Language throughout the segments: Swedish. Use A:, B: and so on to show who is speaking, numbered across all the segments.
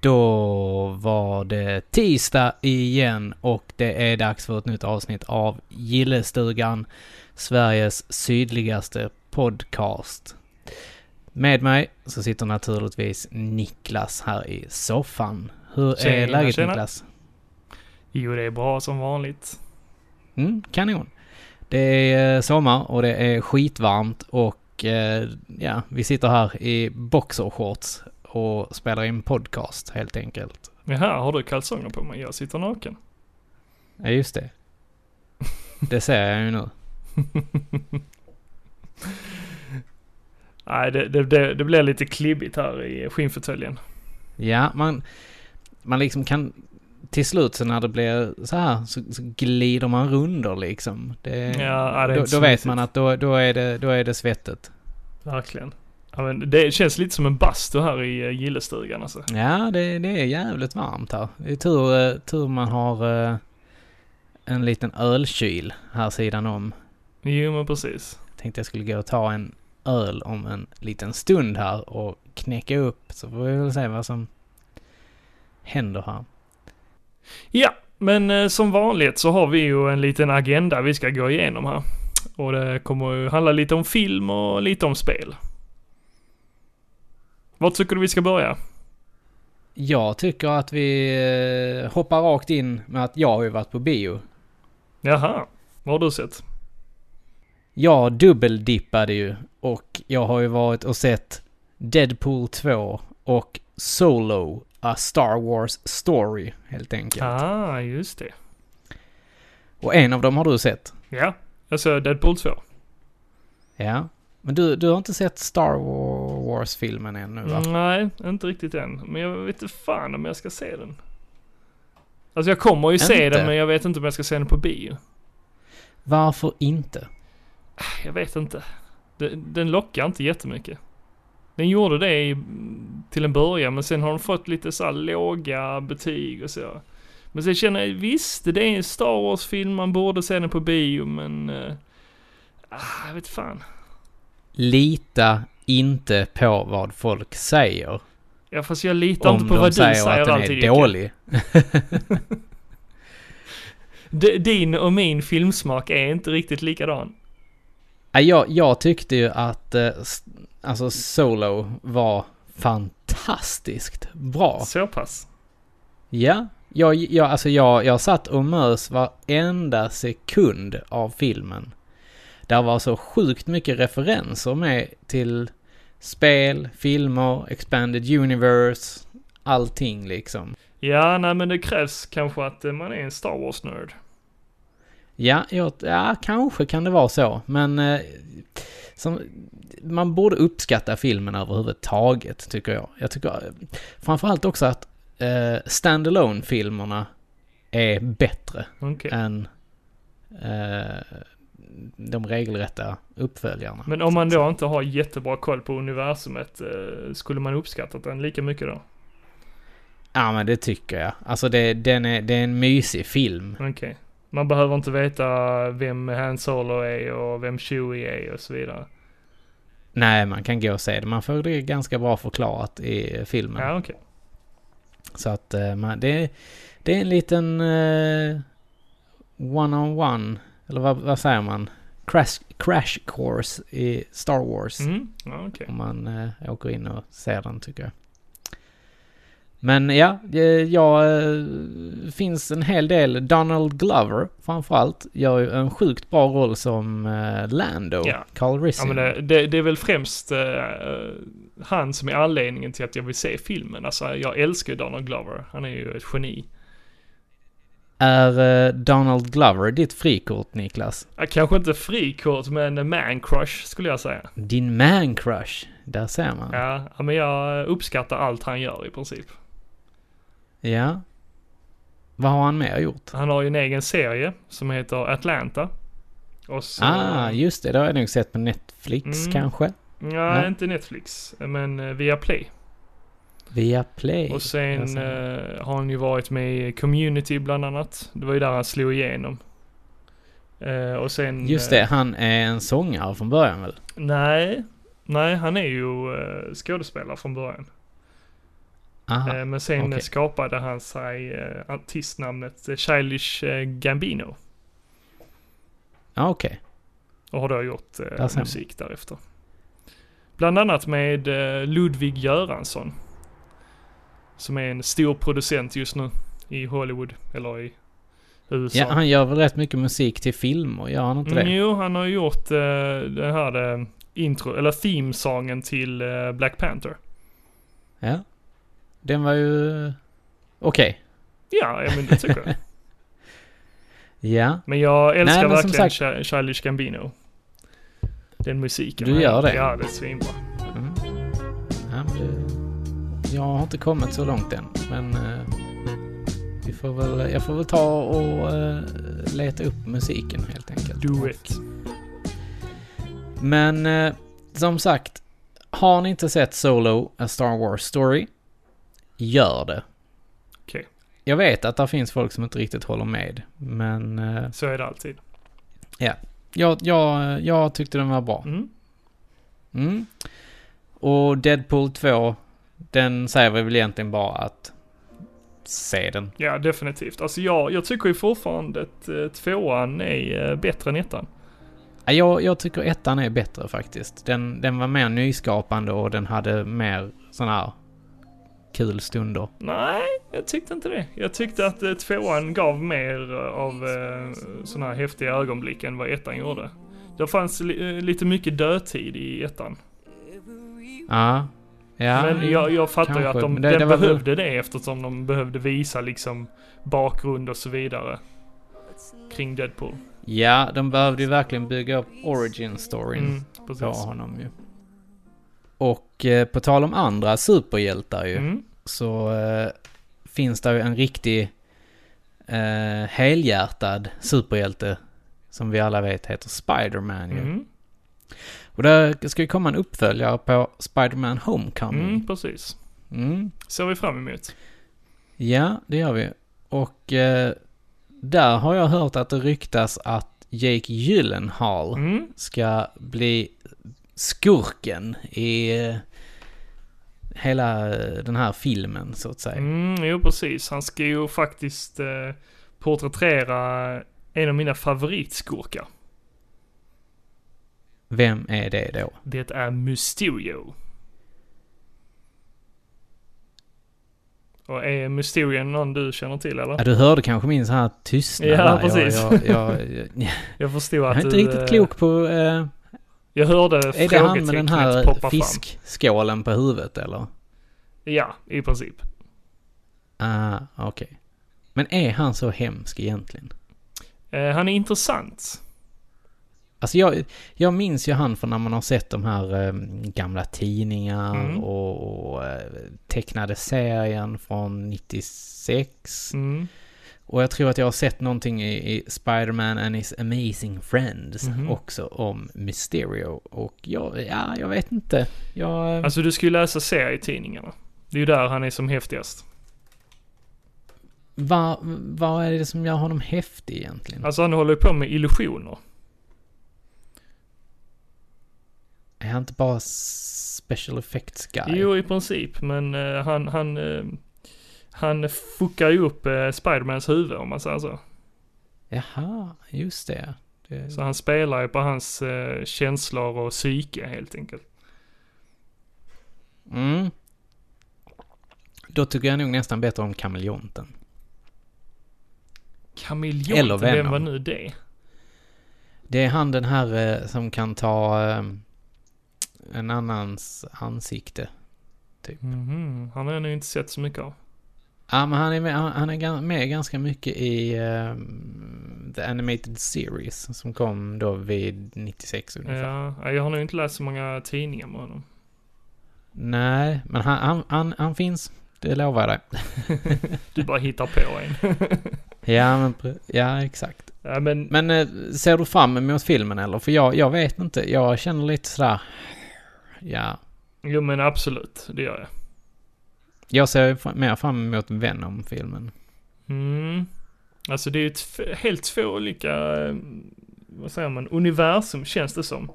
A: Då var det tisdag igen och det är dags för ett nytt avsnitt av Gillestugan, Sveriges sydligaste podcast. Med mig så sitter naturligtvis Niklas här i soffan. Hur är
B: Tjena,
A: läget
B: tjena.
A: Niklas?
B: Jo, det är bra som vanligt.
A: Mm, kanon. Det är eh, sommar och det är skitvarmt och eh, ja, vi sitter här i boxershorts och spelar in podcast helt enkelt.
B: Jaha, har du kalsonger på mig? Jag sitter naken.
A: Ja, just det. Det ser jag ju nu.
B: Nej, det, det, det, det blir lite klibbigt här i eh, skinnfåtöljen.
A: Ja, man, man liksom kan... Till slut så när det blir så här så, så glider man runder liksom. Det,
B: Ja, det
A: då
B: är inte så
A: då vet
B: mysigt.
A: man att då, då, är det, då är det svettet.
B: Verkligen. Ja, men det känns lite som en bastu här i eh, gillestugan alltså.
A: Ja, det, det är jävligt varmt här. Det är tur, eh, tur man har eh, en liten ölkyl här sidan om.
B: Jo, men precis.
A: Tänkte jag skulle gå och ta en öl om en liten stund här och knäcka upp. Så får vi väl se vad som händer här.
B: Ja, men eh, som vanligt så har vi ju en liten agenda vi ska gå igenom här. Och det kommer ju handla lite om film och lite om spel. Vad tycker du vi ska börja?
A: Jag tycker att vi eh, hoppar rakt in med att jag har ju varit på bio.
B: Jaha, vad har du sett?
A: Jag dubbeldippade ju och jag har ju varit och sett Deadpool 2 och Solo, A Star Wars Story helt enkelt.
B: Ah, just det.
A: Och en av dem har du sett.
B: Ja, jag såg Deadpool 2.
A: Ja. Men du, du har inte sett Star Wa- Wars-filmen ännu va?
B: Mm, Nej, inte riktigt än. Men jag vet inte fan om jag ska se den. Alltså jag kommer ju se
A: Inte?
B: den men jag vet inte om jag ska se den på bio.
A: Varför inte?
B: Jag vet inte. Den, den lockar inte jättemycket. Den gjorde det i, till en början men sen har den fått lite så här låga betyg och så. Men sen känner jag, visst det är en Star Wars-film, man borde se den på bio men... eh, ah, jag vet fan.
A: Lita inte på vad folk säger.
B: Ja fast jag litar inte på
A: de
B: vad du
A: säger,
B: säger,
A: att den
B: alltid,
A: är
B: Jocke.
A: dålig.
B: D- Din och min filmsmak är inte riktigt likadan.
A: Ja, Jag, jag tyckte ju att eh, s- alltså Solo var fantastiskt bra.
B: Så pass.
A: Ja, jag, jag, alltså jag, jag satt och mös varenda sekund av filmen. Där var så sjukt mycket referenser med till spel, filmer, expanded universe, allting liksom.
B: Ja, nej men det krävs kanske att eh, man är en Star Wars-nörd.
A: Ja, jag, ja, kanske kan det vara så, men eh, som, man borde uppskatta filmen överhuvudtaget, tycker jag. Jag tycker eh, framförallt också att eh, standalone filmerna är bättre
B: Okej.
A: än eh, de regelrätta uppföljarna.
B: Men om man då inte har jättebra koll på universumet, eh, skulle man uppskattat den lika mycket då?
A: Ja, men det tycker jag. Alltså, det, den är, det är en mysig film.
B: Okej. Man behöver inte veta vem Han Solo är och vem Chewie är och så vidare.
A: Nej, man kan gå och se det. Man får det ganska bra förklarat i filmen.
B: Ja, okej.
A: Så att eh, man, det, det är en liten eh, one-on-one, eller vad, vad säger man? Crash, crash course i Star Wars.
B: Mm, ja, okej.
A: Om man eh, åker in och ser den tycker jag. Men ja, eh, jag eh, finns en hel del. Donald Glover framförallt gör ju en sjukt bra roll som eh, Lando,
B: Ja.
A: Carl
B: Ja,
A: Rissin.
B: men det, det, det är väl främst eh, han som är anledningen till att jag vill se filmen. Alltså, jag älskar ju Donald Glover. Han är ju ett geni.
A: Är eh, Donald Glover ditt frikort Niklas?
B: Ja, kanske inte frikort, men man crush skulle jag säga.
A: Din man crush? Där ser man.
B: Ja, ja, men jag uppskattar allt han gör i princip.
A: Ja. Vad har han mer gjort?
B: Han har ju en egen serie som heter Atlanta. Och så,
A: Ah, just det. Det har jag nog sett på Netflix
B: Mm.
A: kanske.
B: Nej,
A: Ja.
B: inte Netflix, men eh, via Play.
A: Via Play.
B: Och sen
A: Alltså.
B: eh, har han ju varit med i Community bland annat. Det var ju där han slog igenom. Eh, och sen...
A: Just det, han är en sångare från början väl?
B: Eh, nej, nej, han är ju eh, skådespelare från början.
A: Aha.
B: Eh, Men sen
A: Ah, okej.
B: skapade han sig eh, artistnamnet eh, Childish eh, Gambino.
A: Ja, ah, okej.
B: Och har då gjort eh,
A: Där ser man.
B: musik därefter. Bland annat med eh, Ludvig Göransson. Som är en stor producent just nu i Hollywood, eller i USA.
A: Ja, han gör väl rätt mycket musik till filmer, gör han inte det?
B: Mm, jo, han har gjort eh, den här eh, intro, eller themesången till eh, Black Panther.
A: Ja. Den var ju... Okej.
B: Ja, ja men det tycker jag.
A: Ja.
B: Men jag älskar
A: Nej, men som
B: verkligen Chi- Childish Gambino. Den musiken.
A: Du gör det?
B: Ja, det är svinbra.
A: Mm. ja men det... Jag har inte kommit så långt än, men... eh, vi får väl, jag får väl ta och eh, leta upp musiken helt enkelt.
B: Do it.
A: Men eh, som sagt, har ni inte sett Solo, A Star Wars Story, gör det.
B: Okej.
A: Jag vet att det finns folk som inte riktigt håller med, men eh,
B: Så är det alltid.
A: jag, jag, jag tyckte den var bra.
B: Mm.
A: Mm. Och Deadpool 2, den säger väl egentligen bara att se den.
B: Ja, definitivt. Alltså jag, jag tycker ju fortfarande att eh, tvåan är eh, bättre än ettan.
A: Ja, Jag, jag tycker ettan är bättre faktiskt. Den, den var mer nyskapande och den hade mer sådana här kul stunder.
B: Nej, jag tyckte inte det. Jag tyckte att eh, tvåan gav mer eh, av eh, sådana här häftiga ögonblick än vad ettan gjorde. Det fanns li- eh, lite mycket dödtid i ettan.
A: Ja. Ja.
B: men jag, jag fattar ju
A: kanske.
B: att de,
A: Men det-
B: den
A: det var väl-
B: behövde det eftersom de behövde visa liksom bakgrund och så vidare kring Deadpool.
A: Ja, de behövde ju verkligen bygga upp origin storyn
B: Mm, precis.
A: på honom ju. Och eh, på tal om andra superhjältar ju,
B: Mm.
A: så eh, finns det ju en riktig eh, helhjärtad superhjälte som vi alla vet heter Spider-Man ju.
B: Mm.
A: Och där ska ju komma en uppföljare på Spider-Man
B: Mm,
A: Homecoming.
B: precis.
A: Mm.
B: Ser vi fram emot.
A: Ja, det gör vi. Och eh, där har jag hört att det ryktas att Jake Gyllenhaal
B: Mm.
A: ska bli skurken i eh, hela eh, den här filmen så att säga.
B: Mm, jo, precis. Han ska ju faktiskt eh, porträttera en av mina favoritskurkar.
A: Vem är det då?
B: Det är Mysterio. Och är Mysterio någon du känner till eller?
A: Ja, du hörde kanske min så här tystnad.
B: Ja,
A: där. Jag-
B: precis.
A: Jag, jag, jag, jag,
B: Jag förstod att
A: är inte
B: du, eh,
A: riktigt klok på... Eh,
B: Jag hörde
A: är det han med den
B: frågetecknet poppa
A: här
B: fisk? fram.
A: fiskskålen på huvudet eller?
B: Ja, i princip.
A: Ah, okej. Men är han så hemsk egentligen?
B: Eh, han är intressant.
A: Alltså jag, jag minns ju han från när man har sett de här eh, gamla tidningar
B: Mm.
A: och, och eh, tecknade serien från 96.
B: Mm.
A: Och jag tror att jag har sett någonting i, i Spider-Man and his amazing friends
B: Mhm.
A: också om Mysterio. Och jag, ja, jag vet inte. Jag, eh,
B: Alltså du ska ju läsa serietidningarna. Det är ju där han är som häftigast.
A: Mm. vad, vad är det som gör honom häftig egentligen?
B: Alltså han håller ju på med illusioner.
A: Är han inte bara special effects guy?
B: Jo, i princip. Men eh, han, han, eh, han fuckar ju upp eh, Spidermans huvud om man säger
A: Mm.
B: så.
A: Jaha, just det. det
B: Så han spelar ju på hans eh, känslor och psyke helt enkelt.
A: Mm. Då tycker jag nog nästan bättre om kameleonten. Eller
B: Kameleonten, vem
A: Venom.
B: var nu det?
A: Det är han den här eh, som kan ta eh, en annans ansikte.
B: Mhm, Han har jag nog inte sett så mycket av.
A: Ja, men han är med, han han är gan- med ganska mycket i eh, The Animated Series som kom då vid 96 ungefär.
B: Ja, jag har nog inte läst så många tidningar med honom.
A: Nej, men han, han, han, han finns. Det lovar jag dig.
B: Du bara hittar på en.
A: Ja, men, pre- ja, exakt.
B: ja, men
A: Men eh, ser du fram emot filmen eller? För jag, jag vet inte. Jag känner lite sådär... Ja.
B: Jo men absolut, det gör jag.
A: Jag ser fr- mer fram emot Venom-filmen.
B: Mm. Alltså det är ju tf- helt två olika, eh, vad säger man, universum känns det som.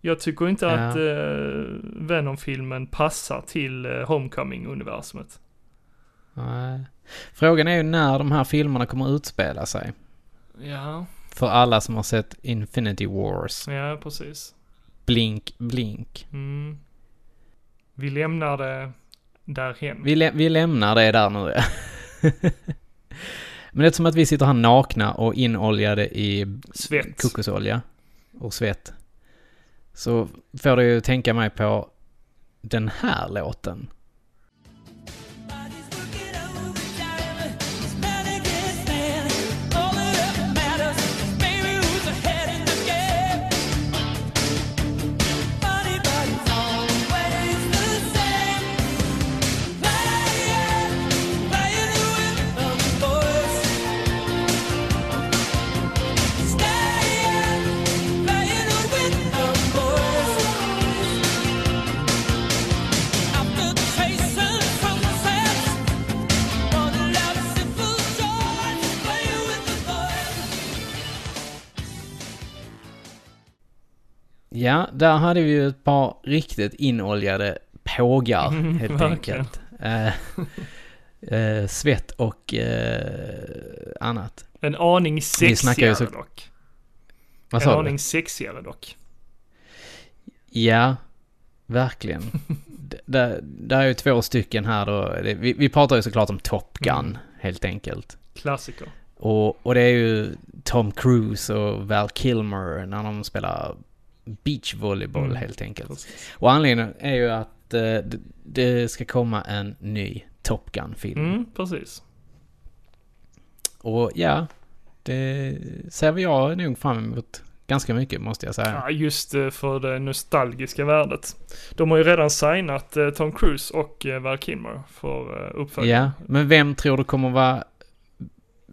B: Jag tycker inte
A: Ja.
B: att eh, Venom-filmen passar till eh, Homecoming-universumet.
A: Nej. Frågan är ju när de här filmerna kommer utspela sig.
B: Ja,
A: För alla som har sett Infinity Wars.
B: ja precis.
A: Blink, blink.
B: Mm. Vi lämnar det därhen.
A: Vi, lä- vi lämnar det där nu. ja. Men eftersom att vi sitter här nakna och inoljade i
B: Svett.
A: kokosolja och svett. Så får du ju tänka mig på den här låten.
C: Body's working overtime. It's man against man. All that ever matters is baby who's ahead in the game. Body, body's always the same. Playing, playing the rhythm of the voice. Staying, playing the rhythm of the voice. After the chasing from the sands, all the love simple joy, playing with the voice.
A: Ja, där hade vi ju ett par riktigt inoljade pågar
B: Mm,
A: helt
B: verkligen.
A: enkelt. Eh, eh, svett och eh, annat.
B: En aning
A: snackar ju
B: sexigare
A: så-
B: dock.
A: Vad
B: en
A: sa du?
B: aning sexigare dock.
A: Ja, verkligen. D- där, där är ju två stycken här då. Det- Vi, vi pratar ju såklart om Top Gun,
B: Mm.
A: helt enkelt.
B: Klassiker.
A: Och, och det är ju Tom Cruise och Val Kilmer när de spelar beachvolleyboll
B: Mm,
A: helt enkelt.
B: precis.
A: Och anledningen är ju att eh, det, det ska komma en ny Top Gun-film.
B: Mm, precis.
A: Och ja, det ser vi jag nog fram emot ganska mycket måste jag säga.
B: Ja, just eh, för det nostalgiska värdet. De har ju redan signat eh, Tom Cruise och eh, Val Kilmer för eh, uppföljning.
A: Ja, men vem tror du kommer vara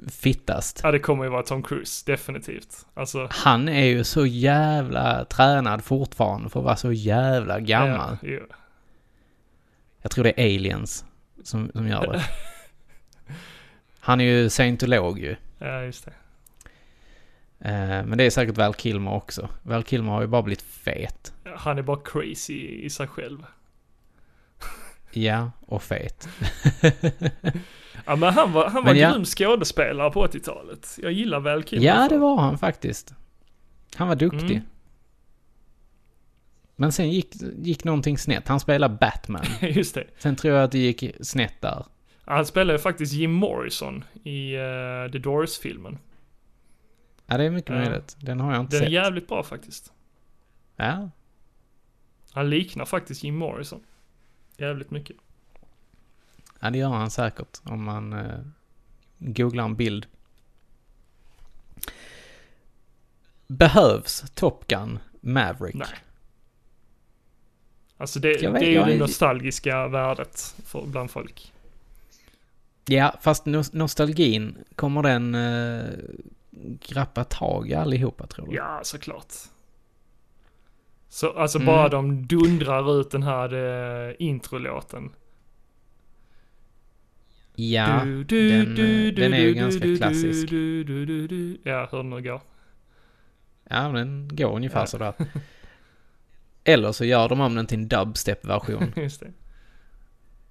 A: fittast?
B: Ja, det kommer ju vara Tom Cruise, definitivt. Alltså,
A: Han är ju så jävla tränad fortfarande för att vara så jävla gammal.
B: Ja, ju.
A: Jag tror det är aliens som, som gör det. Han är ju scientolog ju.
B: ja, just det.
A: Eh, Men det är säkert Val Kilmer också. Val Kilmer har ju bara blivit fet.
B: Han är bara crazy i sig själv.
A: Ja, och fet.
B: Ja, men han var, han var
A: Men ja.
B: grym skådespelare på 80-talet. Jag gillar Val Kilmer.
A: Ja,
B: för-
A: det var han faktiskt. Han var duktig.
B: Mm.
A: Men sen gick, gick någonting snett. Han spelade Batman.
B: Just det.
A: Sen tror jag att det gick snett där.
B: Han spelade ju faktiskt Jim Morrison i eh, The Doors-filmen.
A: Ja, det är mycket
B: Ja.
A: möjligt. Den har jag inte
B: Den är
A: sett.
B: jävligt bra faktiskt.
A: Ja.
B: Han liknar faktiskt Jim Morrison. Jävligt mycket.
A: ja, det gör han säkert om man eh, googlar en bild. Behövs Top Gun Maverick?
B: Nej. Alltså det,
A: Jag vet,
B: det är ju
A: jag
B: det
A: är-
B: nostalgiska värdet för, bland folk.
A: Ja, fast nos- nostalgin, kommer den eh, grappa tag i allihopa tror du?
B: Ja, såklart. Så alltså
A: Mm.
B: bara de dundrar ut den här eh, introlåten.
A: Ja,
B: Du, du,
A: den, eh,
B: du,
A: den är ju
B: du,
A: ganska
B: du, du,
A: klassisk.
B: du, du, du, du. Ja, hur den nu går.
A: ja, den går ungefär
B: Ja.
A: sådär. Eller så gör de om den till en dubstep-version.
B: Just det.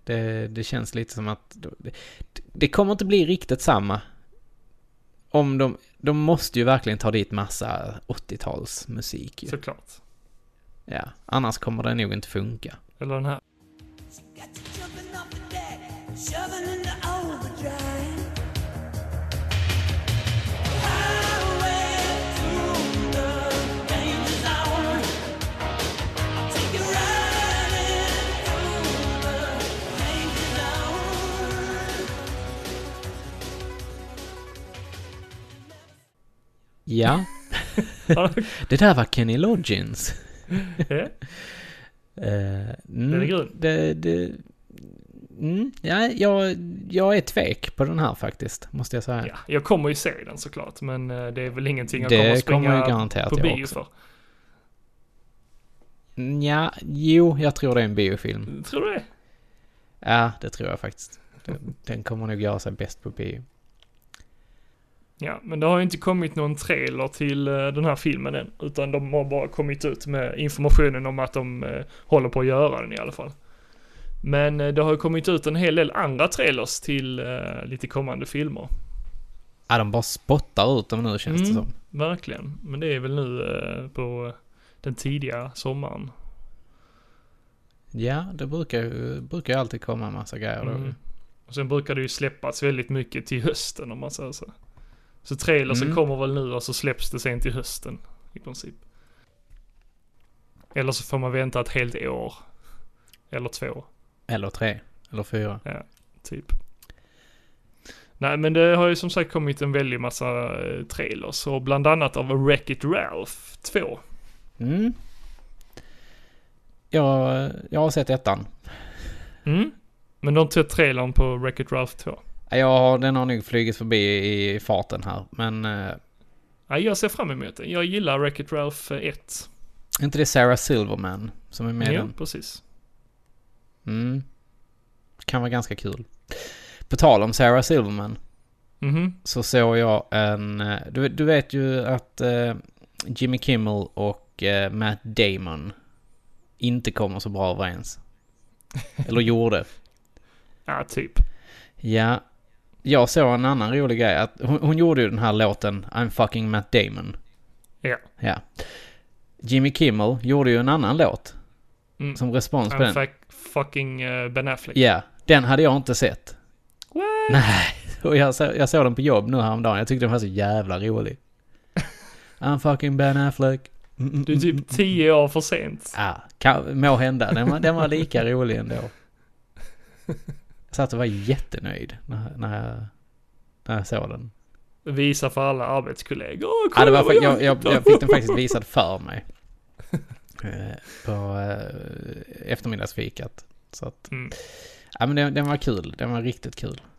A: Det, det känns lite som att... Det, det kommer inte bli riktigt samma. Om de... De måste ju verkligen ta dit massa 80-talsmusik ju.
B: Såklart.
A: Ja, annars kommer det nog inte funka.
B: Eller den här.
C: Got you jumping off the deck, shoving into overdrive. Highway to the danger zone. I'll take you right into the danger zone.
A: Ja, det där var Kenny Loggins.
B: Ja,
A: Eh, mm,
B: Den är grym.
A: Det, det, mm, ja, jag, jag är tvek på den här faktiskt, måste jag säga.
B: ja, jag kommer ju se den såklart, men eh, det är väl ingenting jag
A: Det
B: kommer
A: kommer
B: springa
A: ju garanterat
B: på
A: jag
B: bio
A: också.
B: för.
A: Mm, Ja, jo, jag tror det är en biofilm.
B: Tror du det?
A: Ja, det tror jag faktiskt. Den, den kommer nog göra sig bäst på bio.
B: Ja, men det har ju inte kommit någon trailer till eh, den här filmen än, utan de har bara kommit ut med informationen om att de eh, håller på att göra den i alla fall. Men eh, det har ju kommit ut en hel del andra trailers till eh, lite kommande filmer.
A: Ja, de bara spottar ut dem nu känns det
B: Mm.
A: som.
B: Verkligen. Men det är väl nu eh, på eh, den tidiga sommaren.
A: Ja, det brukar ju brukar ju alltid komma en massa grejer då.
B: Mm. Och sen brukar det ju släppas väldigt mycket till hösten om man säger så. Så trailers
A: Mm.
B: kommer väl nu och så släpps det sen till hösten i princip. Eller så får man vänta ett helt år. Eller två,
A: Eller tre, eller fyra.
B: typ. Nej men det har ju som sagt kommit en väldig massa eh, trailers och bland annat av Wreck-It Ralph 2.
A: Mm. Jag, jag har sett ettan.
B: Mm. Men de tog trailern på Wreck-It Ralph 2.
A: Jag har, den har nog flugit förbi i farten här, men... eh,
B: Ja, jag ser fram emot den. Jag gillar Wreck-It Ralph 1.
A: Är inte det Sarah Silverman som är med i
B: Ja,
A: den?
B: precis.
A: Mm. Kan vara ganska kul. På tal om Sarah Silverman
B: Mhm.
A: så såg jag en... eh, Du, du vet ju att eh, Jimmy Kimmel och eh, Matt Damon inte kommer så bra överens. Eller gjorde.
B: Ja, typ.
A: Ja. Jag såg en annan rolig grej. Att hon, hon gjorde ju den här låten I'm fucking Matt Damon.
B: Ja.
A: Ja. Jimmy Kimmel gjorde ju en annan låt
B: Mm.
A: som respons på
B: I'm
A: den.
B: fuck- fucking eh, Ben Affleck.
A: Ja, den hade jag inte sett.
B: What?
A: Nej, och jag, så, jag såg den på jobb nu häromdagen. Jag tyckte den var så jävla rolig. I'm fucking Ben Affleck. Mm, mm,
B: Du är
A: mm,
B: typ
A: mm.
B: tio år för sent.
A: Ja, kan, må hända. Den var, den var lika rolig ändå. Jag satt och var jättenöjd när, när, jag, när jag såg den.
B: Visa för alla arbetskollegor. Åh,
A: Ja,
B: kolla
A: det var,
B: vad
A: fa- jag, jag,
B: hittar.
A: jag fick den faktiskt visad för mig. Eh, På eh, eftermiddagsfikat. Så att,
B: Mm.
A: ja men den, den var kul. Den var riktigt kul.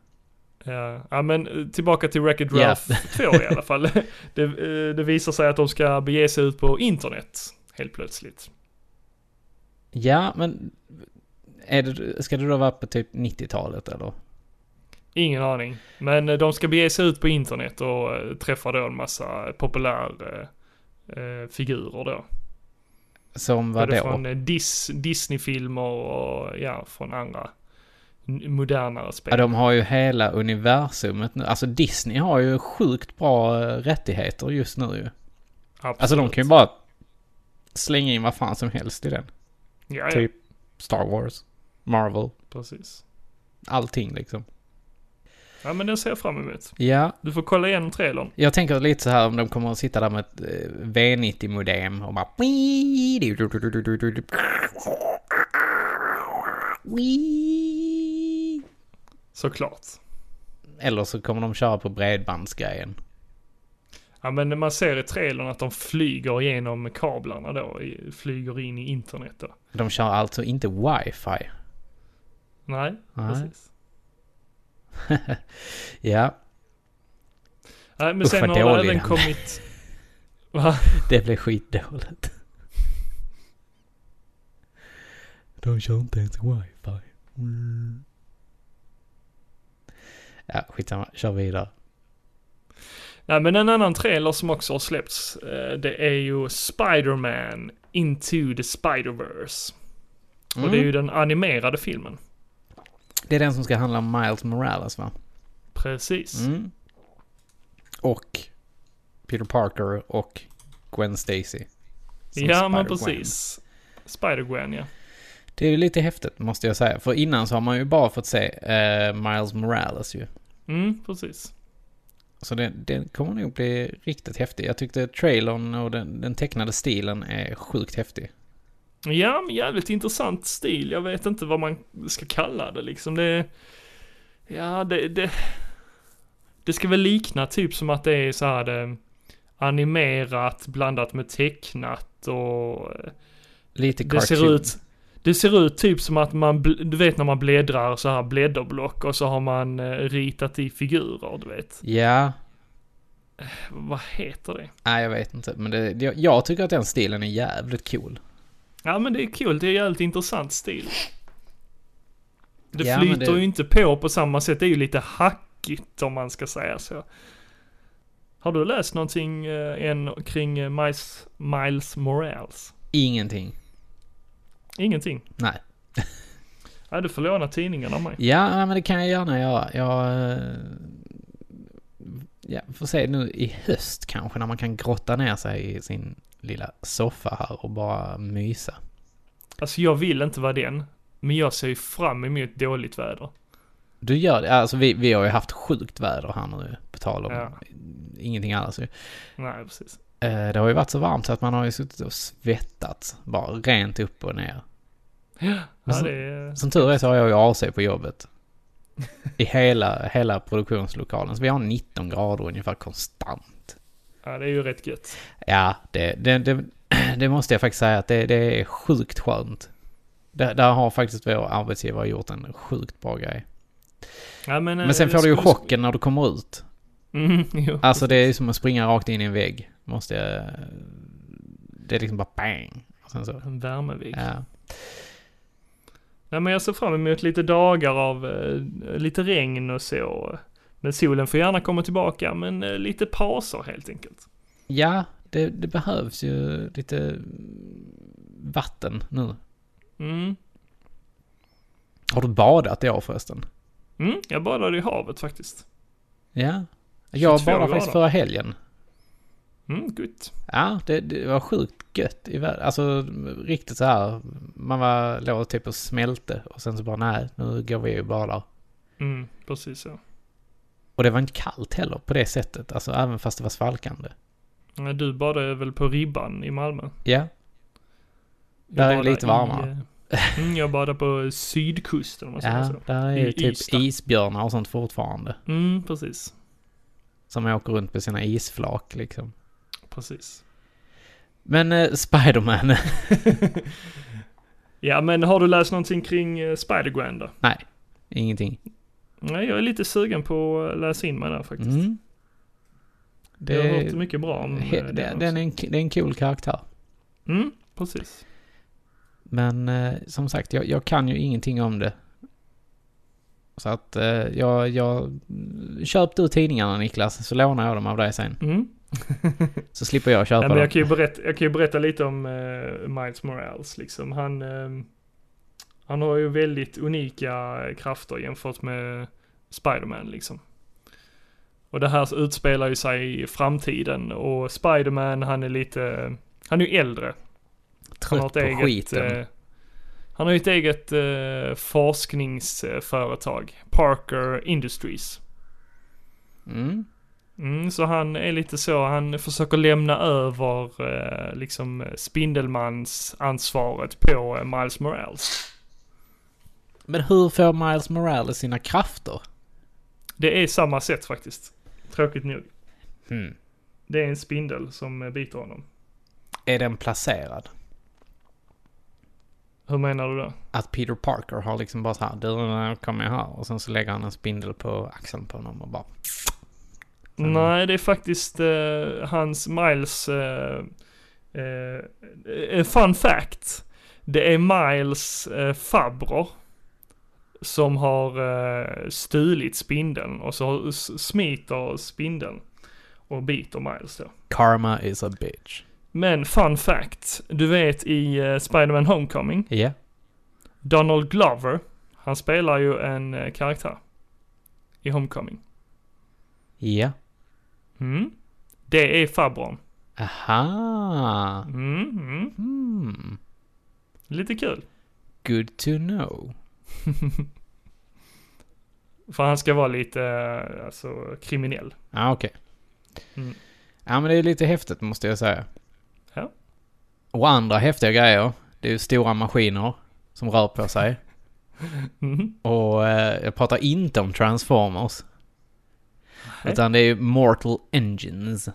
B: Ja. ja, men eh, tillbaka till Wreck-It
A: Ja.
B: Ralph 2 i alla fall. Det, eh, det visar sig att de ska bege sig ut på internet helt plötsligt.
A: Ja, men är det, ska det då vara på typ 90-talet eller?
B: Ingen aning. Men eh, de ska bege sig ut på internet och eh, träffa då en massa populär eh, eh, figurer då.
A: Som var
B: Både
A: då?
B: från eh, Dis, Disney-filmer och ja, från andra n- modernare spel.
A: Ja, de har ju hela universumet nu. Alltså Disney har ju sjukt bra eh, rättigheter just nu ju.
B: Absolut.
A: Alltså de kan ju bara slänga in vad fan som helst i den.
B: ja, ja,
A: Typ Star Wars, Marvel,
B: precis.
A: allting liksom.
B: Ja, men den ser jag fram emot.
A: Ja,
B: Du får kolla igenom trailern.
A: jag tänker lite så här om de kommer att sitta där med ett eh, V90-modem och bara...
B: Såklart.
A: Eller så kommer de köra på bredbandsgrejen.
B: Ja, men man ser i trailern att de flyger igenom kablarna då. i- Flyger in i internet då.
A: De kör alltså inte wifi.
B: Nej,
A: Nej.
B: precis.
A: Ja,
B: Nej, men
A: Usch,
B: sen
A: vad
B: har det
A: dålig
B: även
A: den.
B: kommit... Va?
A: det blev skitdåligt. De kör inte ens wifi. Mm. Ja, skitsamma. Kör vidare.
B: Nej, men en annan trailer som också har släppts, eh, det är ju Spider-Man Into the Spider-Verse. Och det är ju den animerade filmen.
A: Mm. Det är den som ska handla om Miles Morales, va?
B: Precis.
A: Mm. Och Peter Parker och Gwen Stacy. Som
B: ja, men
A: Spider-Gwen.
B: precis. Spider-Gwen, ja.
A: Det är ju lite häftigt, måste jag säga. För innan så har man ju bara fått se eh, Miles Morales ju.
B: Mm, precis.
A: Så den, den kommer nog bli riktigt häftig. Jag tyckte trailern och den, den tecknade stilen är sjukt häftig.
B: Ja, men jävligt intressant stil. Jag vet inte vad man ska kalla det liksom. Det... Ja, det... Det, det ska väl likna typ som att det är så här det, animerat blandat med tecknat och... eh,
A: Lite
B: Det
A: cartoon.
B: ser ut... Det ser ut typ som att man, bl- du vet när man bläddrar så här blädderblock och så har man eh, ritat i figurer, du vet.
A: Ja,
B: Vad heter det?
A: nej jag vet inte. Men det, det, jag tycker att den stilen är jävligt cool.
B: Ja men det är kul, det är jävligt intressant stil. Det
A: Ja, men
B: flyter
A: det-
B: ju inte på på samma sätt, det är ju lite hackigt om man ska säga så. Har du läst någonting eh, än kring eh, Miles, Miles Morales?
A: Ingenting.
B: Ingenting?
A: Nej.
B: Ja, Ja, du får låna tidningarna av mig.
A: Ja, nej, men det kan jag gärna göra. Jag... eh, Ja, får se nu i höst kanske när man kan grotta ner sig i sin lilla soffa här och bara mysa.
B: Alltså jag vill inte vara den, men jag ser ju fram emot dåligt väder.
A: Du gör det, alltså vi, vi har ju haft sjukt väder här nu på tal om
B: Ja.
A: ingenting alls ju.
B: Nej, precis.
A: Eh, Det har ju varit så varmt så att man har ju suttit och svettats bara rent upp och ner.
B: Ja,
A: så-
B: det är...
A: Som tur är så har jag ju AC på jobbet. I hela, hela produktionslokalen. Så vi har 19 grader ungefär konstant.
B: ja, det är ju rätt gött.
A: Ja, det, det, det, det måste jag faktiskt säga att det, det är sjukt skönt. Där, där har faktiskt vår arbetsgivare gjort en sjukt bra grej.
B: Ja, men, eh,
A: Men sen får du ju
B: skulle-
A: chocken när du kommer ut.
B: Mm, jo.
A: Alltså det är ju som att springa rakt in i en vägg. Måste jag... Det är liksom bara bang. Och sen så...
B: En värmevägg.
A: Alltså. Ja.
B: Nej, men jag ser fram emot lite dagar av eh, lite regn och så. Men solen får gärna komma tillbaka, men eh, lite pauser helt enkelt.
A: Ja, det, det behövs ju lite mm, vatten nu.
B: Mm.
A: Har du badat i år förresten?
B: Mm, jag badade i havet faktiskt.
A: Ja. Jag
B: 22
A: badade
B: grader.
A: faktiskt förra helgen.
B: Mm, gott.
A: Ja, det, det var sjukt gött i världen. Alltså riktigt så här. Man var, låg typ och smälte och sen så bara nej, nu går vi och badar.
B: Mm, precis så.
A: Och det var inte kallt heller på det sättet, alltså även fast det var svalkande.
B: Nej, Du badade väl på Ribban i Malmö?
A: Ja,
B: Jag
A: Där är det
B: badade
A: lite
B: i,
A: varmare.
B: eh, mm, jag badade på sydkusten om man säger
A: ja
B: så.
A: där är
B: I
A: ju typ
B: Ystad.
A: isbjörnar och sånt fortfarande.
B: Mm, precis.
A: Som åker runt på sina isflak liksom.
B: Precis.
A: Men eh, Spiderman,
B: Ja, men har du läst någonting kring eh, Spider-Gwen då?
A: nej, ingenting.
B: Nej, jag är lite sugen på att läsa in mig där faktiskt.
A: Mm. Det,
B: jag har hört mycket bra om eh,
A: he,
B: den
A: det,
B: också.
A: den är en, det är en cool karaktär.
B: Mm, precis.
A: Men eh, som sagt, jag, jag kan ju ingenting om det. Så att eh, jag, jag... Köp du tidningarna Niklas, så lånar jag dem av dig sen.
B: Mm.
A: Så slipper jag köpa
B: Nej, men jag
A: dem.
B: kan ju berätta, jag kan ju berätta lite om eh, Miles Morales liksom. Han, eh, han har ju väldigt unika krafter jämfört med Spiderman liksom. Och det här utspelar ju sig i framtiden och Spiderman han är lite, han är ju äldre. Han har
A: Trött
B: ett
A: på
B: eget,
A: skiten.
B: eh, han har ju ett eget eh, forskningsföretag, Parker Industries.
A: Mm.
B: Mm, så han är lite så, han försöker lämna över eh, liksom Spindelmans ansvaret på eh, Miles Morales.
A: Men hur får Miles Morales sina krafter?
B: Det är samma sätt faktiskt. Tråkigt nog.
A: Hmm.
B: Det är en spindel som eh, biter honom.
A: Är den placerad?
B: Hur menar du då?
A: Att Peter Parker har liksom bara så här, du kommer jag här. Och sen så lägger han en spindel på axeln på honom och bara... Mm.
B: Nej, det är faktiskt eh, hans Miles... Eh, eh, eh, fun fact. Det är Miles eh, farbror som har eh, stulit spindeln och så s- smiter spindeln och biter Miles då.
A: Karma is a bitch.
B: Men fun fact. Du vet i eh, Spider-Man Homecoming,
A: Ja.
B: Donald Glover, han spelar ju en eh, karaktär i Homecoming.
A: Ja.
B: Mm. Det är farbrorn.
A: Aha.
B: Mm, mm.
A: Hmm.
B: Lite kul.
A: Good to know.
B: För han ska vara lite, eh, alltså, kriminell.
A: Ja, ah, okej.
B: Mm.
A: Ja, men det är lite häftigt måste jag säga.
B: Ja.
A: Och andra häftiga grejer. Det är ju stora maskiner som rör på sig.
B: Mm.
A: Och eh, jag pratar inte om Transformers.
B: Nej.
A: Utan det är ju Mortal Engines.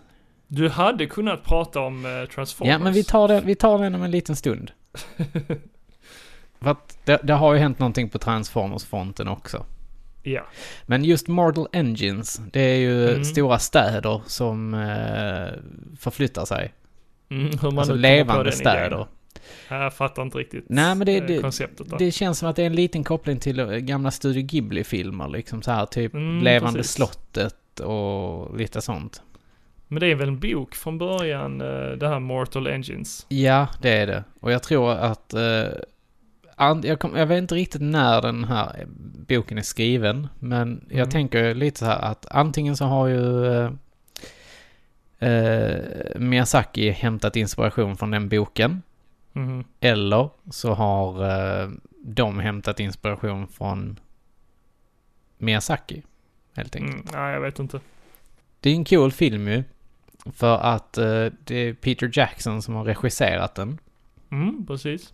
B: Du hade kunnat prata om eh, Transformers.
A: Ja, men vi tar, den, vi tar den om en liten stund. För att det, det har ju hänt någonting på Transformers-fronten också.
B: Ja.
A: Men just Mortal Engines, det är ju
B: Mm.
A: stora städer som eh, förflyttar sig.
B: Mm, hur man
A: alltså
B: nu kommer på
A: levande
B: den
A: städer.
B: idén. Ja, Jag fattar inte riktigt
A: Nej, men det-
B: eh,
A: det-
B: konceptet där.
A: Det känns som att det är en liten koppling till eh, gamla Studio Ghibli-filmer, liksom så här typ
B: Mm,
A: Levande
B: precis.
A: slottet och lite sånt.
B: Men det är väl en bok från början, eh, det här Mortal Engines.
A: Ja, det är det. Och jag tror att eh, an- jag, kom, jag vet inte riktigt när den här eh, boken är skriven. Men jag
B: Mm.
A: tänker lite så här att antingen så har ju eh, eh, Miyazaki hämtat inspiration från den boken.
B: Mhm.
A: Eller så har eh, de hämtat inspiration från Miyazaki. Helt enkelt.
B: Mm, nej, jag vet inte.
A: Det är en cool film ju. För att eh, det är Peter Jackson som har regisserat den.
B: Mm, precis.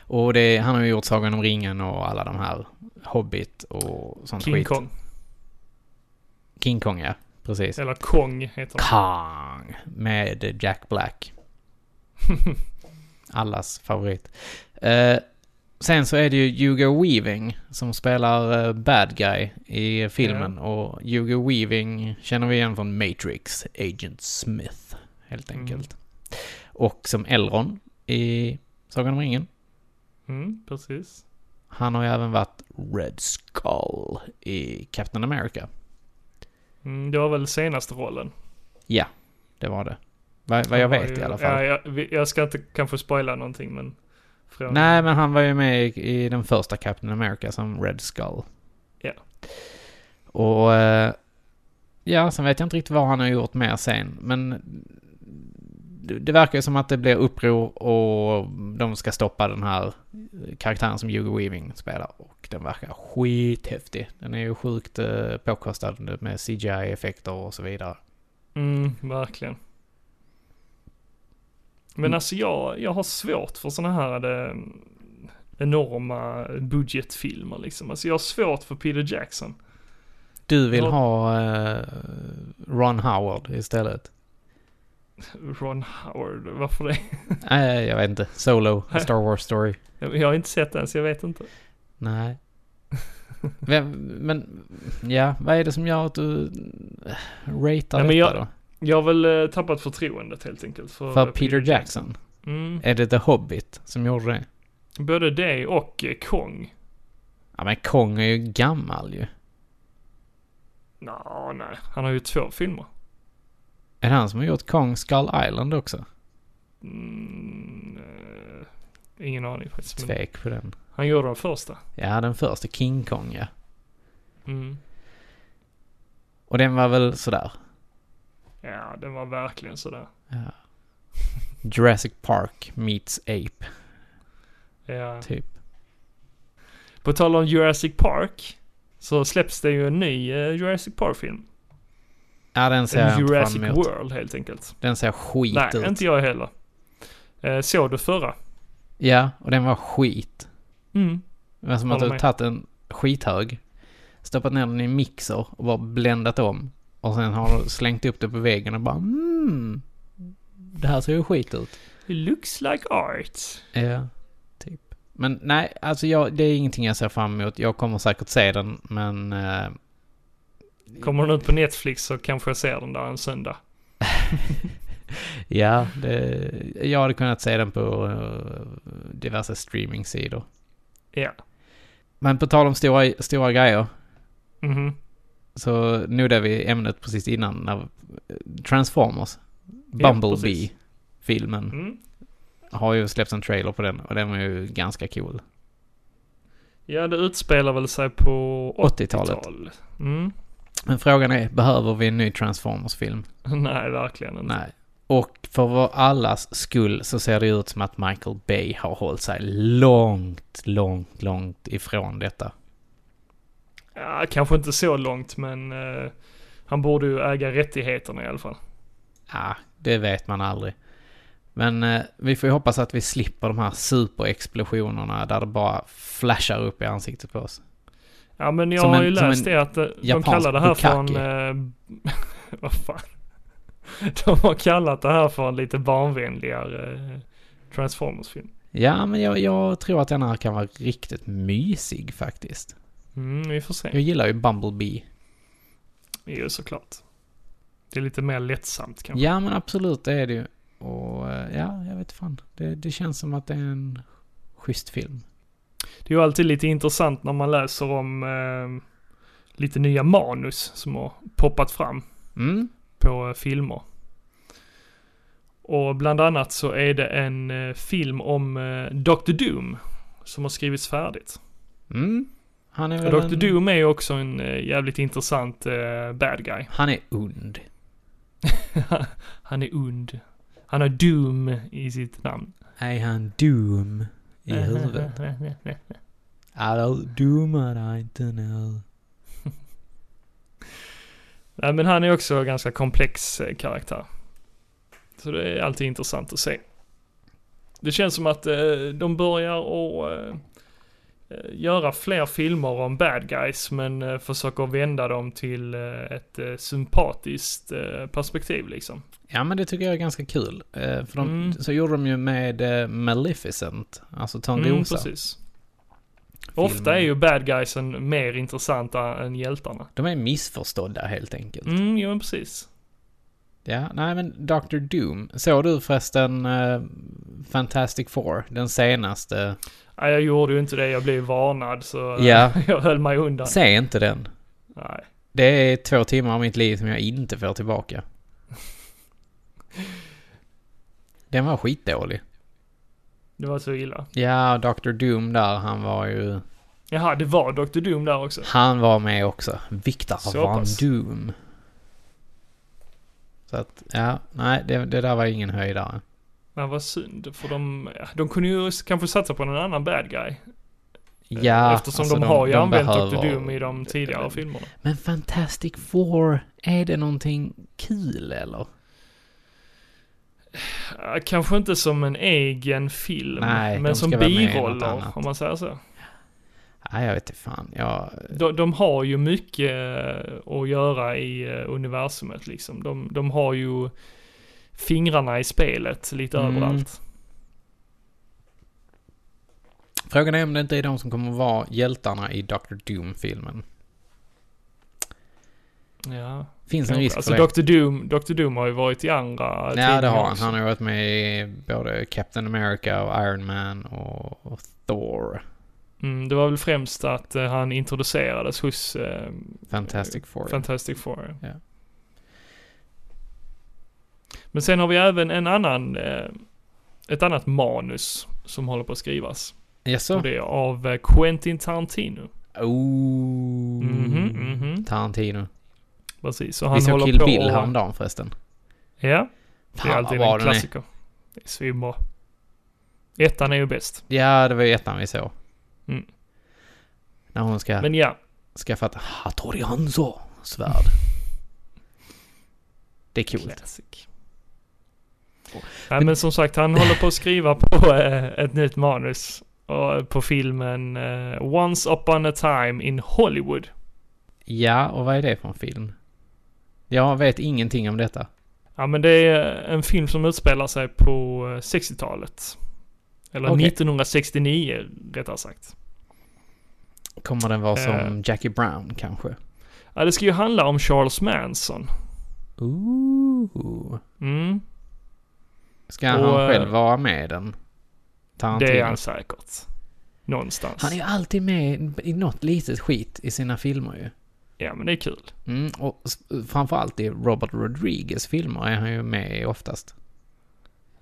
A: Och det, han har ju gjort Sagan om ringen och alla de här Hobbit och sånt
B: King
A: skit.
B: Kong.
A: King Kong ja, precis.
B: Eller Kong heter han.
A: Kong med Jack Black. Allas favorit. Eh, sen så är det ju Hugo Weaving som spelar eh, bad guy i filmen. Och Hugo Weaving känner vi igen från Matrix, Agent Smith, helt
B: Mm.
A: enkelt. Och som Elrond i Sagan om ringen.
B: Mm, precis.
A: Han har ju även varit Red Skull i Captain America.
B: Mm, det var väl senaste rollen.
A: Ja, det var det. Vad, vad jag
B: Han var
A: vet
B: ju-
A: i alla fall.
B: Ja, jag, vi- jag ska inte kanske spoila någonting men... Från,
A: Nej, men han var ju med i, i den första Captain America som Red Skull.
B: Ja.
A: Och... eh, Ja, sen vet jag inte riktigt vad han har gjort mer sen, men... Det, det verkar ju som att det blir uppror och de ska stoppa den här karaktären som Hugo Weaving spelar. Och den verkar skithäftig. Den är ju sjukt eh, påkostad med CGI-effekter och så vidare.
B: Mm, verkligen. Men
A: Mm.
B: alltså jag, jag har svårt för sådana här eh, enorma budgetfilmer liksom. Alltså jag har svårt för Peter Jackson.
A: Du vill
B: Ja.
A: ha eh, Ron Howard istället?
B: Ron Howard, varför det?
A: Nej, jag vet inte. Solo, A Star Wars Story.
B: Jag, jag har inte sett den så jag vet inte.
A: Nej. Vem, men, ja, vad är det som gör att du eh, ratear
B: Nej, men
A: detta
B: jag-
A: då?
B: Jag har väl eh, tappat förtroendet helt enkelt. För,
A: För
B: eh,
A: Peter Jackson?
B: Mm.
A: Är det The Hobbit som gjorde det?
B: Både det och eh, Kong.
A: Ja, men Kong är ju gammal ju.
B: Nå, nej. Han har ju två filmer.
A: Är det han som har gjort Kong Skull Island också?
B: Mm, eh, ingen aning faktiskt. Men
A: Tvek på den.
B: han gjorde den första.
A: Ja, den första King Kong ja.
B: Mm.
A: Och den var väl sådär.
B: Ja, den var verkligen sådär.
A: Ja. Jurassic Park meets Ape,
B: Ja.
A: typ.
B: På tal om Jurassic Park så släpps det ju en ny eh, Jurassic Park-film.
A: Ja, den ser jag
B: En
A: inte
B: Jurassic
A: fram emot.
B: World helt enkelt.
A: Den ser skit
B: Nej,
A: ut.
B: inte jag heller. Eh, såg du förra?
A: Ja, och den var skit.
B: Mm.
A: Det var som att
B: Håller
A: du
B: med.
A: tagit en skithög, stoppat ner den i en mixer och bara bländat om. Och sen har du slängt upp det på väggen och bara mm, det här ser ju skit ut.
B: It looks like art.
A: Ja, typ. Men nej, alltså jag, det är ingenting jag ser fram emot. Jag kommer säkert se den, men... eh,
B: Kommer den ut på Netflix så kanske jag ser den där en söndag.
A: Ja, det, jag hade kunnat se den på eh, diverse streamingsidor.
B: Ja.
A: Men på tal om stora, stora grejer, Mm.
B: Mhm.
A: så nuddade vi ämnet precis innan när Transformers,
B: Ja, precis.
A: Bumblebee-filmen,
B: Mm.
A: har ju släppts en trailer på den och den var ju ganska cool.
B: Ja, det utspelar väl sig på
A: 80-talet.
B: 80-tal. Mm.
A: Men frågan är, behöver vi en ny Transformers-film?
B: Nej, verkligen inte.
A: Nej. Och för vår allas skull så ser det ut som att Michael Bay har hållit sig långt, långt, långt ifrån detta.
B: Ja, kanske inte så långt, men eh, han borde ju äga rättigheterna i alla fall.
A: Ja, det vet man aldrig. Men eh, vi får ju hoppas att vi slipper de här superexplosionerna där det bara flashar upp i ansiktet på oss.
B: Ja men jag
A: Som
B: har
A: en-
B: ju
A: som
B: läst
A: en
B: det att eh, de
A: japansk
B: kallar det här för en...
A: bukkake.
B: eh, vad fan? De har kallat det här för en lite barnvänligare eh, Transformers-film.
A: Ja, men jag, jag tror att den här kan vara riktigt mysig faktiskt.
B: Mm, vi får se.
A: Jag gillar ju Bumblebee.
B: Jo, såklart. Det är lite mer lättsamt kanske.
A: Ja, men absolut, det är det ju. Och eh, ja, jag vet fan. Det, det känns som att det är en schysst film.
B: Det är ju alltid lite intressant när man läser om eh, lite nya manus som har poppat fram
A: Mm,
B: på eh, filmer. Och bland annat så är det en eh, film om eh, Dr. Doom som har skrivits färdigt.
A: Mm. Han är väl
B: Dr.
A: en...
B: Doom är ju också en eh, jävligt intressant eh, bad guy.
A: Han är ond.
B: Han är ond. Han har Doom i sitt namn.
A: Är han Doom
B: Äh,
A: i huvudet? Alla domar jag inte nu.
B: Nej, men han är också en ganska komplex eh, karaktär. Så det är alltid intressant att se. Det känns som att eh, de börjar och eh, eh, göra fler filmer om bad guys men eh, försöker vända dem till eh, ett eh, sympatiskt eh, perspektiv liksom.
A: Ja men det tycker jag är ganska kul. Eh, för de,
B: Mm.
A: Så gjorde de ju med eh, Maleficent, alltså Törnrosa.
B: Mm, precis. Ofta är ju bad guysen mer intressanta än hjältarna.
A: de är missförstådda helt enkelt.
B: Mm, jo men precis.
A: Ja, nej men Dr. Doom. Såg du förresten eh, Fantastic Four, den senaste?
B: Nej, jag gjorde ju inte det, jag blev varnad så eh,
A: Ja.
B: jag höll mig undan.
A: Se inte den.
B: Nej.
A: Det är två timmar av mitt liv som jag inte får tillbaka. Den var skitdålig.
B: Det var så illa.
A: Ja, Dr. Doom där, han var ju...
B: Jaha, det var Dr. Doom där också.
A: Han var med också. Victor
B: Så
A: Van
B: pass.
A: Doom. Så att, ja, nej, det, det där var ingen höjdare.
B: Men vad synd, för de, ja, de kunde ju s- kanske satsa på någon annan bad guy. Eh,
A: Ja,
B: Eftersom
A: alltså
B: de har ju använt Dr.
A: behöver- eh,
B: Doom i de tidigare filmerna.
A: Men Fantastic Four, är det någonting kul eller?
B: Eh, Kanske inte som en egen film,
A: Nej, de
B: men som
A: ska vara med i något
B: biroller,
A: annat.
B: om man säger så.
A: Nej, jag vet inte fan. Jag,
B: De, de har ju mycket eh, att göra i eh, universumet liksom. De, de har ju fingrarna i spelet lite
A: Mm.
B: överallt.
A: Frågan är om det inte är de som kommer vara hjältarna i Dr. Doom-filmen.
B: Ja.
A: Finns en
B: kanske.
A: risk
B: Alltså
A: för det?
B: Dr. Doom, Dr. Doom har ju varit i andra
A: Nej, det
B: tidningar
A: har han.
B: också.
A: Han har varit med i både Captain America och Iron Man och, och Thor.
B: Mm, det var väl främst att eh, han introducerades hos eh,
A: Fantastic Four.
B: Fantastic Four.
A: Ja.
B: Men sen har vi även en annan, eh, ett annat manus som håller på att skrivas.
A: Jaså?
B: Och det är av eh, Quentin Tarantino.
A: Oh.
B: Mhm, mhm.
A: Tarantino.
B: Precis, och han
A: Vi såg
B: håller
A: Kill
B: på
A: Bill
B: och-
A: häromdagen förresten.
B: Ja, det är
A: Fan vad
B: alltid
A: bra
B: en
A: den är.
B: klassiker. Det är svinbra. Ettan är ju bäst.
A: Ja, det var ju ettan vi såg.
B: Mm.
A: När hon ska
B: Men ja,
A: skaffa ett Hattori Hanzo-svärd. Det är coolt.
B: Classic. Nej, men som sagt, han håller på att skriva på eh, ett nytt manus. Och, på filmen eh, Once upon a time in Hollywood.
A: Ja, och vad är det för en film? Jag vet ingenting om detta.
B: Ja, men det är en film som utspelar sig på eh, 60-talet. Eller
A: Okej.
B: 1969, rättare sagt.
A: Kommer den vara som
B: Eh.
A: Jackie Brown kanske?
B: Ja, det ska ju handla om Charles Manson.
A: Ooh.
B: Mm,
A: Ska
B: Och,
A: han
B: eh,
A: själv vara med i den? Tarantino.
B: det är han säkert. Någonstans.
A: Han är ju alltid med i något litet skit i sina filmer ju.
B: Ja, men det är kul.
A: Mm, och s- framförallt i Robert Rodriguez filmer är han ju med i oftast.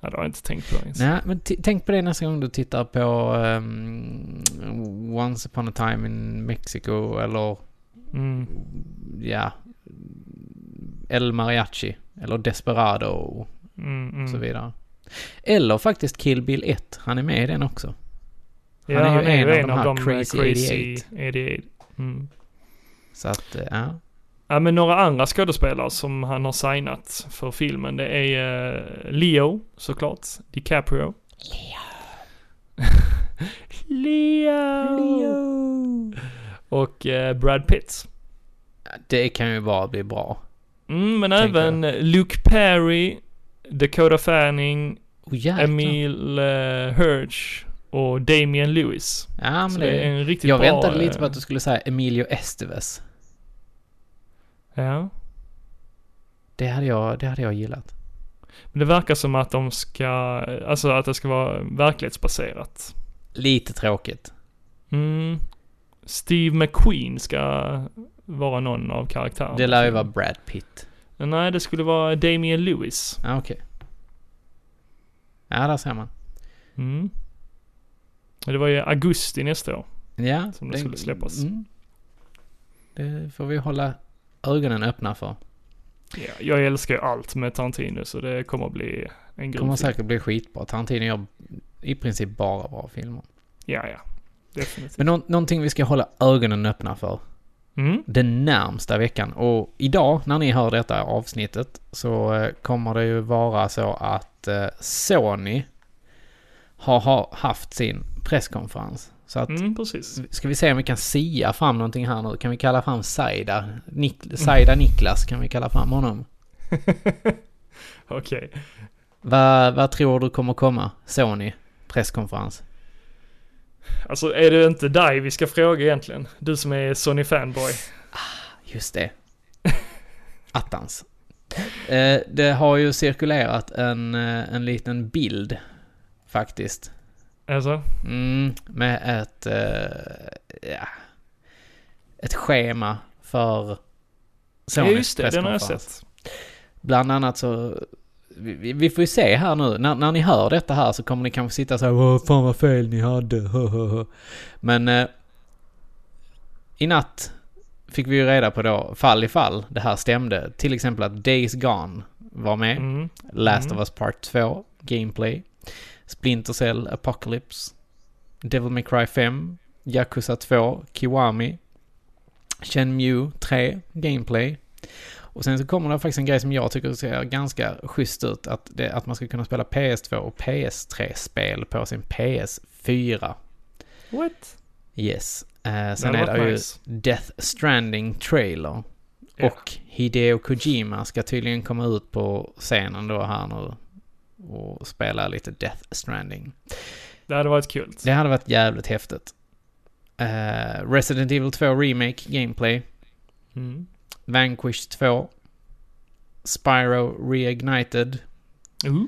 B: Ja, det har jag inte tänkt på ens.
A: Nej, men t- tänk på det nästa gång du tittar på ehm, Once upon a time in Mexico eller
B: Mm.
A: ja, El Mariachi eller Desperado och
B: Mm, mm.
A: så vidare. Eller faktiskt Kill Bill 1, han är med i den också. Han
B: ja,
A: är ju
B: han är
A: en
B: ju
A: av
B: en
A: de
B: av
A: här
B: de eh,
A: Crazy
B: crazy,
A: 88.
B: 88. 88. Mm.
A: Så att, eh, ja.
B: Ja, men några andra skådespelare som han har signat för filmen, det är eh, Leo såklart, DiCaprio. Leo! Och eh, Brad Pitt.
A: Det kan ju bara bli bra.
B: Mm, men
A: Tänker
B: även Luke Perry, Dakota Fanning,
A: Oh, jäklar.
B: Emil eh, Hirsch och Damien Lewis.
A: ja, men
B: Så
A: det,
B: det är en riktigt
A: jag
B: bra...
A: väntade lite
B: eh,
A: på att du skulle säga Emilio Estevez.
B: eh, Ja.
A: Det hade jag, det hade jag gillat.
B: Men det verkar som att de ska, alltså att det ska vara verklighetsbaserat.
A: Lite tråkigt.
B: Mm. Steve McQueen ska vara någon av karaktärerna.
A: Det lär ju vara Brad Pitt.
B: Nej, det skulle vara Damien Lewis.
A: Ja, okej. Ja, där ser man.
B: Mm. Men det var ju augusti nästa år.
A: Ja.
B: Som det skulle släppas.
A: Mm. Det får vi hålla ögonen öppna för.
B: Ja, jag älskar ju allt med Tarantino så det kommer att bli en
A: Det
B: grym
A: kommer
B: film.
A: säkert bli skitbra. Tarantino gör i princip bara bra filmer.
B: Ja, ja. Definitivt.
A: Men nå- någonting vi ska hålla ögonen öppna för
B: Mm.
A: den närmsta veckan. Och idag, när ni hör detta avsnittet, så eh, kommer det ju vara så att eh, Sony har ha haft sin presskonferens. Så att
B: Mm, precis.
A: Ska vi se om vi kan sia fram någonting här nu? Kan vi kalla fram Saida? Nik- Saida Niklas, kan vi kalla fram honom?
B: Okej.
A: Vad vad tror du kommer komma? Sony? Presskonferens?
B: Alltså är det inte dig vi ska fråga egentligen? Du som är Sony fanboy.
A: Just det. Attans. Eh, det har ju cirkulerat en, eh, en liten bild, faktiskt.
B: Alltså?
A: Mm, med ett... Eh, ja, ett schema för
B: Ja
A: Sonys
B: just det, den har jag
A: presskonferens.
B: sett.
A: Bland annat så... Vi, vi- vi får ju se här nu, när, när ni hör detta här så kommer ni kanske sitta så här Åh, fan vad fel ni hade, hahaha." Men... Eh, I natt fick vi ju reda på då, fall i fall, det här stämde. Till exempel att Days Gone var med.
B: Mm.
A: Last
B: Mm.
A: of Us Part 2, Gameplay. Splinter Cell Apocalypse. Devil May Cry 5. Yakuza 2, Kiwami. Shenmue 3, Gameplay. Och sen så kommer det faktiskt en grej som jag tycker ser ganska schysst ut. Att, det, att man ska kunna spela PS2 och PS3-spel på sin PS4.
B: What?
A: Yes. Eh, sen
B: hade
A: är
B: varit
A: det ju
B: nice.
A: Death Stranding Trailer.
B: Ja.
A: Och Hideo Kojima ska tydligen komma ut på scenen då här nu och spela lite Death Stranding.
B: Det hade varit kul.
A: Det hade varit jävligt häftigt. Eh, Resident Evil 2 Remake Gameplay.
B: Mm.
A: Vanquish 2. Spyro Reignited.
B: Uh.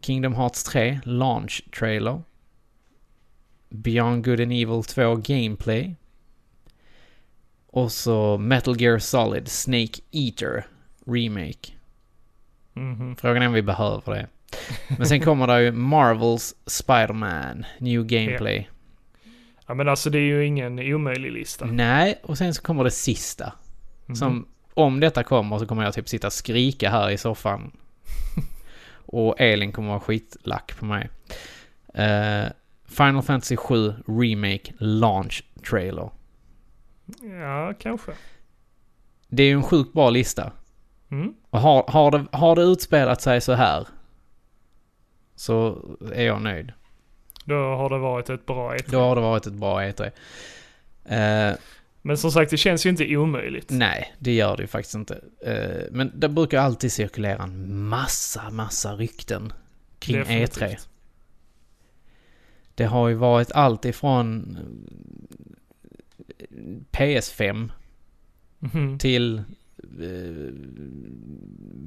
A: Kingdom Hearts 3 Launch Trailer. Beyond Good and Evil 2 Gameplay. Och så Metal Gear Solid Snake Eater Remake.
B: Mhm.
A: Frågan är om vi behöver det. Men sen kommer det ju Marvels Spider-Man New Gameplay.
B: Ja men alltså det är ju ingen omöjlig lista.
A: Nej, och sen så kommer det sista.
B: Mhm.
A: Som om detta kommer så kommer jag typ sitta och skrika här i soffan. och Elin kommer vara skitlack på mig. Eh, Final Fantasy 7 Remake Launch Trailer.
B: Ja, kanske.
A: Det är ju en sjukt bra lista.
B: Mm.
A: Och har, har, det, har det utspelat sig så här så är jag nöjd.
B: Då har det varit ett bra ett.
A: Då har det varit ett bra E3. Eh,
B: Men som sagt, det känns ju inte omöjligt.
A: Nej, det gör det ju faktiskt inte. Eh, Men det brukar alltid cirkulera en massa, massa rykten kring E
B: Definitivt.
A: E3. Det har ju varit allt ifrån eh, PS5
B: Mhm.
A: till eh,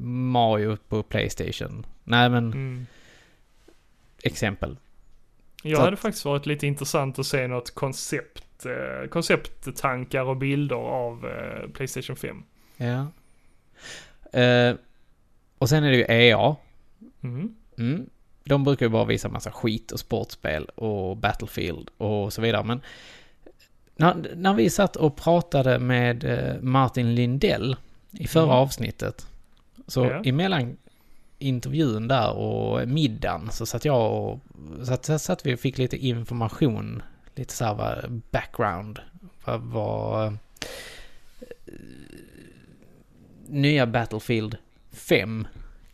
A: Mario på Playstation. Nej, men
B: Mm.
A: exempel.
B: Ja,
A: Så
B: det
A: att-
B: hade faktiskt varit lite intressant att se något koncept, eh, koncepttankar och bilder av eh, Playstation 5.
A: Ja. Eh, och sen är det ju E EA.
B: Mm.
A: Mm. De brukar ju bara visa massa skit och sportspel och Battlefield och så vidare. Men när, när vi satt och pratade med eh, Martin Lindell i förra
B: Mm.
A: avsnittet. Så
B: Ja.
A: emellan intervjun där och middagen så satt jag och satt, satt, satt vi och fick lite information. Lite så här vad background. Vad var eh, nya Battlefield 5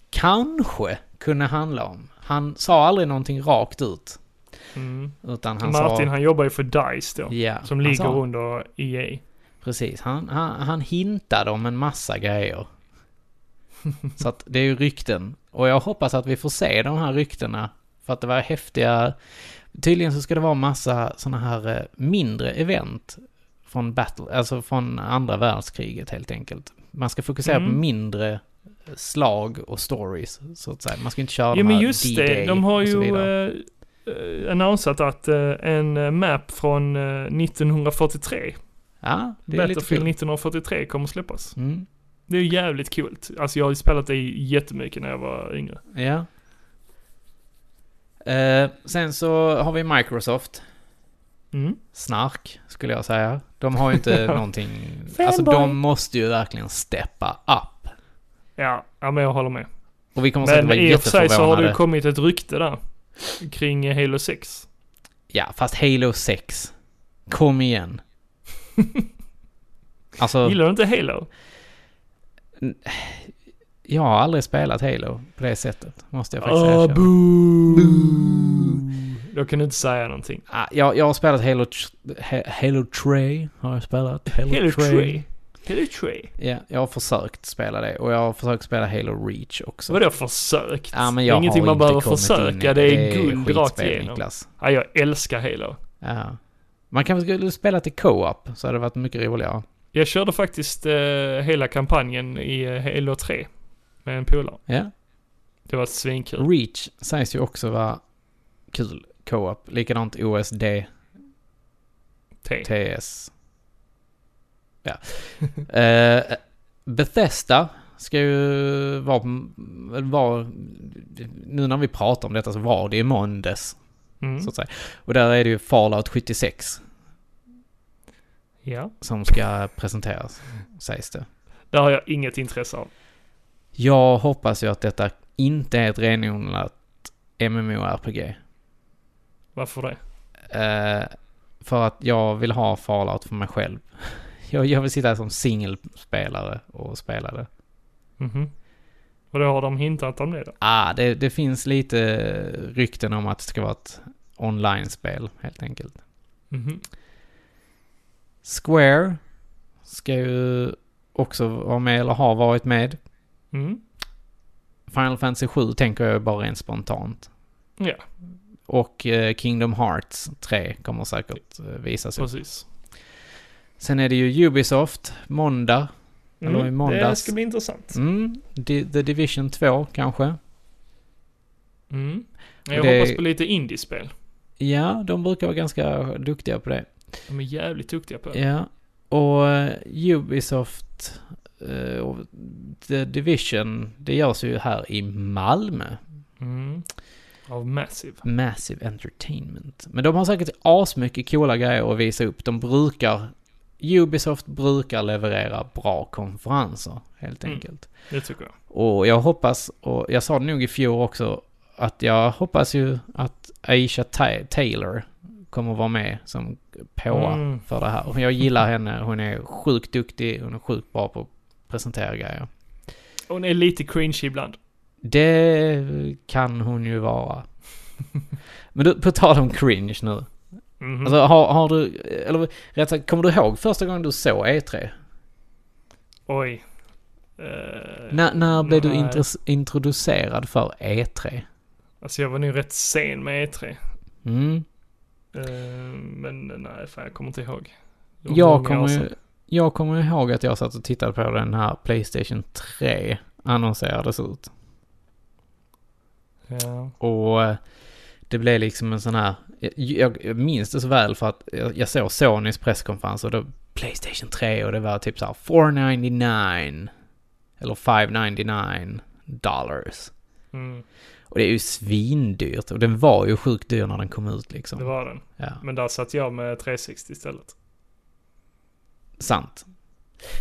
A: kanske kunde handla om. Han sa aldrig någonting rakt ut.
B: Mm.
A: Utan han
B: Martin,
A: sa...
B: han jobbar ju för DICE då.
A: ja, alltså.
B: Som
A: han
B: ligger
A: sa-
B: under E EA.
A: Precis, han, han, han hintade om en massa grejer. Så att det är ju rykten. Och jag hoppas att vi får se de här ryktena. För att det var häftiga... Tydligen så ska det vara massa sådana här eh, mindre event från battle, alltså från andra världskriget helt enkelt. Man ska fokusera på
B: Mm.
A: mindre slag och stories, så att säga. Man ska inte köra
B: Ja
A: de
B: men
A: här
B: just det,
A: D-Day
B: de har
A: och så
B: ju
A: vidare.
B: eh, eh, annonsat att eh, en eh, map från eh, 1943,
A: ja, det är lite
B: Battlefield
A: kul.
B: 1943 kommer släppas.
A: Mm,
B: Det är ju jävligt coolt. Alltså jag har ju spelat det jättemycket när jag var yngre.
A: ja. Eh, sen så har vi Microsoft.
B: Mm.
A: Snark, skulle jag säga. De har ju inte någonting... Alltså
B: Fanboy.
A: de måste ju verkligen steppa up.
B: Ja, ja, men jag håller med.
A: Och vi kommer säkert
B: Men
A: vara
B: i och för sig så har det ju
A: jätteförvånade.
B: kommit ett rykte där. Kring eh, Halo 6.
A: Ja, fast Halo 6. Kom igen. alltså,
B: Gillar du inte Halo?
A: jag har aldrig spelat Halo på det sättet. Måste jag faktiskt
B: Ah,
A: erkänna.
B: boo. Jag kan inte säga någonting.
A: Ah, jag, jag har spelat Halo... Tr- He- Halo 3 har jag spelat.
B: Halo Trey. Halo Trey.
A: Ja, jag har försökt spela det. Och jag har försökt spela Halo Reach också.
B: Vadå försökt?
A: Ja, men
B: Det är
A: jag
B: ingenting
A: har
B: man
A: inte
B: behöver
A: kommit in i
B: försöka. Det är guld
A: skitspel,
B: rakt igenom.
A: Niklas.
B: Ja, jag älskar Halo.
A: Ja. Man kanske skulle spela till co-op, så hade det varit mycket roligare.
B: Jag körde faktiskt eh, hela kampanjen i eh, Halo 3. Med en polare.
A: Ja.
B: Det var svinkul.
A: Reach sägs ju också vara kul co-op. Likadant OSD,
B: T.
A: TS. Ja. Eh, Bethesda ska ju vara, vara... Nu när vi pratar om detta så var det ju måndags,
B: Mm.
A: så att säga. Och där är det ju Fallout 76
B: Ja.
A: som ska presenteras, sägs det.
B: Det har jag inget intresse av.
A: Jag hoppas ju att detta inte är ett renodlat MMORPG.
B: Varför det?
A: Eh, för att jag vill ha Fallout för mig själv. Jag, jag vill sitta som singelspelare och spela det.
B: Mhm. Och då har de hintat om det då?
A: Ah, det, det finns lite rykten om att det ska vara ett online-spel helt enkelt.
B: Mhm.
A: Square ska ju också vara med eller har varit med.
B: Mm.
A: Final Fantasy 7 tänker jag bara rent spontant.
B: Ja.
A: Och eh, Kingdom Hearts 3 kommer säkert eh, visas upp.
B: Precis.
A: Sen är det ju Ubisoft, måndag. Eller i
B: Mm. Det
A: måndags.
B: ska bli intressant.
A: Mm, Di- The Division 2 kanske.
B: Mm.
A: Och
B: Jag
A: det-
B: hoppas på lite indiespel.
A: Ja, de brukar vara ganska duktiga på det.
B: De är jävligt duktiga på det.
A: Ja, och eh, Ubisoft eh, och The Division, det görs ju här i Malmö.
B: Mm. Av Massive.
A: Massive Entertainment. Men de har säkert asmycket coola grejer att visa upp. De brukar... Ubisoft brukar leverera bra konferenser, helt
B: Mm.
A: enkelt.
B: Det tycker jag.
A: Och jag hoppas, och jag sa det nog i fjol också, att jag hoppas ju att Aisha Ta- Taylor kommer vara med som påa
B: Mm.
A: för det här. Och jag gillar henne, hon är sjukt duktig, hon är sjukt bra på att presentera grejer.
B: Hon är lite cringe ibland.
A: Det kan hon ju vara. Men du, på tal om cringe nu.
B: Mhm.
A: Alltså har, har du, eller rätt sagt, kommer du ihåg första gången du såg E E3?
B: Oj. Eh,
A: När, när blev du
B: nej.
A: intres- introducerad för E E3?
B: Alltså jag var nog rätt sen med E E3.
A: Mm.
B: Eh, men nej, fan jag kommer inte ihåg. Det var
A: Jag
B: många år
A: kommer,
B: sedan.
A: ju, jag kommer ihåg att jag satt och tittade på den här Playstation 3 annonserades ut.
B: Ja.
A: Och eh, det blev liksom en sån här... jag- Jag, jag minns det så väl för att jag, jag såg Sonys presskonferens och då Playstation 3 och det var typ så här 499 eller 599 dollars.
B: Mm,
A: Och det är ju svindyrt och den var ju sjukt dyr när den kom ut liksom.
B: det var den.
A: ja.
B: Men där satt jag med 360 istället.
A: Sant.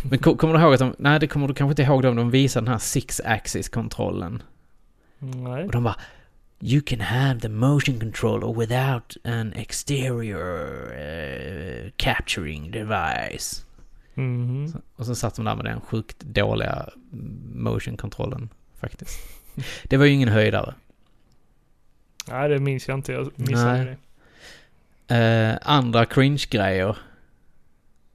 A: Men ko- kommer du ihåg att de... Nej, det kommer du kanske inte ihåg då, men de visade den här six axis kontrollen
B: Nej.
A: Och de bara You can have the motion controller without an exterior eh, capturing device.
B: Mhm.
A: Och så satt de där med den sjukt dåliga motion kontrollen faktiskt. Det var ju ingen höjdare.
B: Nej, det minns jag inte. Jag missade
A: Nej.
B: det.
A: Eh, andra cringe-grejer.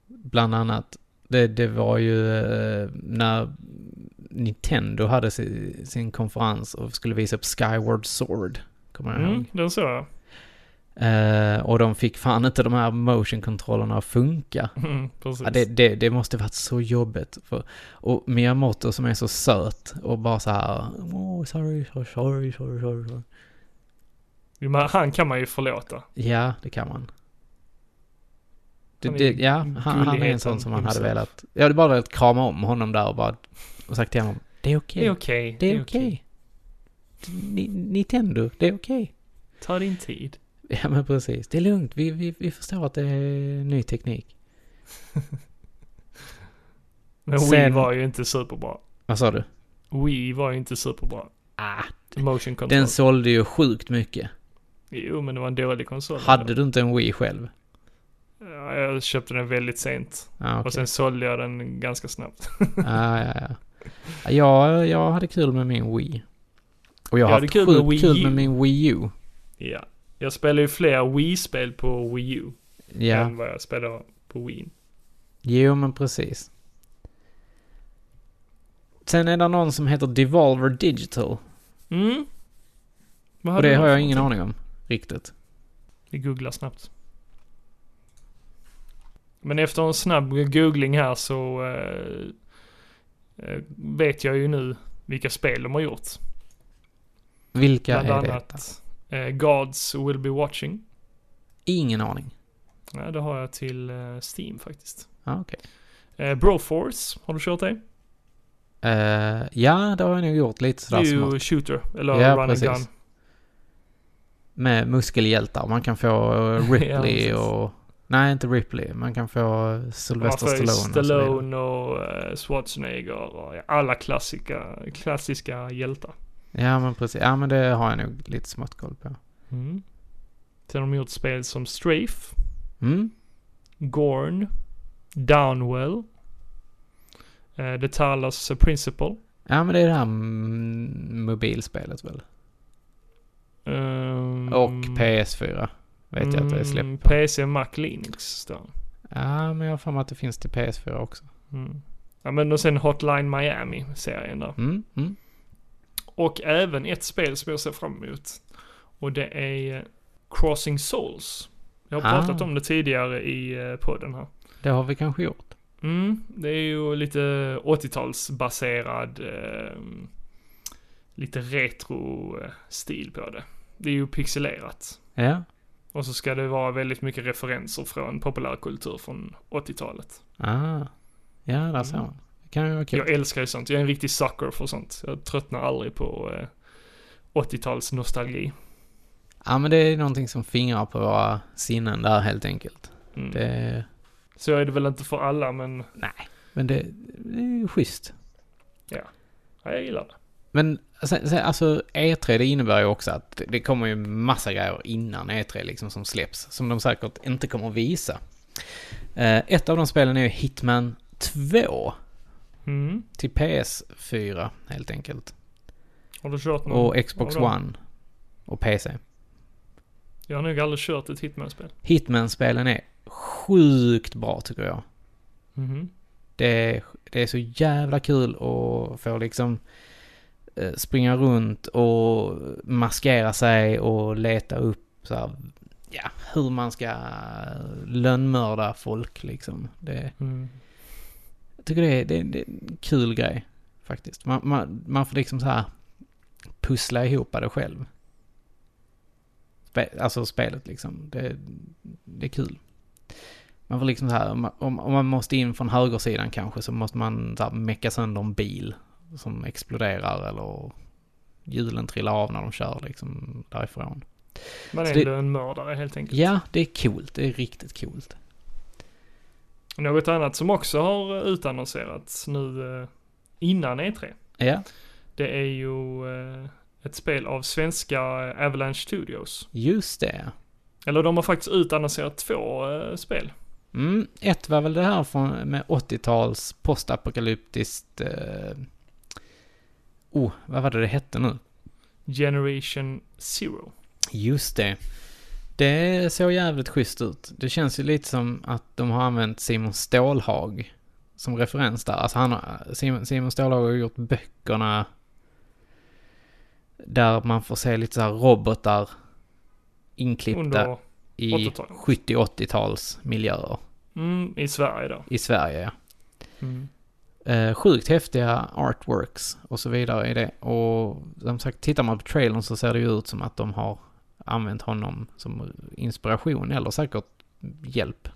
A: Bland annat, det, det var ju eh, när Nintendo hade sin, sin konferens och skulle visa upp Skyward Sword. Kommer jag ihåg.
B: Mm, den såg jag.
A: Eh, och de fick fan inte de här motion-kontrollerna att funka.
B: Mm, precis.
A: Ja, det, det, det måste varit så jobbigt. För, och Miyamoto som är så söt och bara så här... Oh, sorry, sorry, sorry, sorry, sorry. sorry."
B: Jo, men han kan man ju förlåta.
A: Ja, det kan man. Det,
B: Han är
A: det, ja, han, han är en sån
B: gulligheten
A: som man hade
B: himself.
A: velat... Jag hade bara velat krama om honom där och bara... Och sagt till honom, det är
B: Det
A: okej.
B: är okej.
A: Det är okej. Ni- Nintendo, det är okej.
B: Ta din tid.
A: Ja men precis, det är lugnt. Vi, vi, vi förstår att det är ny teknik.
B: Men Wii
A: Sen-
B: var ju inte superbra.
A: Vad sa du?
B: Wii var ju inte superbra.
A: Ah,
B: Motion control.
A: den sålde ju sjukt mycket.
B: Jo, men det var en dålig konsol.
A: Hade du inte en Wii själv?
B: Ja, jag köpte den väldigt sent.
A: Ah, okej.
B: Och sen sålde jag den ganska snabbt.
A: ah, ja, ja. ja, jag hade kul med min Wii. Och jag
B: Jag
A: har
B: hade
A: haft
B: kul
A: kul
B: med
A: sjukt
B: Wii
A: kul
B: U.
A: med min Wii U.
B: ja. Jag spelar ju fler Wii-spel på Wii U.
A: Ja,
B: Än vad jag spelar på Wii.
A: jo men precis. Sen är det någon som heter Devolver Digital.
B: Mm. Vad
A: Och
B: hade
A: det
B: du
A: har
B: för
A: jag ingen
B: någonting?
A: aning om riktigt.
B: Vi googlar snabbt. Men efter en snabb googling här så eh, eh, vet jag ju nu vilka spel de har gjort.
A: Vilka
B: Bland
A: är det?
B: annat eh, Gods Will Be Watching.
A: Ingen aning.
B: Ja, det har jag till eh, Steam faktiskt.
A: Ah, okej.
B: Eh, Broforce, har du kört det?
A: Eh, ja, det har jag nog gjort lite
B: Det
A: sådär
B: är
A: smart.
B: ju Shooter, eller
A: Ja,
B: Run
A: precis.
B: and Gun.
A: Med muskelhjältar. Man kan få eh, Ripley
B: precis.
A: och... Nej, inte Ripley. Man kan få eh,
B: Man
A: Sylvester
B: får ju
A: Stallone. och så vidare.
B: Stallone och eh, Schwarzenegger och ja, alla klassika, klassiska hjältar.
A: Ja, men precis. Ja, men det har jag nog lite smått koll på.
B: Mm. Sen har de gjort spel som Strafe,
A: Mm.
B: Gorn, Downwell, eh, The Talos Principle.
A: Ja, men det är det här mm, mobilspelet väl?
B: ehm,
A: Och PS4. Vet jag att det är
B: mm,
A: släppt på.
B: PC, Mac, Linux. står det.
A: Ja, men jag har för mig att det finns till PS4 också.
B: Mm. Ja men och sen Hotline Miami-serien där.
A: Mm, mm.
B: Och även ett spel som jag ser fram emot. Och det är Crossing Souls. Jag har
A: Ah.
B: pratat om det tidigare i eh, podden här.
A: Det har vi kanske gjort.
B: Mm, det är ju lite 80-talsbaserad, eh, lite retro-stil på det. Det är ju pixelerat.
A: Ja.
B: Och så ska det vara väldigt mycket referenser från populärkultur från 80-talet.
A: Ah. Ja, där ser man. Det kan ju vara kul.
B: Jag älskar ju sånt. Jag är en riktig sucker för sånt. Jag tröttnar aldrig på eh, 80-talsnostalgi.
A: Ja, men det är någonting som fingrar på våra sinnen där helt enkelt.
B: Mm.
A: Det,
B: Så är det väl inte för alla, men
A: men det, det är ju schysst.
B: ja, jag gillar det.
A: Men sen, sen, alltså E3 det innebär ju också att det- det kommer ju massa grejer innan E3 liksom som släpps. Som de säkert inte kommer att visa. Eh, ett av de spelen är ju Hitman 2.
B: Mm.
A: Till PS4 helt enkelt.
B: Har du kört någon?
A: Och Xbox
B: av dem?
A: One. Och PC.
B: Jag har nog aldrig kört ett Hitman-spel.
A: Hitman-spelen är sjukt bra tycker jag.
B: Mhm.
A: Det är, det är så jävla kul att få liksom eh, springa runt och maskera sig och leta upp så här, ja, hur man ska lönnmörda folk liksom. Det,
B: Mm.
A: jag tycker det är, det, är- det är en kul grej faktiskt. Man, man, man får liksom så här pussla ihop det själv. Spe, alltså spelet liksom. Det, det är kul. Man får liksom så här, om, om om man måste in från högersidan kanske så måste man så här mecka sönder en bil som exploderar eller hjulen trillar av när de kör liksom därifrån.
B: Man
A: Så
B: är
A: det-
B: ändå en mördare helt enkelt.
A: Ja, det är coolt. Det är riktigt coolt.
B: Något annat som också har eh, utannonserats nu eh, innan E3.
A: Ja,
B: Det är ju eh, ett spel av svenska eh, Avalanche Studios.
A: just det.
B: Eller de har faktiskt utannonserat två eh, spel.
A: Mm, ett var väl det här från, med 80-tals postapokalyptiskt... Eh, oh, vad var det det hette nu?
B: Generation Zero.
A: Just det. Det såg jävligt schysst ut. Det känns ju lite som att de har använt Simon Stålhag som referens där. Alltså han har, Simon, Simon Stålhag har gjort böckerna där man får se lite så här robotar inklippta
B: Under,
A: i
B: 80-talet.
A: 70-80-tals miljöer
B: mm, i Sverige då.
A: i Sverige. Ja.
B: Mm.
A: Eh, sjukt häftiga artworks och så vidare i det. Och som sagt, tittar man på trailern så ser det ju ut som att de har använt honom som inspiration eller säkert hjälp.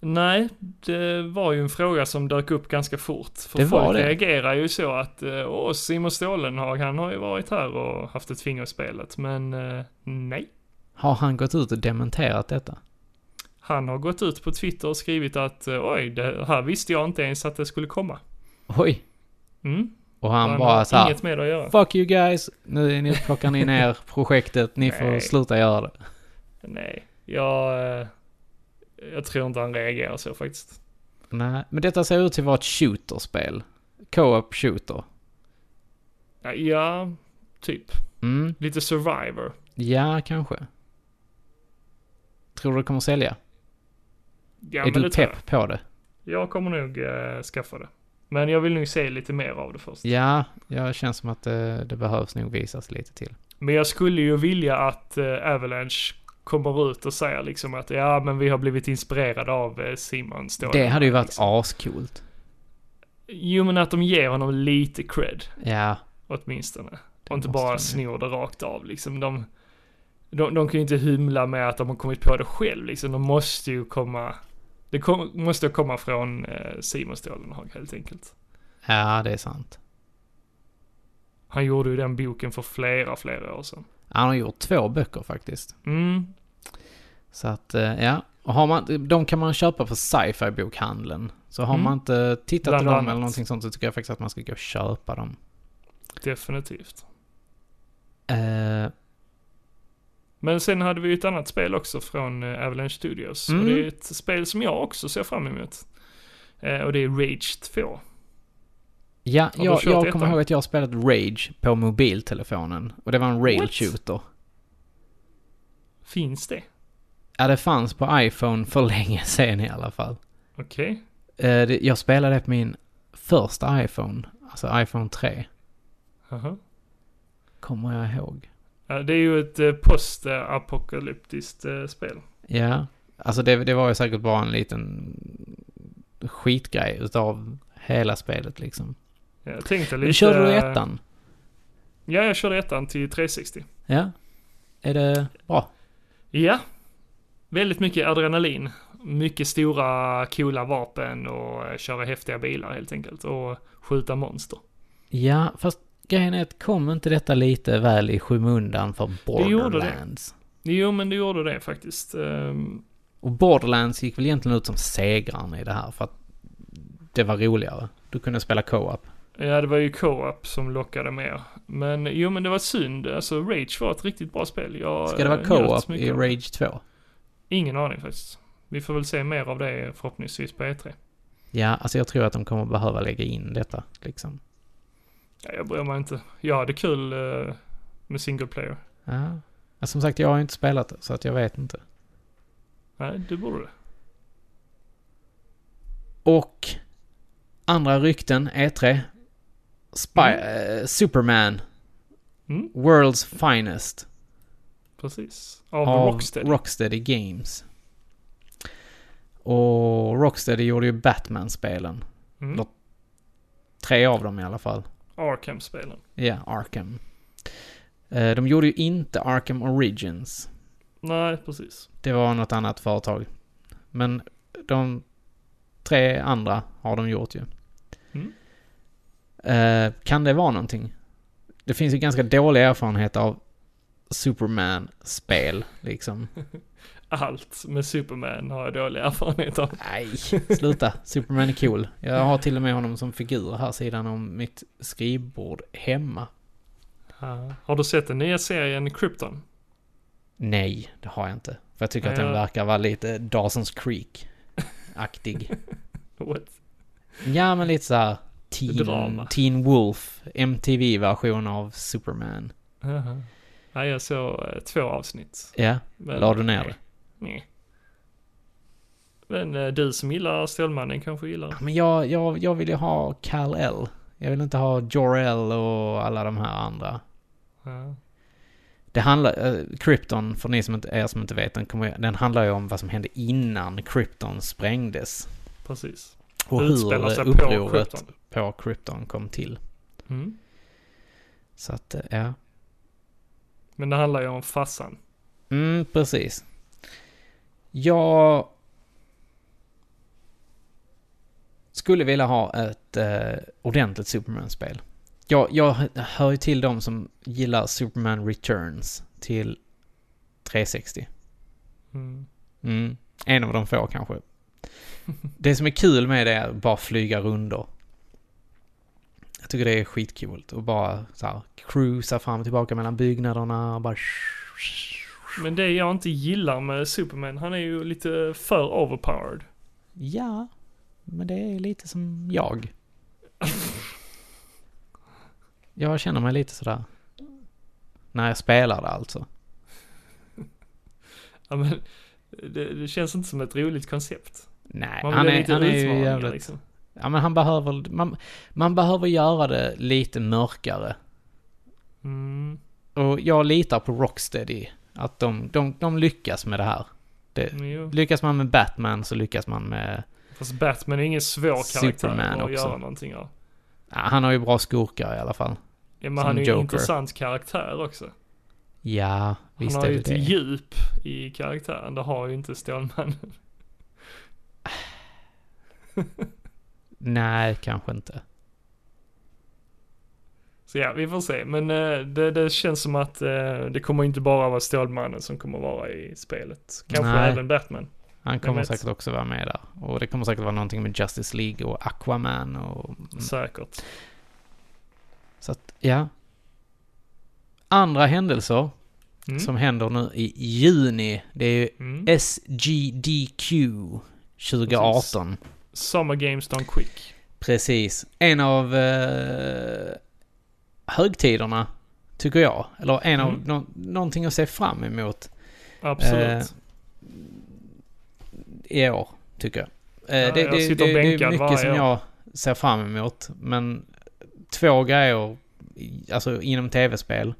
B: Nej, det var ju en fråga som dök upp ganska fort. För
A: Det var
B: folk
A: det.
B: reagerar ju så att, eh, åh, Simon Stålenhag, han har ju varit här och haft ett finger i spelet, men eh, nej.
A: Har han gått ut och dementerat detta?
B: Han har gått ut på Twitter och skrivit att eh, oj, det här visste jag inte ens att det skulle komma.
A: Oj!
B: Mm.
A: Och han,
B: Han
A: bara
B: har
A: så här,
B: inget med det att göra.
A: Fuck you guys! Nu är ni, plockar ni ner projektet, ni får
B: Nej.
A: sluta göra det.
B: Nej, jag, eh, jag tror inte han reagerar så faktiskt.
A: Nej, men detta ser ut till att vara ett shooterspel. Co-op shooter.
B: Ja, Ja, typ.
A: Mm,
B: Lite survivor.
A: ja kanske. Tror du det kommer sälja?
B: Ja,
A: är
B: men
A: du
B: det tror jag.
A: pepp på det?
B: Jag kommer nog eh, skaffa det. Men jag vill nog se lite mer av det först.
A: Ja, jag känns som att eh, det, det behövs nog visas lite till.
B: Men jag skulle ju vilja att eh, Avalanche kommer ut och säger liksom att ja, men vi har blivit inspirerade av eh, Simon. står
A: Det hade ju varit
B: liksom.
A: ascoolt.
B: Jo, men att de ger honom lite cred
A: Ja,
B: åtminstone. Och
A: måste
B: inte
A: de
B: bara
A: ju.
B: snor det rakt av liksom. De, de, de kan ju inte hymla med att de har kommit på det själv liksom. De måste ju komma... Det kom, måste komma från eh, Simon Stålenhag helt enkelt.
A: ja det är sant.
B: Han gjorde ju den boken för flera, flera år sedan.
A: Han har gjort två böcker faktiskt.
B: Mm.
A: Så att, eh, ja. Och har man, de kan man köpa på sci-fi bokhandeln. Så har
B: Mm.
A: man inte tittat på
B: Bland
A: dem
B: annat.
A: eller någonting sånt så tycker jag faktiskt att man ska gå och köpa dem.
B: Definitivt.
A: Eh,
B: Men sen hade vi ju ett annat spel också från eh, Avalanche Studios.
A: Mm.
B: Och det är ett spel som jag också ser fram emot. Eh, och det är Rage 2.
A: ja,
B: du
A: jag,
B: kört
A: jag
B: ettan?
A: kommer ihåg att jag har spelat Rage på mobiltelefonen. Och det var en rail
B: What?
A: shooter.
B: Finns det?
A: Ja, det fanns på iPhone för länge sedan i alla fall.
B: Okej.
A: Eh, det- Jag spelade det på min första iPhone, alltså iPhone 3,
B: Aha.
A: kommer jag ihåg.
B: Ja, det är ju ett eh, postapokalyptiskt eh, spel.
A: Ja, alltså det, det var ju säkert bara en liten skitgrej utav hela spelet liksom.
B: Jag tänkte lite...
A: Men körde du ettan?
B: Ja, jag körde ettan till 360.
A: Ja. Är det bra?
B: Ja. Väldigt mycket adrenalin. Mycket stora coola vapen och eh, köra häftiga bilar helt enkelt. Och skjuta monster.
A: Ja, fast grejen är att kom inte detta lite väl i skymundan för
B: gjorde det.
A: Borderlands?
B: Jo, men du gjorde det faktiskt. Ehm,
A: Och Borderlands gick väl egentligen ut som segraren i det här för att det var roligare. Du kunde spela co-op.
B: Ja, det var ju co-op som lockade mer. Men jo, men det var synd. Alltså, Rage var ett riktigt bra spel. Jag,
A: Ska det vara
B: eh, njöt
A: co-op
B: så mycket
A: i
B: av-
A: Rage 2?
B: Ingen aning faktiskt. Vi får väl se mer av det förhoppningsvis på E E3.
A: Ja, alltså jag tror att de kommer behöva lägga in detta liksom.
B: Ja, jag bryr mig inte. Jag hade kul eh, med single player.
A: Ja. Ja, Som sagt, jag har ju inte spelat det, så att jag vet inte.
B: Nej, du borde det.
A: Och andra rykten, E3. Spy, eh, Superman,
B: Mm,
A: World's Finest.
B: precis. Av, Rocksteady.
A: Rocksteady Games. Och Rocksteady gjorde ju Batman-spelen.
B: Mm.
A: Rock- Tre av dem i alla fall.
B: Arkham-spelen.
A: Ja, Arkham. Eh, De gjorde ju inte Arkham Origins.
B: Nej, precis.
A: Det var något annat företag. Men de tre andra har de gjort ju.
B: Mm.
A: Eh, kan det vara någonting? Det finns ju ganska dålig erfarenhet av Superman-spel, liksom.
B: Allt med Superman har jag dålig erfarenhet av.
A: Nej, sluta. Superman är cool. Jag har till och med honom som figur här sidan om mitt skrivbord hemma. Ah.
B: Ja. Har du sett den nya serien Krypton?
A: Nej, det har jag inte. För jag tycker att den
B: Ja.
A: verkar vara lite Dawson's Creek-aktig.
B: What?
A: Ja, men lite såhär Teen,
B: Drama.
A: teen Wolf, MTV-version av Superman.
B: Jaha. Nej, jag såg eh, två avsnitt.
A: Ja,
B: Men,
A: la du ner det?
B: nej, Nej. Men eh, du som gillar Stålmannen kanske gillar det.
A: Men jag, jag, jag vill ju ha Kal-El. Jag vill inte ha Jor-El och alla de här andra.
B: Ja.
A: Det handlar, eh, Krypton, för ni som inte, er som inte vet, den, kommer, den handlar ju om vad som hände innan Krypton sprängdes.
B: Precis.
A: Och
B: Det
A: hur
B: utspelar
A: eh,
B: sig på
A: upproret på
B: Krypton.
A: Krypton. kom till.
B: Mm.
A: Så att, eh, ja.
B: Men det handlar ju om Fassan.
A: Mm, precis. Jag skulle vilja ha ett eh, ordentligt Superman-spel. Jag, jag hör ju till dem som gillar Superman Returns till 360.
B: Mm.
A: Mm. En av de få kanske. Det som är kul med det är att bara flyga rundor. Jag tycker det är skitcoolt att bara så här cruisa fram och tillbaka mellan byggnaderna och bara...
B: Men det jag inte gillar med Superman, han är ju lite för overpowered.
A: Ja, men det är lite som jag. Jag känner mig lite sådär. När jag spelar det alltså.
B: Ja, men det, det känns inte som ett roligt koncept.
A: Nej,
B: Man vill
A: han
B: ha
A: är,
B: lite
A: han är ju
B: utmaningar,
A: jävligt...
B: liksom.
A: Ja, men han behöver... Man, man behöver göra det lite mörkare.
B: Mm.
A: Och jag litar på Rocksteady. Att de, de, de lyckas med det här.
B: men Jo.
A: Lyckas man med Batman så lyckas man med...
B: Fast Batman är ingen svår
A: Superman
B: karaktär att
A: också.
B: göra någonting av.
A: Ja, han har ju bra skurkar i alla fall.
B: Ja, men
A: Som
B: han är ju en
A: Joker.
B: intressant karaktär också.
A: Ja,
B: Han
A: visst
B: har
A: är
B: ju
A: det
B: ett
A: det.
B: djup i karaktären, det har ju inte Stålmannen.
A: Nej, kanske inte.
B: Så ja, vi får se. Men eh, det, det känns som att eh, det kommer inte bara vara Stålmannen som kommer vara i spelet. Kanske
A: Nej.
B: även Batman.
A: Han kommer
B: vet?
A: säkert också vara med där. Och det kommer säkert vara någonting med Justice League och Aquaman och... Mm.
B: Säkert.
A: Så att, ja. Andra händelser
B: Mm.
A: som Eh. händer nu i juni, det är ju
B: Mm.
A: SGDQ 2018.
B: Summer Games Done Quick.
A: Precis. En av eh, högtiderna, tycker jag. Eller en
B: Mm.
A: av nå- någonting att se fram emot
B: Absolut.
A: Eh, i år, tycker jag. Eh,
B: Ja,
A: det,
B: jag
A: det,
B: sitter
A: det, det är
B: bänkad
A: mycket
B: varje
A: som
B: år.
A: jag ser fram emot, men två grejer, i- alltså inom tv-spel.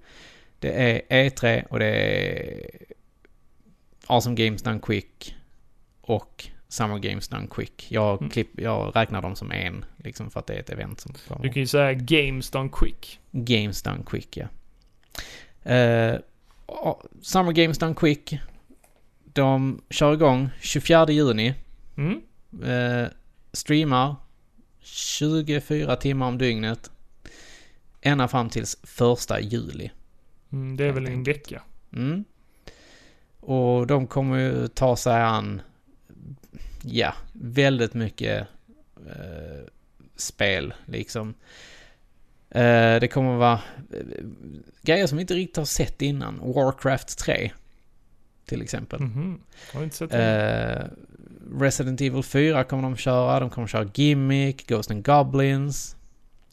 A: Det är E3 och det är Awesome Games Done Quick och Summer Games Done Quick. Jag,
B: Mm.
A: klipp, jag räknar dem som en, liksom för att det är ett event som kommer.
B: Du kan ju säga Games Done Quick.
A: Games Done Quick, ja. Eh, och- Summer Games Done Quick. De kör igång 24 juni.
B: Mm.
A: eh, streamar 24 timmar om dygnet. Ända fram tills 1 juli.
B: Mm, det är
A: Helt
B: väl en vecka.
A: Mm. Och de kommer ju ta sig an, ja, väldigt mycket eh, spel liksom. Eh, det kommer vara eh, grejer som vi inte riktigt har sett innan. Warcraft 3, till exempel.
B: Mhm. Har du inte sett det?
A: Eh, Resident Evil 4 kommer de köra. De kommer köra Gimmick, Ghost and Goblins.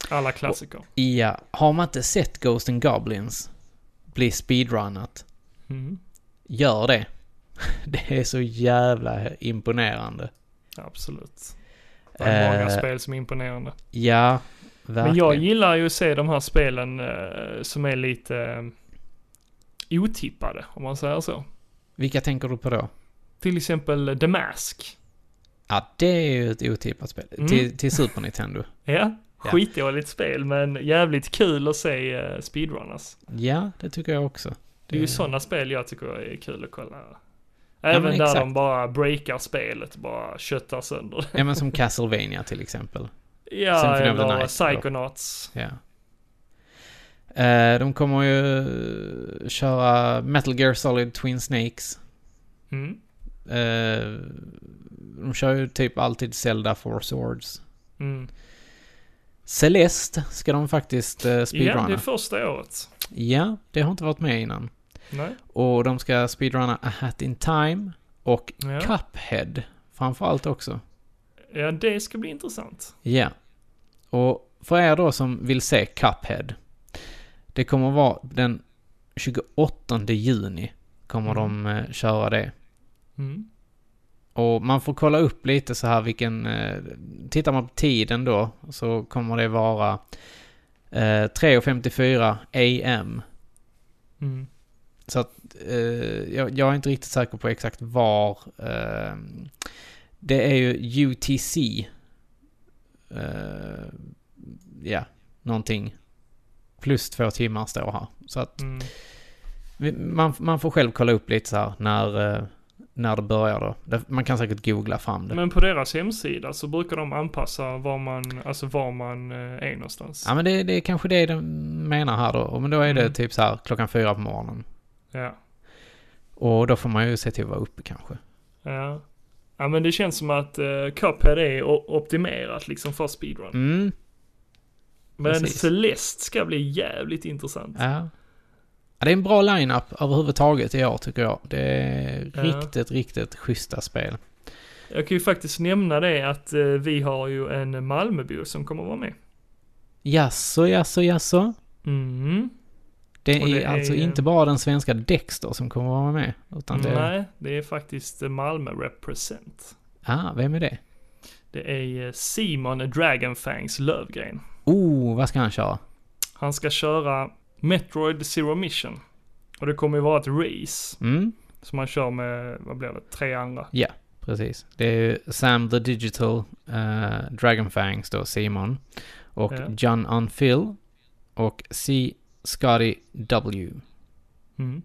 B: Alla klassiker.
A: Ja, har man inte sett Ghost and Goblins bli speedrunnat
B: Mm.
A: Gör det. Det är så jävla imponerande.
B: Absolut. Det är många
A: Eh,
B: spel som är imponerande.
A: Ja, verkligen.
B: Men jag gillar ju att se de här spelen eh, som är lite eh, otippade, om man säger så.
A: Vilka tänker du på då?
B: Till exempel The Mask.
A: Ja, det är ju ett otippat spel.
B: Mm.
A: Till, till Super Nintendo.
B: Ja,
A: Ja.
B: skitdåligt spel, men jävligt kul att se eh, speedrunners.
A: Ja, det tycker jag också.
B: Det är ju
A: Det-
B: sådana spel jag tycker är kul att kolla.
A: Eh. men
B: Även där
A: exakt.
B: de bara breakar spelet, bara köttar sönder det.
A: Ja, men som Castlevania till exempel.
B: Ja,
A: Symphony of the
B: eller
A: Night, eller?
B: Psychonauts.
A: Ja. Eh, De kommer ju köra Metal Gear Solid Twin Snakes.
B: Mm.
A: Eh, De kör ju typ alltid Zelda Four Swords.
B: Mm.
A: Celeste ska de faktiskt eh,
B: Ja,
A: speedrunna.
B: det är första året.
A: Ja, det har inte varit med innan.
B: Nej.
A: Och de ska speedrunna A Hat In Time och
B: Ja.
A: Cuphead framförallt också.
B: ja, det ska bli intressant.
A: Ja. Och för er då som vill se Cuphead. Det kommer vara den 28 juni kommer de eh, köra det.
B: Mm.
A: Och man får kolla upp lite så här vilken... Eh, tittar man på tiden då så kommer det vara eh, 3.54 AM.
B: Mm.
A: Så att eh, jag, jag är inte riktigt säker på exakt var. Eh, det är ju UTC. Eh, ja, någonting. Plus två timmar står här. Så att
B: Mm.
A: vi- man, man får själv kolla upp lite så här när, eh, när det börjar då. Det- Man kan säkert googla fram det.
B: Men på deras hemsida så brukar de anpassa var man, alltså var man eh, är någonstans.
A: Ja men det, det är kanske det de menar här då. Men då är det
B: Mm.
A: typ så här klockan fyra på morgonen.
B: Ja.
A: Och då får man ju se till att vara uppe kanske.
B: Ja. ja, men det känns som att uh, Cuphead är o- optimerat liksom för speedrun.
A: Mm,
B: men
A: precis.
B: Celeste ska bli jävligt intressant.
A: ja. ja. Det är en bra line-up överhuvudtaget i år tycker jag. Det är
B: Ja.
A: riktigt, riktigt schyssta spel.
B: Jag kan ju faktiskt nämna det att eh, vi har ju en Malmöbo som kommer vara med.
A: Jaså, jaså, jaså.
B: Mm.
A: Det
B: Och
A: är,
B: det är
A: alltså
B: ju-
A: inte bara den svenska Dexter som kommer vara med. Utan det...
B: Nej, det är faktiskt eh, Malmö Represent.
A: Ah, vem är det?
B: Det är eh, Simon Dragonfangs Lövgren.
A: Oh, vad ska han köra?
B: Han ska köra Metroid Zero Mission. Och det kommer ju vara ett race
A: Mm,
B: som man kör med, vad blir det, tre andra.
A: precis. Det är ju Sam the Digital, eh, Dragonfangs då, Simon. Och
B: Ja.
A: John Unfill. Och C. Scotty W.
B: Mm.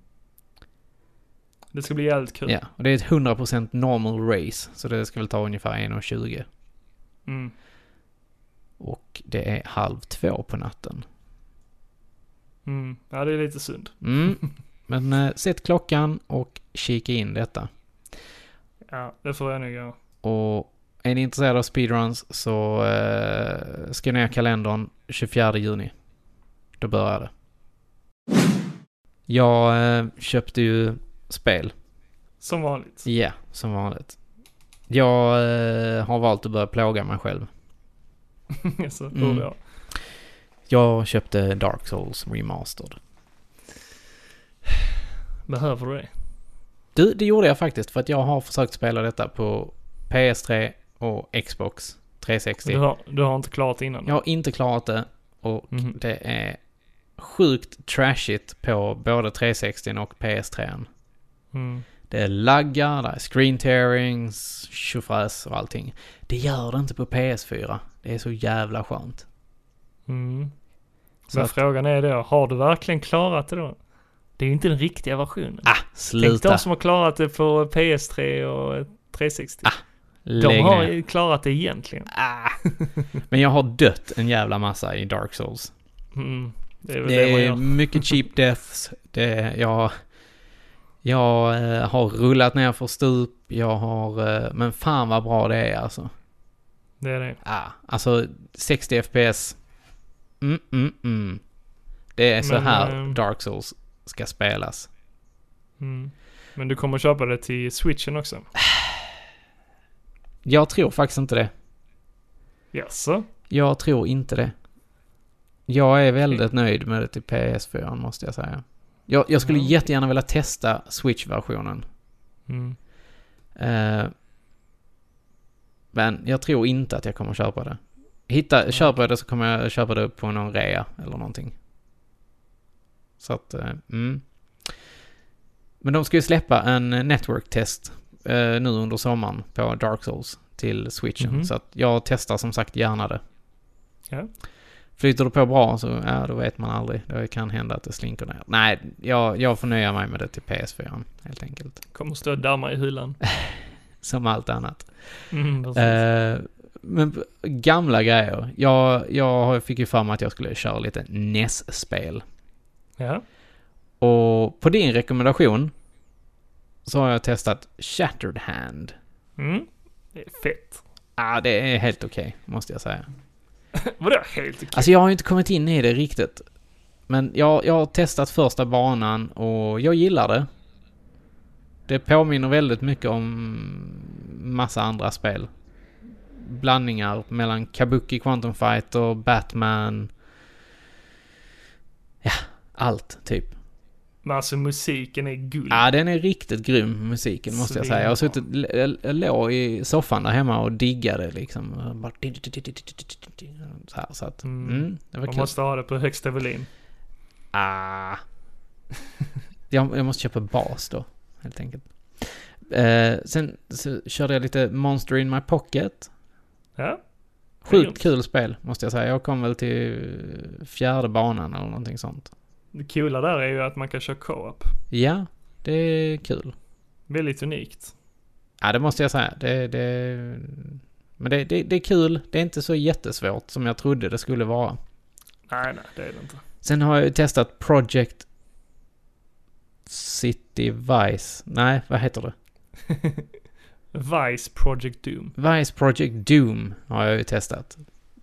B: Det ska bli jävligt kul.
A: Ja, och det är ett 100% normal race. Så det ska väl ta ungefär 1.20.
B: Mm.
A: Och det är halv två på natten.
B: Mm. ja, det är lite synd.
A: Mm. Men eh, sätt klockan och kika in detta.
B: Ja, det får jag nog göra.
A: Och är ni intresserade av speedruns så eh, skriv ner kalendern 24 juni. Då börjar det. Jag eh, köpte ju spel.
B: Som vanligt.
A: Ja, som vanligt. Jag eh, har valt att börja plåga mig själv.
B: Så
A: Mm.
B: tror jag.
A: Jag köpte Dark Souls Remastered.
B: Behöver du det?
A: Du, det gjorde jag faktiskt för att jag har försökt spela detta på PS3 och Xbox 360.
B: Du har, du har inte klarat innan?
A: Jag har inte klarat det och
B: Mhm.
A: det är sjukt trashigt på både 360 och PS3.
B: Mm.
A: Det är laggar, det är screen tearings, tjofräs och allting. Det gör det inte på PS4. Det är så jävla skönt.
B: Mm.
A: Så
B: Men
A: att,
B: frågan är då, har du verkligen klarat det då? Det är ju inte den riktiga versionen.
A: ah,
B: Tänk de
A: sluta.
B: som har klarat det på PS3 och 360.
A: Ah,
B: de
A: Lägg
B: har
A: ner.
B: ju klarat det egentligen.
A: Ah. Men jag har dött en jävla massa i Dark Souls.
B: Mm. Det är väl det,
A: Det
B: man
A: är
B: gör.
A: mycket cheap deaths. Det, jag, jag eh, har rullat ner för stup. Jag har... eh, Men fan vad bra det är alltså.
B: Det är det.
A: Ah, alltså 60 FPS. Mm, mm, mm. Det är så
B: Men,
A: här
B: eh,
A: Dark Souls ska spelas.
B: Mm. Men du kommer köpa det till switchen också?
A: Jag tror faktiskt inte det.
B: Jaså?
A: Jag tror inte det. Jag är väldigt nöjd med det till PS4 måste jag säga. Jag, jag skulle
B: Ja, okej.
A: jättegärna vilja testa Switch-versionen.
B: Mm.
A: Eh, men jag tror inte att jag kommer köpa det.
B: Mm.
A: Hitta, köper jag det så kommer jag köpa det på någon rea eller någonting. Så att, eh, mm. Men de ska ju släppa en network test eh, nu under sommaren på Dark Souls till switchen.
B: Mhm.
A: Så att jag testar som sagt gärna det.
B: Ja.
A: Flyter det på bra så, ja då vet man aldrig. Det kan hända att det slinker ner. Nej, jag, jag får nöja mig med det till PS4 helt enkelt.
B: Kommer stå och damma i hyllan.
A: Som allt annat.
B: Mm, precis.
A: Eh, men b- gamla grejer. Jag, jag har- fick ju för mig att jag skulle köra lite E NES-spel.
B: ja.
A: Och på din rekommendation så har jag testat Shattered Hand.
B: Mm. Det är fett.
A: Ah, det är helt okej, måste jag säga.
B: Vadå helt okej?
A: Alltså jag har ju inte kommit in i det riktigt. Men jag, jag har testat första banan och jag gillar det. Det påminner väldigt mycket om massa andra spel. Blandningar mellan Kabuki Quantum Fight och Batman. Ja, allt typ.
B: Men alltså musiken är guld.
A: Ja, den är riktigt grym musiken måste jag säga. Jag har suttit, jag- jag låg i soffan där hemma och diggade liksom. Bara så här, så att,
B: Mm.
A: mm, det var
B: Man
A: kul.
B: måste ha det på högsta volym.
A: Ah. jag, jag måste köpa bas då, helt enkelt. Eh, sen så körde jag lite Monster in my pocket.
B: Ja.
A: Sjukt
B: Grymt.
A: kul spel, måste jag säga. Jag kom väl till fjärde banan eller någonting sånt.
B: Det coola där är ju att man kan köra co-op.
A: Ja, det är kul.
B: Väldigt unikt.
A: Ja, det måste jag säga. Det, det, men det, det, det är kul. Det är inte så jättesvårt som jag trodde det skulle vara.
B: Nej, nej, det är det inte.
A: Sen har jag ju testat Project City Vice. Nej, vad heter det?
B: Vice Project Doom.
A: Vice Project Doom har jag ju testat.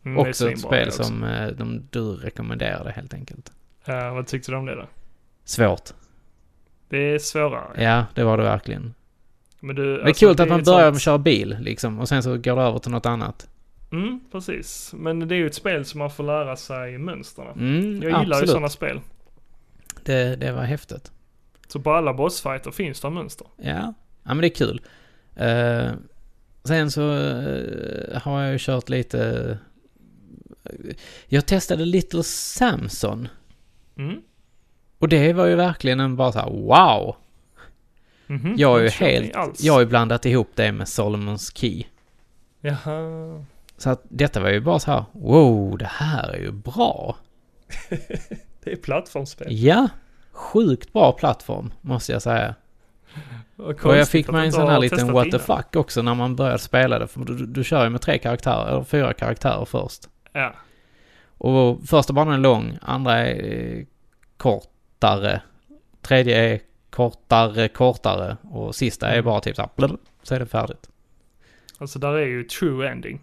B: Mm, det är
A: också ett
B: svinbra
A: spel
B: det också.
A: som eh, de, du rekommenderade helt enkelt.
B: Eh, vad tyckte du om det då?
A: Svårt.
B: Det är svårare.
A: Ja, det var det verkligen.
B: Men du, alltså,
A: det är kul att man börjar med att köra bil liksom och sen så går det över till något annat.
B: Mm, precis. Men det är ju ett spel som man får lära sig mönstren.
A: Mm,
B: Jag gillar ju
A: absolut.
B: sådana spel.
A: Det, det var häftigt.
B: Så på alla bossfighter finns det mönster.
A: Ja, ja men det är kul. Eh, sen så eh, har jag ju kört lite... eh, Jag testade Little Samson.
B: Mm.
A: Och det var ju verkligen en bara så här, wow!
B: Mhm.
A: Jag har ju
B: Det känner
A: helt...
B: ni alls.
A: Jag har ju blandat ihop det med Solomons Key.
B: Jaha.
A: Så att detta var ju bara så här, wow, det här är ju bra.
B: Det är plattformsspel.
A: Ja, sjukt bra plattform, måste jag säga. och jag
B: konstigt
A: fick
B: att
A: mig en
B: inte
A: sån
B: ha
A: här liten
B: testat
A: what the
B: innan.
A: fuck också när man började spela det. För du, du- du kör ju med tre karaktärer, eller fyra karaktärer först.
B: Ja.
A: Och första banan är lång, andra är eh, kortare, tredje är kortare, kortare och sista
B: Mm.
A: är bara typ så här, blub, så är det färdigt.
B: Alltså där är ju true ending.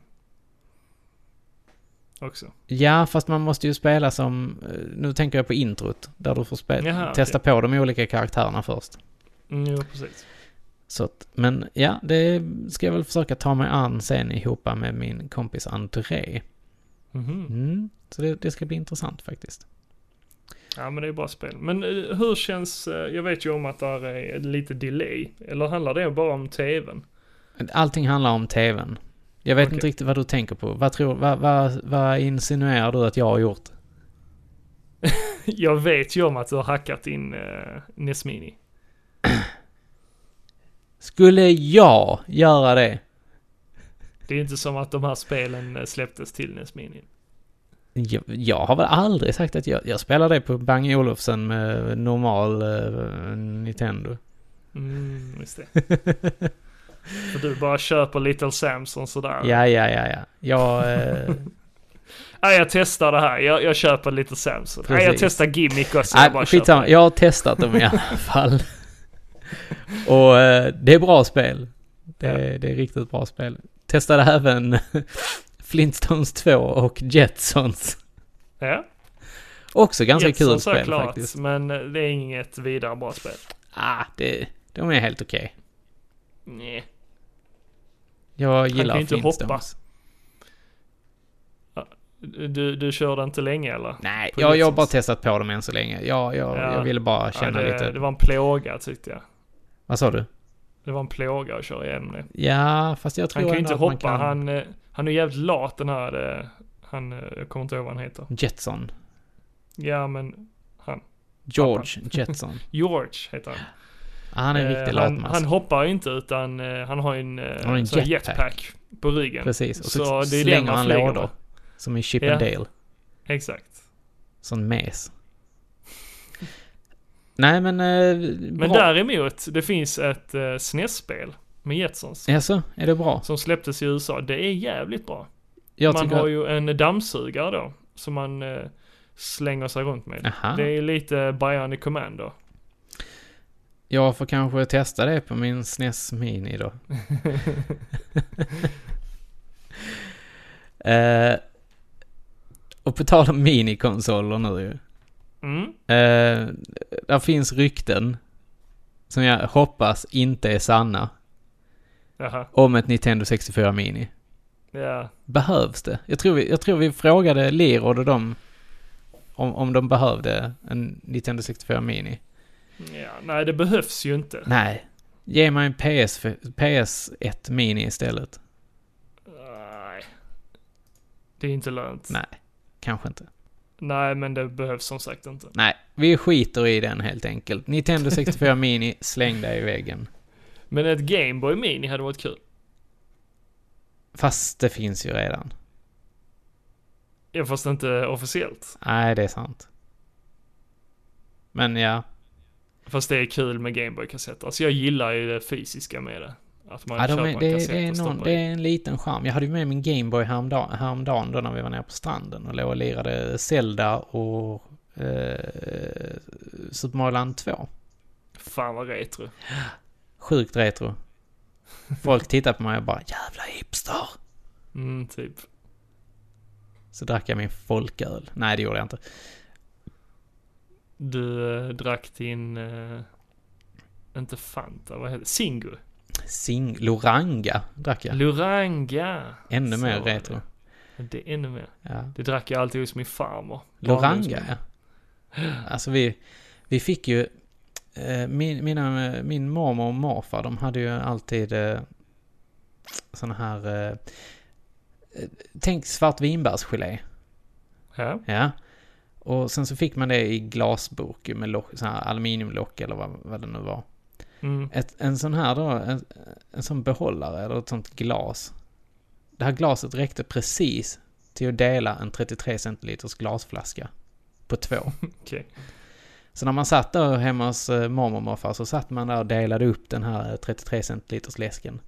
B: Också.
A: Ja, fast man måste ju spela som, eh, nu tänker jag på introt, där du får spe-
B: Jaha,
A: testa på de olika karaktärerna först.
B: Mm, jo, precis.
A: Så att, men ja, det ska jag väl försöka ta mig an sen ihop med min kompis André.
B: Mhm.
A: Mm, så det, det ska bli intressant faktiskt.
B: Ja, men det är bra spel. Men eh, hur känns... eh, Jag vet ju om att där är lite delay. Eller handlar det bara om tvn?
A: Allting handlar om tvn. Jag vet
B: Okej.
A: inte riktigt vad du tänker på. Vad, tror, vad, vad, vad insinuerar du att jag har gjort?
B: Jag vet ju om att du har hackat in uh, Nesmini.
A: Skulle jag göra det?
B: Det är inte som att de här spelen eh, släpptes till Nesmini.
A: Jag, jag har väl aldrig sagt att jag, jag spelar det på Bang Olufsen med normal eh, Nintendo.
B: Mm, just det. För du bara köper Little Samson sådär.
A: Ja, ja, ja, ja. Jag... Eh,
B: Nej, jag testar det här. Jag, jag köper Little Samson. Nej, jag
A: Precis.
B: testar Gimmick också. jag bara
A: nej,
B: köper.
A: skitsamma. Jag har testat dem i alla fall. Och eh, det är bra spel. Det, är- det är riktigt bra spel. Testade även Flintstones 2 och Jetsons.
B: Ja,
A: Också ganska kul
B: Jetsons har jag
A: spel
B: klarat,
A: faktiskt.
B: Men eh, det är inget vidare bra spel.
A: Ah, det, de är helt okej.
B: Nej.
A: Jag
B: kan
A: gillar
B: ju inte hoppa.
A: Flintstones.
B: Du, du körde inte länge eller?
A: Nej,
B: på
A: jag, jag har
B: Jetsons.
A: bara testat på dem än så länge. Jag, jag,
B: Ja.
A: jag ville bara känna
B: ja, det,
A: lite...
B: det var en plåga tyckte jag.
A: Vad sa du?
B: Det var en plåga att köra igenom det.
A: Ja, fast jag tror
B: Han kan
A: ändå
B: ju inte
A: att man
B: hoppa.
A: kan...
B: Han, eh, han är jävligt lat den här... eh, Han, eh, jag kommer inte ihåg vad han heter.
A: Jetson.
B: Ja, men
A: George Jetson.
B: George heter han.
A: Ah, han är en
B: Eh,
A: riktig
B: han,
A: latmask.
B: han hoppar ju inte utan eh, han har ju en, eh,
A: har en
B: sån här
A: jetpack.
B: på ryggen.
A: Precis, och så,
B: Så det är den
A: slänger
B: man
A: han
B: flyger
A: lådor.
B: med.
A: Som i Chip
B: Ja.
A: and Dale.
B: Exakt.
A: Sån mes. Nej men... Eh,
B: Men
A: bra.
B: däremot, det finns ett eh, SNES-spel med Jetsons.
A: Jaså, är det bra?
B: Som släpptes i USA. Det är jävligt bra.
A: Jag
B: man
A: tycker...
B: har
A: Har
B: ju en dammsugare då. Som man eh, slänger sig runt med.
A: Aha.
B: Det är lite Bionic Commando.
A: Jag får kanske testa det på min SNES Mini då. eh, och på tal om minikonsoler nu ju.
B: Mm.
A: Eh, där finns rykten. Som jag hoppas inte är sanna.
B: Jaha.
A: Om ett Nintendo 64 Mini.
B: Ja.
A: Behövs det? Jag tror vi, jag tror vi frågade Lerod och dem om, om de behövde en Nintendo 64 Mini.
B: ja. Nej, det behövs ju inte.
A: Nej. Ge mig en PS, PS1 Mini istället.
B: Nej. Det är inte lönt.
A: Nej. Kanske inte.
B: Nej, men det behövs som sagt inte.
A: Nej, vi skiter i den helt enkelt. Nintendo 64 Mini, släng dig i väggen.
B: Men ett Gameboy Mini hade varit kul.
A: Fast det finns ju redan.
B: Ja, fast inte officiellt.
A: Nej, det är sant. Men ja,
B: Fast det är kul med Gameboy-kassetter. Alltså jag gillar ju det fysiska med det. Att man
A: ja de
B: köper
A: är,
B: en
A: det,
B: kassett
A: det, är
B: och
A: någon,
B: stoppar
A: det
B: i.
A: är en liten charm. Jag hade ju med min Gameboy häromdagen, häromdagen då när vi var nere på stranden och låg och lirade Zelda och eh, Super Mario Land 2.
B: Fan vad retro.
A: Sjukt retro. Folk tittar på mig och bara jävla hipster.
B: Mm, typ.
A: Så drack jag min folköl. Nej, det gjorde jag inte.
B: Du eh, drack din... eh, inte Fanta, vad heter det? Singo.
A: Sing Loranga drack jag.
B: Loranga.
A: Ännu
B: Så
A: mer
B: var det.
A: retro.
B: Det är ännu mer.
A: Ja.
B: Det drack jag alltid hos min farmor.
A: Loranga, ja. Alltså vi, vi fick ju... eh, Min, mina, min mormor och morfar, de hade ju alltid eh, såna här... eh, eh, Tänk svart vinbärsgelé.
B: Ja.
A: Ja. Och sen så fick man det i glasburk med lock, sån här aluminiumlock eller vad, vad det nu var.
B: Mm.
A: Ett, en sån här då, en, en sån behållare eller ett sånt glas. Det här glaset räckte precis till att dela en 33 centiliters glasflaska på två.
B: Okej.
A: Så när man satt där hemma hos eh, mormor och morfar så satt man där och delade upp den här eh, 33 centiliters läsken.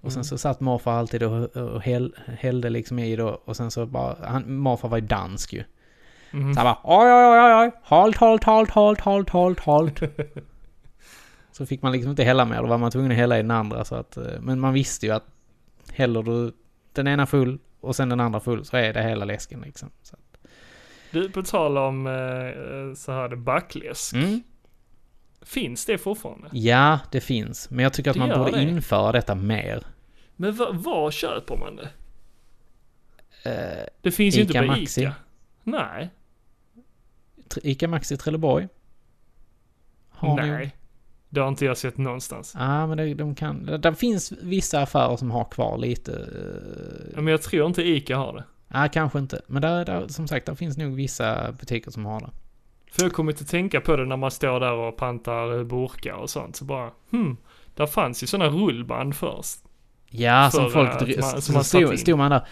A: Och sen
B: Mm.
A: så satt morfar alltid och, och häll, hällde liksom i då och sen så bara, han, morfar var ju dansk ju.
B: Mm.
A: Så han bara oj, oj, oj, oj, halt, halt, halt, halt, halt, halt, halt. så fick man liksom inte hälla mer, då var man tvungen att hälla i den andra så att, eh, men man visste ju att häller du den ena full och sen den andra full så är det hela läsken liksom. Så. att-
B: Du, på tal om eh, så här det backläsk.
A: Mm.
B: Finns det fortfarande?
A: Ja, det finns, men jag tycker att
B: Det
A: man
B: gör
A: borde
B: det.
A: införa detta mer.
B: Men va- var köper man det?
A: Eh,
B: Det finns ju inte
A: Ica
B: på
A: Maxi.
B: Ica. Nej.
A: Tre- Ica Maxi i Trelleborg? Har ni-
B: Nej. Det har inte jag sett någonstans.
A: Ja, ah, men det, de kan... Det, det finns vissa affärer som har kvar lite... eh,
B: Men jag tror inte Ica har det.
A: Nej, kanske inte. Men där, där, som sagt, där finns nog vissa butiker som har det.
B: För jag kommer inte tänka på det när man står där och pantar eh, burkar och sånt. Så bara, hmm. Där fanns ju sådana rullband först.
A: Ja, som
B: För
A: folk
B: att
A: dri-
B: man- som
A: så
B: man satt in.
A: stod, stod man där,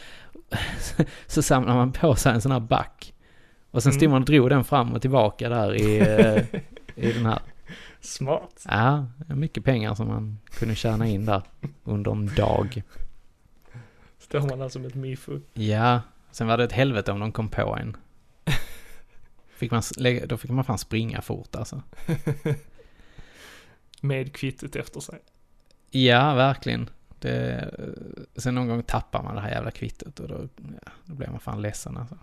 A: så samlade man på sig en sån här back. Och sen stod
B: Mm.
A: man och drog den fram och tillbaka där i, eh, i den här.
B: Smart.
A: Ja, det är mycket pengar som man kunde tjäna in där under en dag.
B: Står man där som ett mifu.
A: Ja, sen var det ett helvete om de kom på en. Fick man, s- lägga- då fick man fan springa fort alltså.
B: Med kvittet efter sig.
A: Ja, verkligen. Det, eh, sen någon gång tappar man det här jävla kvittot och då, ja, då blir man fan ledsen alltså.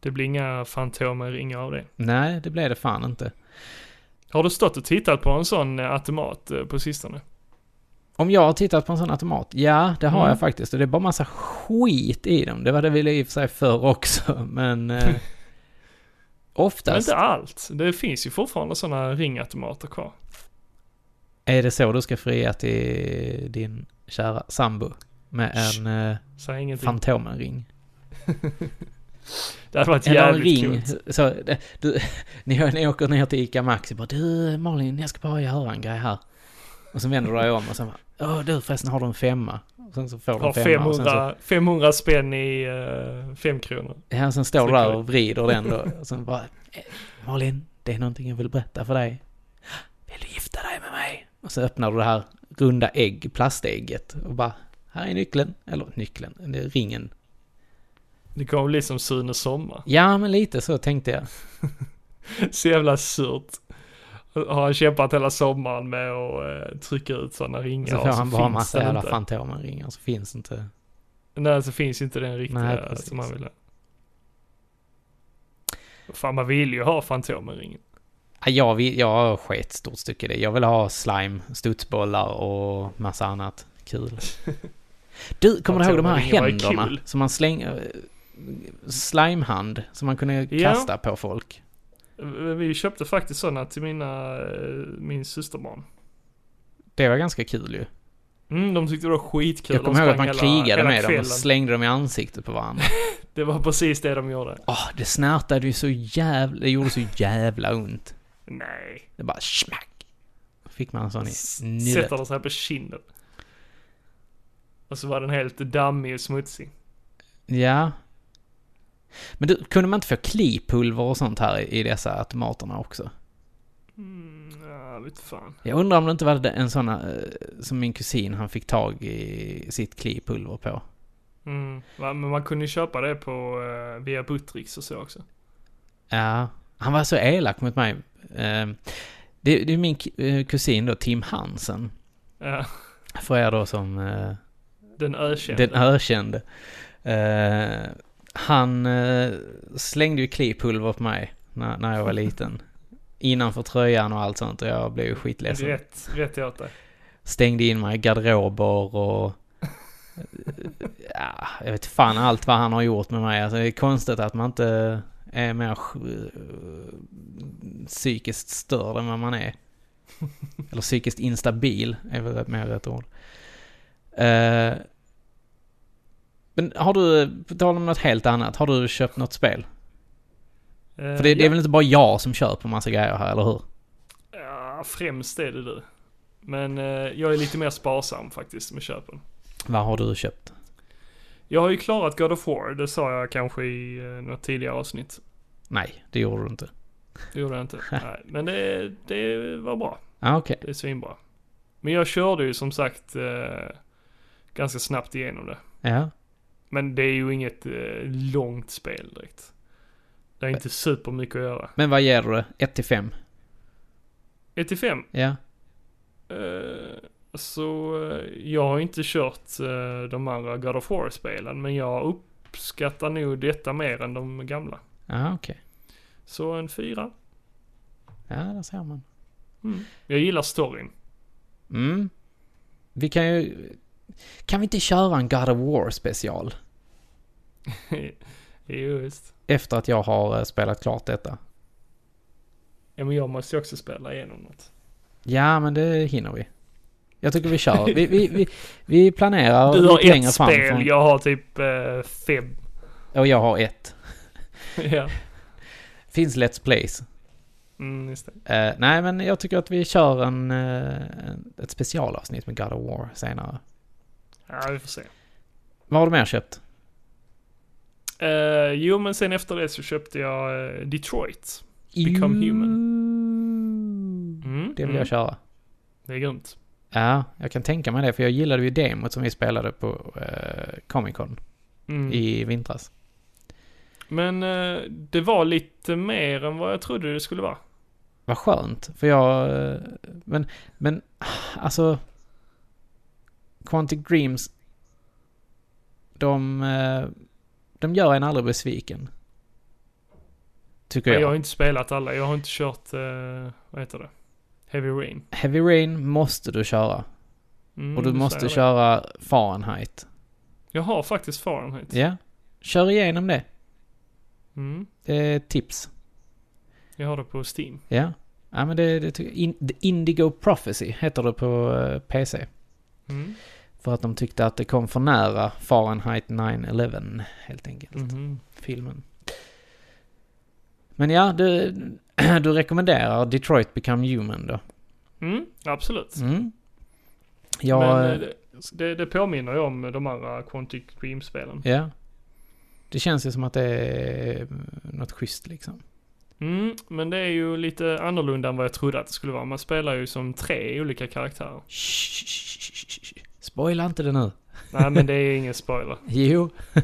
B: Det blir inga fantomer, inga av det.
A: Nej, det blev det fan inte.
B: Har du stått och tittat på en sån eh, automat eh, på sistone?
A: Om jag har tittat på en sån automat? Ja, det har
B: Mm.
A: jag faktiskt. Och det är bara massa skit i dem. Det var det vi i och för sig förr också, men... Eh,
B: Men
A: oftast
B: inte allt. Det finns ju fortfarande såna ringautomater kvar.
A: är det så du ska fria till din kära sambo. Med
B: Shh.
A: en eh,
B: Säg ingenting.
A: Fantomenring.
B: det hade varit
A: Eller en
B: jävligt
A: ring.
B: coolt.
A: Så, det- du, ni, ni åker ner till ICA Maxi och bara du Malin, jag ska bara göra en grej här. Och sen vänder du dig om och sen bara, åh du förresten har du en femma? Och sen så får du
B: Har
A: en femma och sen så,
B: 500, 500 spänn i uh, fem kronor.
A: ja, sen står du
B: Sen
A: där
B: kan du-
A: och vrider den då. Och sen bara, "Eh, Malin, det är någonting jag vill berätta för dig. Vill du gifta dig med mig? Och så öppnar du det här runda ägg, plastägget och bara, här är nyckeln. Eller nyckeln, det är ringen.
B: Det kommer bli som Sune Sommar.
A: Ja, men lite så tänkte jag.
B: Så jävla surt. Har han kämpat hela sommaren med att eh, trycka ut såna ringar.
A: Så
B: och
A: får han bara
B: finns
A: massa
B: den
A: jävla
B: inte.
A: Fantomenringar så finns inte.
B: Nej, så finns ju inte den riktiga
A: Nej, precis.
B: som man vill ha. Fan, man vill ju ha Fantomenringen.
A: Ja, Jag, vill, jag sket stort stycke i det. Jag vill ha slime, studsbollar och massa annat kul. Du, kommer du ihåg de här
B: Fantomenringen var ju
A: händerna
B: kul.
A: som man slänger... eh, Slimehand som man kunde
B: Ja.
A: kasta på folk.
B: Eh, Vi köpte faktiskt sådana till mina, eh, min systerbarn.
A: Det var ganska kul ju.
B: Mm, de tyckte det var skitkul.
A: jag
B: De
A: kommer ihåg att
B: sprang
A: man
B: hela-
A: krigade
B: hela
A: med dem
B: kvällen.
A: och slängde dem i ansiktet på varandra.
B: Det var precis det de gjorde.
A: Åh, det snärtade ju så jävla... Det gjorde så jävla ont.
B: Nej.
A: Det bara smack. Fick man en sån i
B: S-
A: nyllet.
B: Sätter de sig på kinden. Och så var den helt dammig och smutsig.
A: Ja. Men du, kunde man inte få klipulver och sånt här i i dessa automaterna också?
B: Mm, ja, vet fan.
A: Jag undrar om det inte var det- en sån eh, som min kusin, han fick tag i sitt klipulver på.
B: Mm. va, Men man kunde ju köpa det på, eh, via Buttricks och så också.
A: Ja, han var så elak mot mig. Eh, Det, det är min k- eh, kusin då, Tim Hansen.
B: Ja,
A: För er då som... eh,
B: den ökände.
A: Den ökände. Eh, han eh, slängde ju klipulver på mig när, när jag var liten. Innanför tröjan och allt sånt och jag blev ju skitledsen.
B: rätt, rätt åt dig.
A: Stängde in mig i garderober och... ja, jag vet fan allt vad han har gjort med mig. Alltså, det är konstigt att man inte är mer sj- eh, psykiskt störd än vad man är. Eller psykiskt instabil är väl ett mer rätt ord. Eh, men har du, på tal om något helt annat, har du köpt något spel? För det, det
B: Eh,
A: är väl inte bara jag som köper massa grejer här, eller hur?
B: ja, främst är det du. Men eh, jag är lite mer sparsam faktiskt med köpen.
A: Vad har du köpt?
B: Jag har ju klarat God of War, det sa jag kanske i eh, något tidigare avsnitt.
A: Nej, det gjorde du inte.
B: Det gjorde jag inte. Nej, men det, det var bra.
A: Ah, Okej.
B: Det är svinbra. Men jag körde ju som sagt eh, ganska snabbt igenom det.
A: Ja.
B: Men det är ju inget eh, långt spel direkt. Det är inte supermycket att göra.
A: Men vad ger du det? 1 till 5?
B: 1 till 5.
A: Ja.
B: Eh, så eh, jag har inte kört eh, de andra God of War-spelen. Men jag uppskattar nog detta mer än de gamla.
A: Ja, okej.
B: Så en fyra.
A: Ja, där ser man.
B: Mm. Jag gillar storyn.
A: Mm. Vi kan ju... Kan vi inte köra en God of War special?
B: jo, visst.
A: Efter att jag har eh, spelat klart detta.
B: Ja, men jag måste ju också spela igenom något.
A: Ja, men det hinner vi. Jag tycker vi kör. Vi, vi, vi, vi planerar
B: Du har
A: lite längre
B: ett
A: fram.
B: spel,
A: från-
B: jag har typ eh, fem.
A: Och jag har ett.
B: ja.
A: Finns Let's Plays.
B: Mm, just det.
A: Eh, nej, men jag tycker att vi kör en, eh, en, ett specialavsnitt med God of War senare.
B: Ja, vi får se.
A: Vad har du mer köpt?
B: Eh, jo, men sen efter det så köpte jag eh, Detroit. Become
A: Human.
B: Mm,
A: Det vill
B: mm.
A: jag köra.
B: Det är grymt.
A: Ja, jag kan tänka mig det, för jag gillade ju demot som vi spelade på eh, Comic Con
B: Mm.
A: i vintras.
B: Men eh, det var lite mer än vad jag trodde det skulle vara.
A: Vad skönt, för jag... eh, Men, men alltså... Quantic Dreams... De... eh, De gör en aldrig besviken. Tycker
B: Men
A: jag.
B: jag har inte spelat alla. Jag har inte kört, eh, vad heter det? Heavy Rain.
A: Heavy Rain måste du köra.
B: Mm,
A: Och du
B: det
A: måste
B: säger jag.
A: köra Fahrenheit.
B: Jag har faktiskt Fahrenheit.
A: Ja. Kör igenom det.
B: Mm,
A: Det är ett tips.
B: jag har det på Steam.
A: Ja. Ja men det, det tycker jag. In, The Indigo Prophecy heter det på eh, PC.
B: Mm.
A: För att de tyckte att det kom för nära Fahrenheit 9-11 helt enkelt.
B: Mhm.
A: Filmen. Men ja, du, du rekommenderar Detroit Become Human då?
B: Mm, absolut.
A: Mm. Jag,
B: men eh,
A: eh,
B: det, det, det påminner ju om de andra Quantic Dream-spelen.
A: ja. Det känns ju som att det är eh, något schysst liksom.
B: Mm, men det är ju lite annorlunda än vad jag trodde att det skulle vara. Man spelar ju som tre olika karaktärer.
A: Shh, shh, shh, shh, shh. Spoila inte det nu.
B: Nej, men det är ingen spoiler.
A: Jo.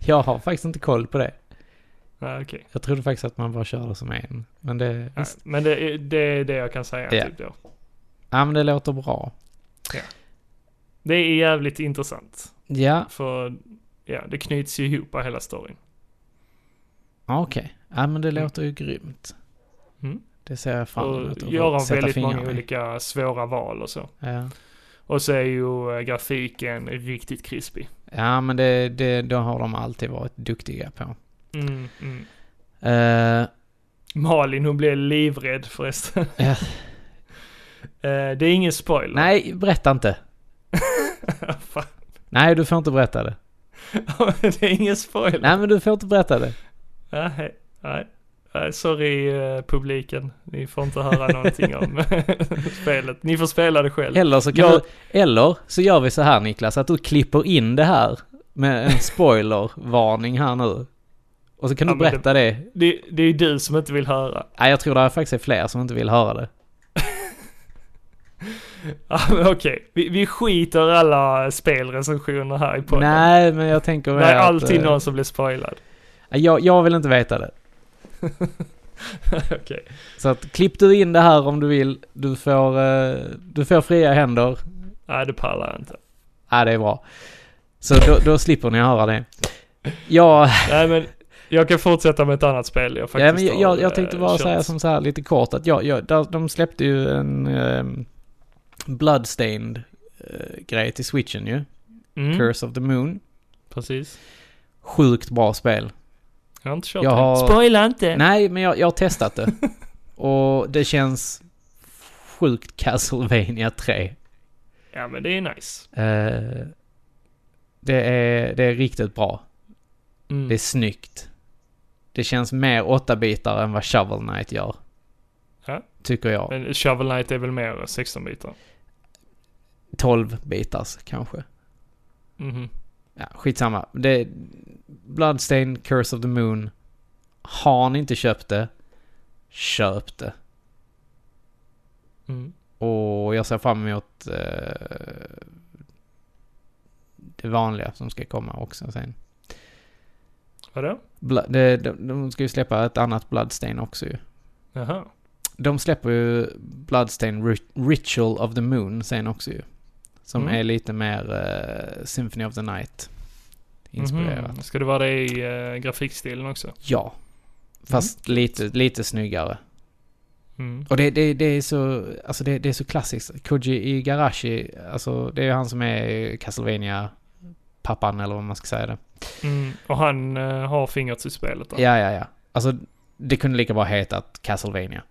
A: jag har faktiskt inte koll på det.
B: Nej, okej.
A: Jag trodde faktiskt att man bara körde som en. Men det,
B: Nej,
A: visst.
B: Men det, är- det är det jag kan säga
A: Ja.
B: typ då.
A: Ja, men det låter bra.
B: Det är jävligt intressant.
A: Ja,
B: För ja, det knyts ju ihop hela storyn.
A: okej. Ja, men det
B: Mm.
A: låter ju grymt.
B: Mm.
A: Det ser jag fram emot.
B: Och
A: att få
B: göra
A: sätta
B: väldigt
A: fingrarna
B: många
A: i.
B: olika svåra val och så.
A: Ja.
B: Och så är ju eh, grafiken riktigt krispig.
A: ja, men det, det, då har de alltid varit duktiga på.
B: Mm, mm.
A: Eh,
B: Malin hon blev livrädd förresten.
A: Ja.
B: Eh, det är ingen spoiler.
A: nej, berätta inte.
B: Fan.
A: Nej, du får inte berätta det.
B: det är ingen spoiler.
A: Nej, men du får inte berätta det.
B: Nej, nej. Nej, Sorry eh, publiken, ni får inte höra någonting om spelet. Ni får spela det själv.
A: Eller så, kan
B: Jag-
A: du, eller så gör vi så här Niklas, att du klipper in det här med en spoilervarning här nu. Och så kan
B: Ja,
A: du
B: men det-
A: berätta det.
B: Det, det är ju du som inte vill höra.
A: Nej, jag tror det är faktiskt är fler som inte vill höra det.
B: Ja, Ah, men Okej, vi, vi skiter alla spelrecensioner här i podden.
A: Nej, men jag tänker
B: det är
A: att,
B: alltid
A: eh,
B: någon som blir spoilad.
A: Jag, jag vill inte veta det.
B: Okej.
A: Så att klipp du in det här om du vill. Du får, eh, du får fria händer.
B: Nej, det pallar jag inte.
A: Ja, det är bra. Så då, då slipper ni höra det. Ja,
B: Nej, men jag kan fortsätta med ett annat spel jag
A: ja
B: faktiskt
A: men jag,
B: har,
A: jag, jag tänkte
B: eh,
A: bara
B: kört.
A: säga som så här lite kort att jag, jag, där, de släppte ju en ehm, Bloodstained eh, grej till switchen ju.
B: Mm,
A: Curse of the Moon.
B: Precis.
A: Sjukt bra spel.
B: Jag har inte kört
A: Jag
B: det.
A: har-
B: Spoila inte!
A: Nej, men jag, jag har testat det. Och det känns sjukt Castlevania 3.
B: Ja, men det är nice.
A: Eh, det, är, det är riktigt bra.
B: Mm.
A: Det är snyggt. Det känns mer 8-bitar än vad Shovel Knight gör.
B: Ja.
A: Tycker jag.
B: Men Shovel Knight är väl mer 16-bitar?
A: 12-bitars kanske. Mm-hmm.
B: Mhm.
A: Ja, skitsamma. Det, Bloodstain, Curse of the Moon. Har ni inte köpt det, köp det.
B: Mm.
A: Och jag ser fram emot eh, det vanliga som ska komma också sen.
B: Vadå?
A: Bla, de, de, de ska ju släppa ett annat Bloodstain också ju.
B: Jaha.
A: De släpper ju Bloodstain Ri- Ritual of the Moon sen också ju. Som
B: Mm.
A: är lite mer eh, Symphony of the Night inspirerat.
B: Mhm. Ska det vara det i eh, grafikstilen också?
A: Ja. Fast lite, lite snyggare.
B: Mm.
A: Och det, det, det är så, alltså det, det är så klassiskt. Koji Igarashi, alltså det är han som är Castlevania pappan eller vad man ska säga det.
B: Mm. Och han eh, har fingret i spelet då?
A: Ja, ja, ja. Alltså det kunde lika bra hetat Castlevania.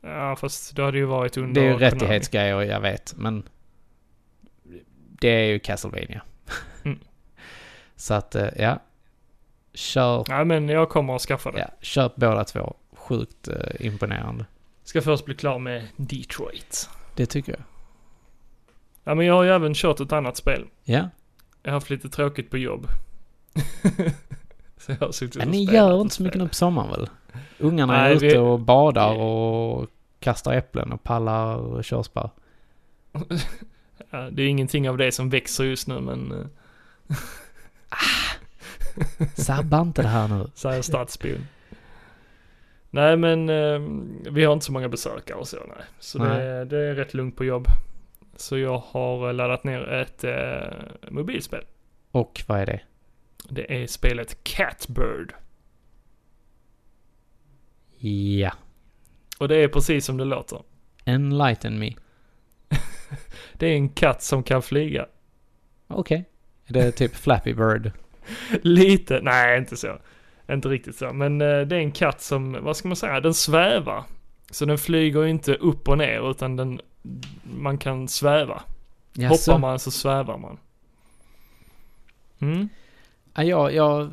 B: Ja, fast det hade ju varit under
A: Det är ju
B: Konami.
A: rättighetsgrejer, jag vet, men det är ju Castlevania.
B: Mm.
A: Så att, eh, ja. Kör,
B: Nej, men jag kommer att skaffa det.
A: ja, köp båda två. Sjukt eh, imponerande.
B: Ska först bli klar med Detroit.
A: Det tycker jag.
B: Ja, men jag har ju även kört ett annat spel.
A: Ja.
B: Jag har haft lite tråkigt på jobb. så jag har suttit
A: Men
B: och
A: ni
B: spelat
A: gör
B: och
A: inte så mycket nu
B: spelat.
A: på sommaren väl? Ungarna är
B: Nej,
A: ute
B: vi-
A: och badar och kastar äpplen och pallar körsbär.
B: Ja, det är ingenting av det som växer just nu, men eh,
A: Sabba inte det här nu.
B: säger stadsbon. nej, men eh, vi har inte så många besökare och så, nej. Så Det,
A: Nej.
B: det är rätt lugnt på jobb. Så jag har eh, laddat ner ett eh, mobilspel.
A: Och vad är det?
B: Det är spelet Catbird.
A: Ja.
B: Och det är precis som det låter.
A: Enlighten me.
B: Det är en katt som kan flyga.
A: Okej. Det är typ Flappy Bird.
B: Lite, nej inte så. Inte riktigt så. Men eh, det är en katt som, vad ska man säga, den svävar. Så den flyger ju inte upp och ner utan den, man kan sväva.
A: Jaså?
B: Hoppar man så svävar man. Mm.
A: Ja, jag, jag,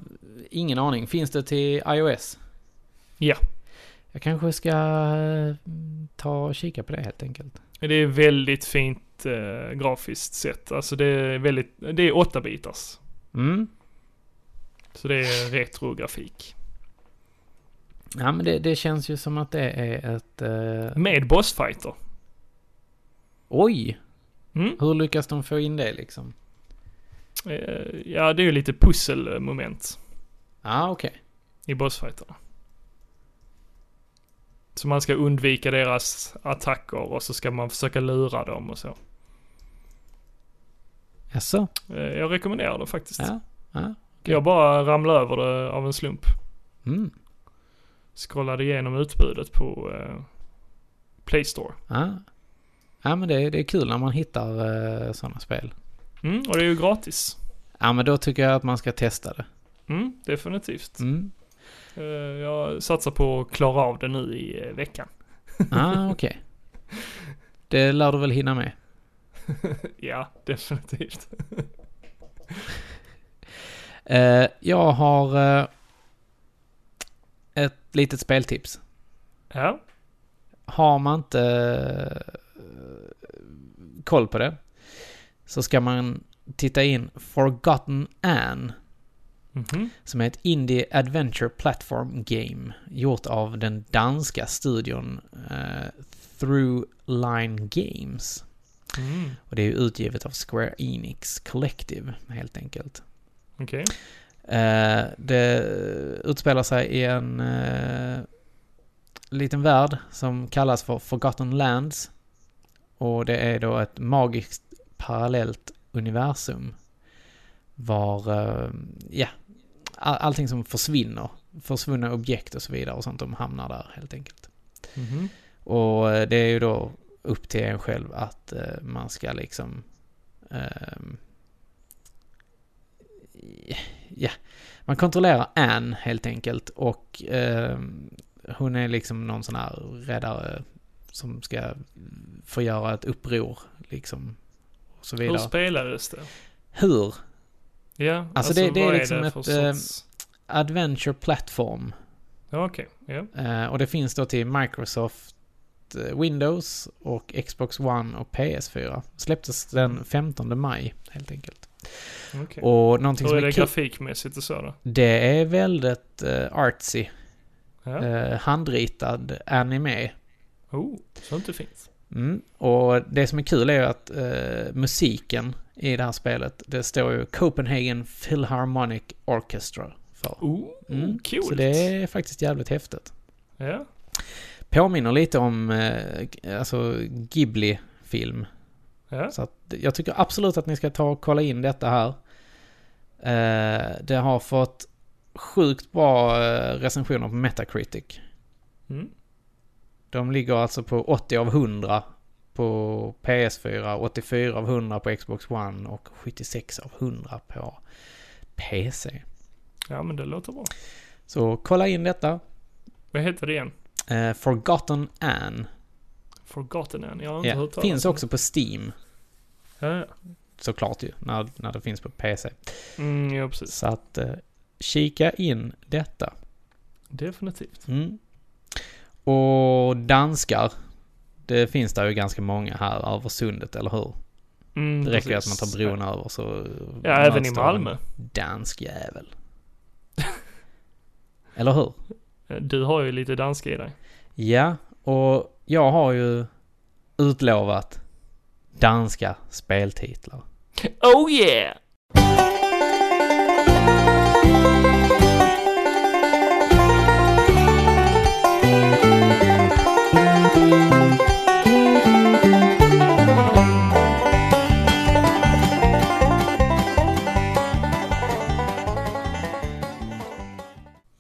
A: ingen aning. Finns det till iOS?
B: Ja.
A: Jag kanske ska eh, ta och kika på det helt enkelt.
B: Det är väldigt fint eh, grafiskt sett. Alltså det är väldigt, det är åtta bitars.
A: Mm.
B: Så det är retrografik.
A: Ja, men det, det känns ju som att det är ett... Eh,
B: Med bossfighter.
A: oj!
B: Mm.
A: Hur lyckas de få in det liksom?
B: Eh, Ja, det är ju lite pusselmoment
A: Ja, ah, okej.
B: i bossfighterna. Så man ska undvika deras attacker och så ska man försöka lura dem och så.
A: Jaså?
B: Eh, Jag rekommenderar det faktiskt.
A: Ja. ja.
B: Jag bara ramlade över det av en slump.
A: Mm.
B: Scrollade igenom utbudet på eh, Play Store.
A: Ja. ja, men det, det är kul när man hittar eh, sådana spel.
B: Mm, och det är ju gratis.
A: Ja, men då tycker jag att man ska testa det.
B: Mm, definitivt.
A: Mm.
B: Eh, Jag satsar på att klara av det nu i eh, veckan.
A: Ah, okej. Det lär du väl hinna med?
B: Ja, definitivt.
A: Eh, jag har eh, ett litet speltips.
B: Ja,
A: Har man inte eh, koll på det så ska man titta in Forgotten Anne
B: mhm.
A: som är ett indie adventure platform game gjort av den danska studion eh, Through Line Games.
B: Mm.
A: Och det är ju utgivet av Square Enix Collective helt enkelt.
B: Okej.
A: Eh, det utspelar sig i en eh, liten värld som kallas för Forgotten Lands. Och det är då ett magiskt parallellt universum. Var, eh, ja, all- allting som försvinner. Försvunna objekt och så vidare och sånt, de hamnar där helt enkelt.
B: Mhm.
A: Och eh, det är ju då upp till en själv att eh, man ska liksom... ehm, ja, man kontrollerar Anne helt enkelt och ehm, hon är liksom någon sån här räddare som ska få göra ett uppror liksom. Och så
B: Hur
A: vidare.
B: spelades det?
A: Hur?
B: Ja,
A: Alltså, det- det är
B: vad
A: liksom
B: för
A: ett, eh,
B: sorts-
A: Adventure Platform.
B: Ja, okej. Ja.
A: Eh, och det finns då till Microsoft eh, Windows och Xbox One och PS4. Släpptes den 15 maj helt enkelt.
B: Okej.
A: Och någonting
B: Hur
A: som
B: är
A: är
B: det
A: kul,
B: grafikmässigt och så då?
A: det är väldigt eh, artsy.
B: Ja.
A: Eh, handritad anime.
B: Oh, sånt är fint.
A: Mm. Och det som är kul är ju att eh, musiken i det här spelet, det står ju Copenhagen Philharmonic Orchestra för.
B: Oh,
A: Mm.
B: coolt.
A: Så det är faktiskt jävligt häftigt.
B: Ja,
A: påminner lite om eh, alltså Ghibli-film.
B: ja.
A: Så att jag tycker absolut att ni ska ta och kolla in detta här. Eh, det har fått sjukt bra eh, recensioner på Metacritic.
B: Mm.
A: De ligger alltså på 80 av 100 på PS4, 84 av 100 på Xbox One och 76 av 100 på PC.
B: ja, men det låter bra.
A: Så kolla in detta.
B: Vad heter det igen?
A: Eh, Forgotten Anne.
B: Forgotten Anne. Jag har inte
A: Ja,
B: hört talas
A: finns
B: om
A: också på Steam.
B: det. Ja, ja.
A: såklart ju, när, när det finns på PC.
B: Mm, ja, precis.
A: Så att eh, kika in detta.
B: Definitivt.
A: Mm. Och danskar, det finns där ju ganska många här över sundet, eller hur?
B: Mm,
A: Det räcker ju att man
B: precis.
A: tar bron över så...
B: Ja,
A: möts
B: även i
A: då
B: Malmö.
A: en Dansk jävel. eller hur?
B: Du har ju lite danska i dig.
A: Ja, och jag har ju utlovat danska speltitlar.
B: Oh yeah!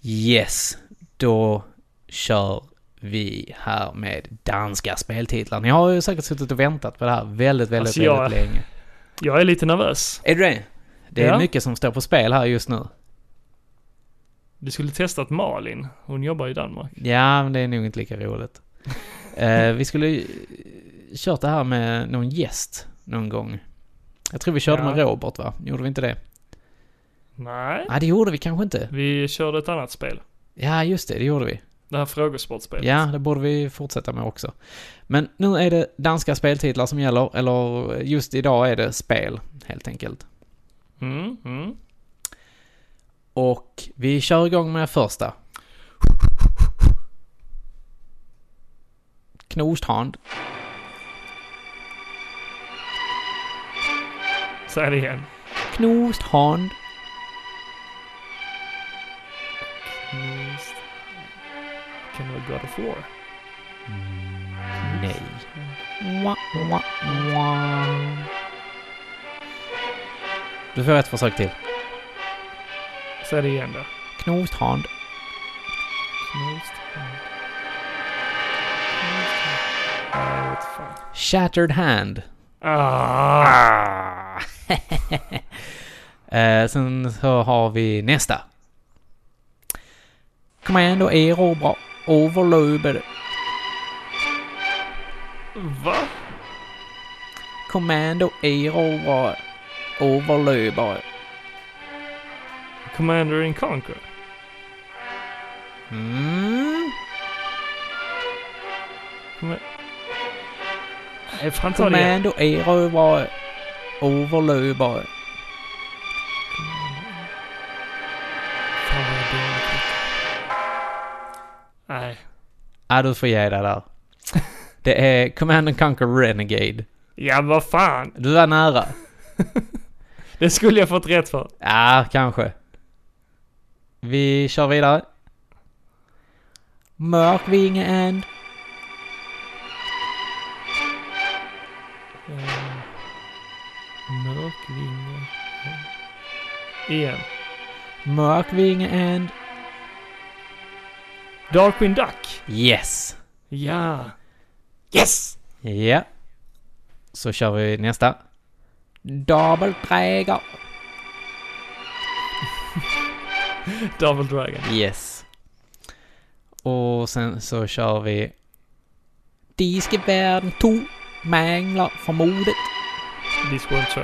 A: Yes, då kör vi här med danska speltitlar. Ni har ju säkert suttit och väntat på det här väldigt, väldigt,
B: Alltså, jag-
A: väldigt länge.
B: Jag är lite nervös.
A: Är du det? Det är
B: Ja.
A: mycket som står på spel här just nu.
B: Du skulle testat Malin. Hon jobbar i Danmark.
A: Ja, men det är nog inte lika roligt. Eh, vi skulle ju, eh, kört det här med någon gäst någon gång. Jag tror vi körde
B: Ja.
A: med Robert, va? Gjorde vi inte det?
B: Nej.
A: Nej, det gjorde vi kanske inte.
B: Vi körde ett annat spel.
A: Ja, just det, det gjorde vi.
B: Det här frågesportspelet.
A: Ja, det borde vi fortsätta med också. Men nu är det danska speltitlar som gäller, eller just idag är det spel, helt enkelt.
B: Mm, mm.
A: Och vi kör igång med första. Knostrand.
B: Säg det igen.
A: Knostrand.
B: Minst. Kan det vara God of War?
A: Nej. Mwah, mwah, mwah. Du får ett försök till.
B: Säg det igen då.
A: Knostrand.
B: Knust. hand. Knust hand. Nej, jag vet fan.
A: Shattered hand.
B: Ah!
A: Eh, sen så har vi nästa. Commando erobra överlöber.
B: Va?
A: Commando erobra överlöber.
B: Commander in Conquer?
A: Mm.
B: Nej, fan ta det igen.
A: Commando erobra överlöber.
B: Fan vad jag är dålig på det. Nej.
A: Ja, du får ge dig där. Det är Command and Conquer Renegade.
B: Ja, vad fan.
A: Du var nära.
B: Det skulle jag fått rätt för.
A: Ja, kanske. Vi kör vidare. Mörkvinge and...
B: Eh, Mörkvinge. Igen.
A: Mörkvinge and...
B: Darkwing Duck.
A: Yes!
B: Ja. Yes!
A: Ja. Så kör vi nästa. Dubbelträger.
B: Double Dragon.
A: Yes. Och sen så kör vi... De ska världen to manglar för mordet.
B: Discworld 2.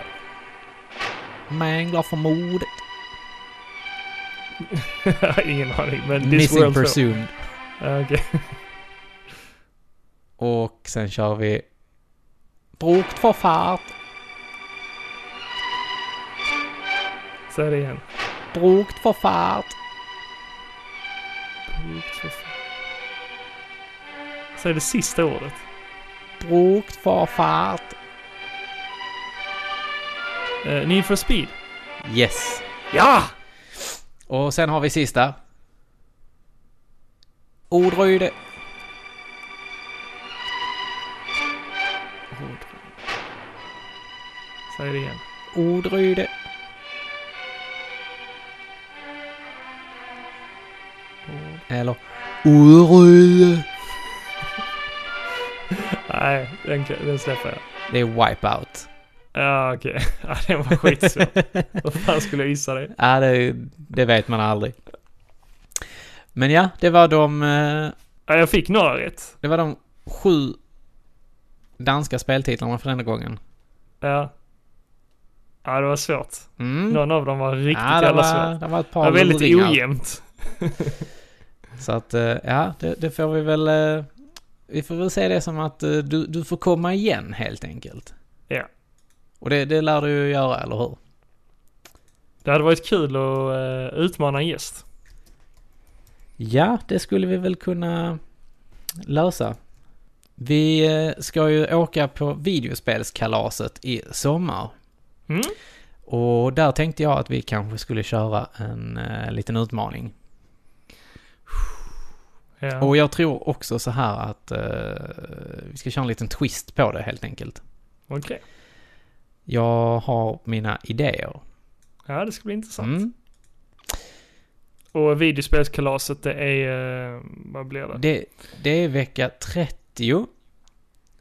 A: Manglar för mordet.
B: Ingen aning, men
A: Missing
B: Discworld 2.
A: presumed.
B: Ja, Okej.
A: Och sen kör vi... Brukt för fart.
B: Säg det igen.
A: Brukt för fart.
B: Säg det sista ordet.
A: Brukt för fart.
B: Uh, Need for speed.
A: Yes.
B: Ja!
A: Och sen har vi sista. Odryde.
B: Säg det igen.
A: Odryde. Eller... Orude.
B: Nej, den, kan- den släpper jag.
A: Det är Wipeout.
B: Ja, okej. Ja, den var skitsvår. Vad fan skulle jag gissa det?
A: Ja, det, det vet man aldrig. Men ja, det var de... eh,
B: Ja, jag fick några rätt.
A: Det var de sju danska speltitlarna för denna gången.
B: Ja. Ja, det var svårt.
A: Mm.
B: Någon av dem var riktigt
A: ja, det
B: jävla
A: var,
B: svår.
A: det var ett
B: Det
A: par
B: var väldigt
A: luringar.
B: ojämnt.
A: Så att, eh, ja, det, det får vi väl... eh, Vi får väl se det som att eh, du, du får komma igen helt enkelt.
B: Ja.
A: Och det, det lär du ju göra, eller hur?
B: Det hade varit kul att eh, utmana en gäst.
A: Ja, det skulle vi väl kunna lösa. Vi eh, ska ju åka på videospelskalaset i sommar.
B: Mm?
A: Och där tänkte jag att vi kanske skulle köra en eh, liten utmaning.
B: Ja.
A: Och jag tror också så här att eh, vi ska köra en liten twist på det helt enkelt.
B: Okej.
A: Jag har mina idéer.
B: Ja, det ska bli intressant.
A: Mm.
B: Och videospelskalaset det är, eh, vad blir det?
A: Det, det är vecka 30.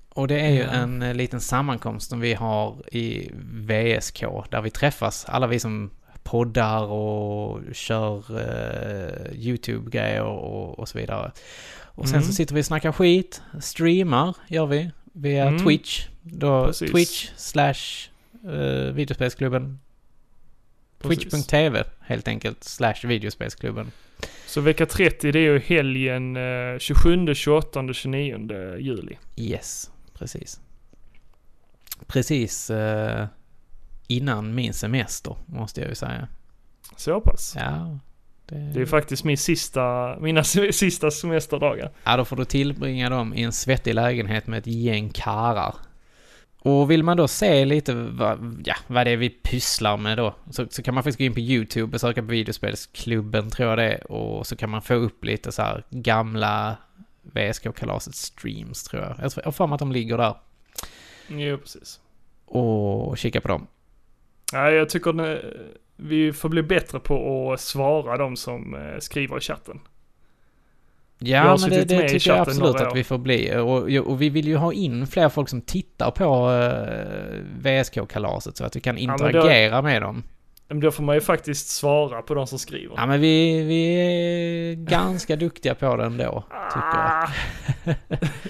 A: Och det är ju
B: Ja.
A: en eh, liten sammankomst som vi har i VSK där vi träffas, alla vi som poddar och kör eh, YouTube-grejer och, och så vidare. Och sen
B: Mm.
A: så sitter vi och snackar skit, streamar gör vi via
B: Mm.
A: Twitch. Då
B: Precis.
A: Twitch slash eh, videospelsklubben.
B: Precis.
A: Twitch.tv helt enkelt, slash videospelsklubben.
B: Så vecka 30 det är ju helgen eh, 27, 28, 29 juli.
A: Yes, precis. Precis eh, innan min semester, måste jag ju säga.
B: Så pass.
A: Ja, det,
B: Det är faktiskt min sista, mina se- sista semesterdagar.
A: ja, då får du tillbringa dem i en svettig lägenhet med ett gäng karar. Och vill man då se lite vad, ja, vad det är vi pysslar med då, så, så kan man faktiskt gå in på YouTube och söka på videospelsklubben, tror jag det är, och så kan man få upp lite så här gamla VSK-kalaset streams, tror jag. Jag tror- jag har för mig att de ligger där.
B: Jo, precis.
A: Och kika på dem.
B: Ja, jag tycker ne, vi får bli bättre på att svara de som eh, skriver i chatten. Jag
A: Ja,
B: har
A: men det,
B: suttit med
A: det
B: i
A: tycker jag
B: chatten
A: absolut
B: några
A: att
B: år.
A: vi får bli. Och, och vi vill ju ha in fler folk som tittar på eh, VSK-kalaset så att vi kan
B: men då-
A: interagera med dem.
B: Men då får man ju faktiskt svara på de som skriver.
A: Ja, men vi, vi är ganska duktiga på det ändå, tycker jag.
B: Ah.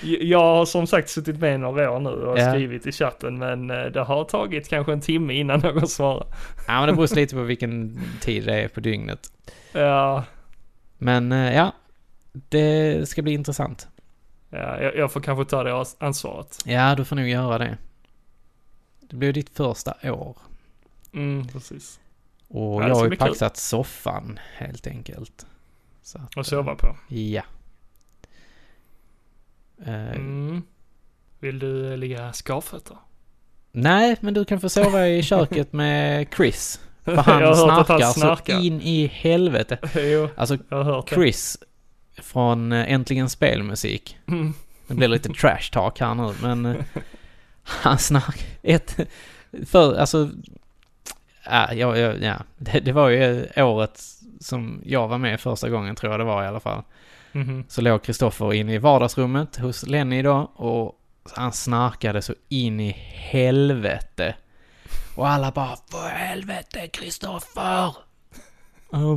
B: Jag har som sagt suttit med i några år nu och
A: Ja.
B: skrivit i chatten men eh, det har tagit kanske en timme innan någon svarar.
A: Ja, men det beror lite på vilken tid det är på dygnet.
B: Ja,
A: Men eh, ja, det ska bli intressant.
B: ja, jag, jag får kanske ta det ans- ansvaret.
A: Ja, du får nog göra det. Det blir ditt första år.
B: Mm, precis.
A: Och
B: Ja, det
A: jag har
B: ska
A: ju
B: bli kul.
A: paxat soffan, helt enkelt. Så att,
B: Och sova på.
A: Ja. Eh,
B: Mm. Vill du eh, ligga skavfötter?
A: Nej, men du kan få sova i köket med Chris. För han,
B: jag har hört att
A: snarkar,
B: han snarkar.
A: så in i helvete.
B: jo,
A: Alltså
B: jag har hört det.
A: Chris från eh, Äntligen Spelmusik.
B: Mm.
A: Det blir lite trash talk här nu, men eh, han snack... Ett, för, alltså... Ja, jag, jag, ja. Det, det var ju året som jag var med första gången, tror jag det var i alla fall.
B: Mhm.
A: Så låg Kristoffer inne i vardagsrummet hos Lenny då och han snarkade så in i helvete. Och alla bara För helvete Kristoffer! Och
B: Får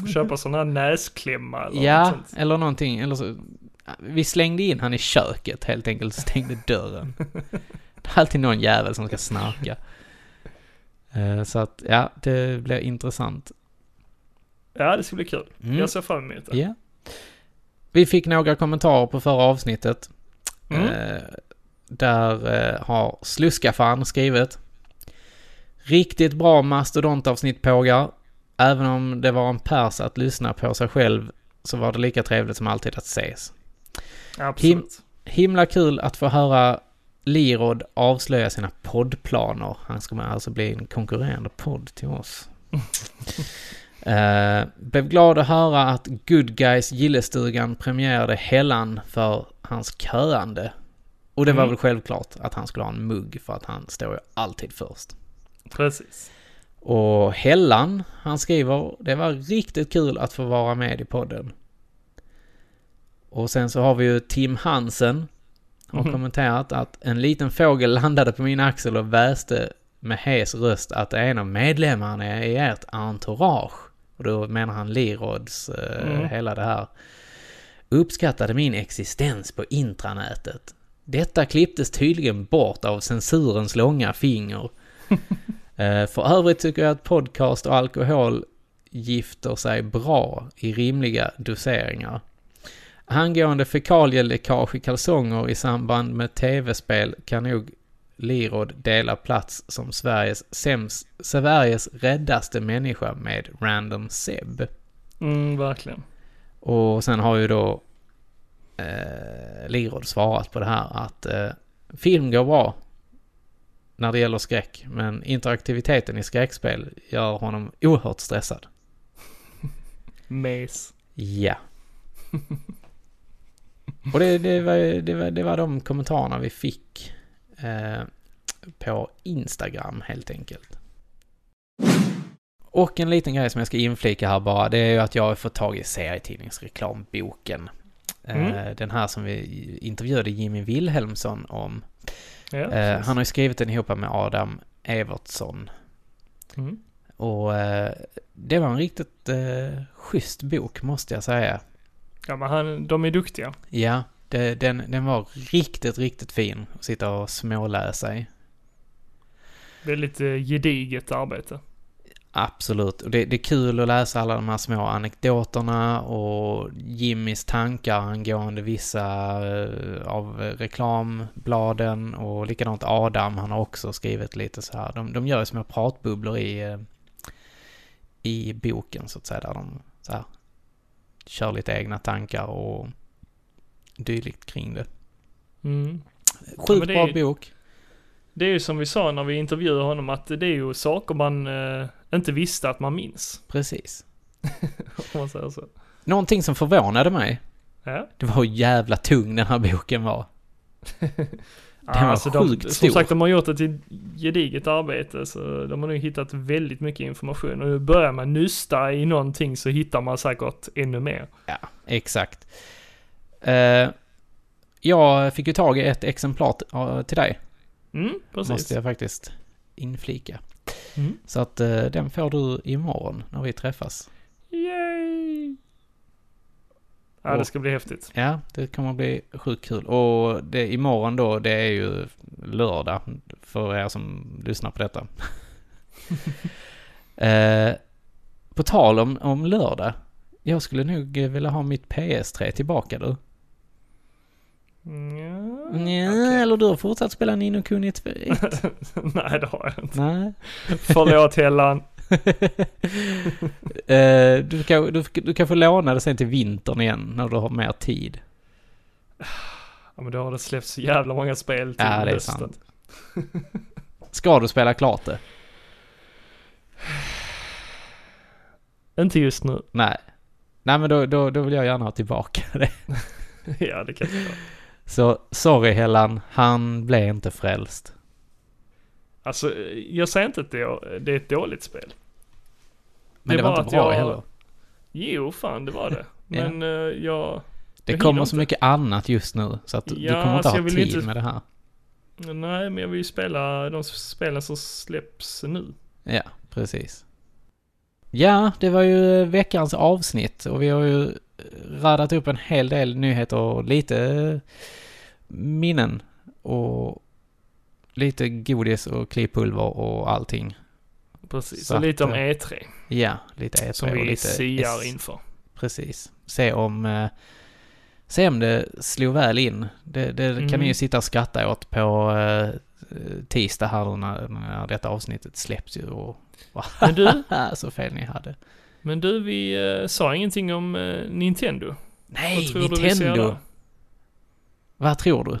A: bara-
B: Köpa sån här näsklämma eller något
A: Ja,
B: sånt.
A: eller någonting. Eller så, vi slängde in han i köket helt enkelt, stängde dörren. Det är alltid någon jävel som ska snarka. Eh, Så att, ja, det blir intressant.
B: Ja, det ska bli kul.
A: Mm.
B: Jag ser fram emot det.
A: Ja. Vi fick några kommentarer på förra avsnittet.
B: Mm.
A: Eh, där eh, har Sluskafan skrivit. Riktigt bra mastodontavsnitt pågar. Även om det var en pärs att lyssna på sig själv så var det lika trevligt som alltid att ses.
B: Absolut.
A: Himla kul att få höra Lirod avslöja sina poddplaner. Han ska alltså bli en konkurrerande podd till oss. Eh, blev glad att höra att Good Guys Gillestugan premierade Hellan för hans köande. Och det var
B: Mm.
A: väl självklart att han skulle ha en mugg för att han står ju alltid först.
B: Precis.
A: Och Hellan, han skriver, det var riktigt kul att få vara med i podden. Och sen så har vi ju Tim Hansen. Har
B: Mhm.
A: kommenterat att en liten fågel landade på min axel och väste med hes röst att det är en av medlemmarna i ert entourage. Och då menar han Lirods, eh,
B: Mm.
A: hela det här. Uppskattade min existens på intranätet. Detta klipptes tydligen bort av censurens långa finger. Eh, För övrigt tycker jag att podcast och alkohol gifter sig bra i rimliga doseringar. Angående fekalieläckage i kalsonger i samband med tv-spel kan nog Lirod dela plats som Sveriges, sämst, Sveriges räddaste människa med Random Seb.
B: Mm, verkligen.
A: Och sen har ju då eh, Lirod svarat på det här att eh, film går bra när det gäller skräck, men interaktiviteten i skräckspel gör honom oerhört stressad.
B: Mes.
A: Ja. Och det, det, var, det, var, det var de kommentarerna vi fick eh, på Instagram helt enkelt. Och en liten grej som jag ska inflika här bara, det är ju att jag har fått tag i serietidningsreklamboken. Eh,
B: Mm.
A: den här som vi intervjuade Jimmy Wilhelmsson om.
B: Ja,
A: Eh,
B: precis.
A: han har ju skrivit den ihop med Adam Evertsson.
B: Mm.
A: Och eh, det var en riktigt eh, schysst bok måste jag säga.
B: Ja, men han, de är duktiga.
A: Ja, det, den, den var riktigt, riktigt fin att sitta och småläsa i.
B: Väldigt eh, gediget arbete.
A: Absolut. Och det, det är kul att läsa alla de här små anekdoterna och Jimmys tankar angående vissa eh, av reklambladen och likadant Adam, han har också skrivit lite så här. De, de gör ju små pratbubblor i, eh, i boken så att säga, där de så här, kör lite egna tankar och dylikt kring det.
B: Mm. Ja,
A: Sjukt
B: men det är
A: bra
B: ju-
A: bok.
B: Det är ju som vi sa när vi intervjuade honom att det är ju saker man eh, inte visste att man minns.
A: Precis.
B: Om man säger så.
A: Någonting som förvånade mig,
B: Ja.
A: det var hur jävla tung den här boken var. var sjukt
B: Alltså, de,
A: stor.
B: Som sagt, de har gjort ett gediget arbete så de har nu hittat väldigt mycket information. Och börjar man nysta i någonting så hittar man säkert ännu mer.
A: Ja, exakt. Eh, jag fick ju tag i ett exemplar t- ja, till dig,
B: Mm, precis.
A: måste jag faktiskt inflika.
B: Mm.
A: Så att eh, den får du imorgon när vi träffas.
B: Yay! Ja, det ska bli häftigt.
A: Ja, det kommer bli sjukt kul. Och det, imorgon då, det är ju lördag för er som lyssnar på detta. eh, på tal om, om lördag, jag skulle nog eh, vilja ha mitt PS3 tillbaka du.
B: Mm, Nja,
A: Nej,
B: okej.
A: eller du har fortsatt spela Nino Kuni 1.
B: Nej, det har jag inte.
A: Nej.
B: Förlåt Hellan.
A: eh, du, kan, du, du kan få låna det sen till vintern igen när du har mer tid.
B: Ja, men då har det släppts så jävla många spel till
A: Ja, det är
B: hösten.
A: sant. Ska du spela klart det?
B: Inte just nu.
A: Nej. Nej men då, då, då vill jag gärna ha tillbaka det.
B: ja, det kan jag göra.
A: Så sorry Hellan, han blev inte frälst.
B: Alltså, jag säger inte att det är, det är ett dåligt spel.
A: Men
B: är
A: det, var
B: bara
A: inte
B: att
A: bra
B: jag-
A: heller.
B: Jo, fan det var det.
A: Ja.
B: Men eh, jag...
A: Det
B: jag
A: kommer
B: hinner
A: så
B: inte.
A: mycket annat just nu så att du
B: Ja,
A: kommer inte
B: alltså,
A: ha
B: jag vill
A: tid
B: inte-
A: med det här.
B: Nej, men jag vill ju spela de spelen som släpps nu.
A: Ja, precis. Ja, det var ju eh, veckans avsnitt och vi har ju radat upp en hel del nyheter och lite eh, minnen och lite godis och klipulver och allting.
B: Precis.
A: Så
B: och lite
A: att,
B: om
A: eh,
B: E3,
A: Ja, lite E3
B: som
A: och
B: vi
A: lite
B: siar
A: S-
B: inför.
A: Precis. Se om, eh, se om det slog väl in. Det, det kan
B: Mm.
A: ni ju sitta och skratta åt på eh, tisdag här då när, när detta avsnittet släpps ju och
B: Men du,
A: så fel ni hade.
B: men du vi eh, sa ingenting om eh, Nintendo.
A: Nej,
B: du vi ser
A: Nintendo!
B: där?
A: Vad tror du?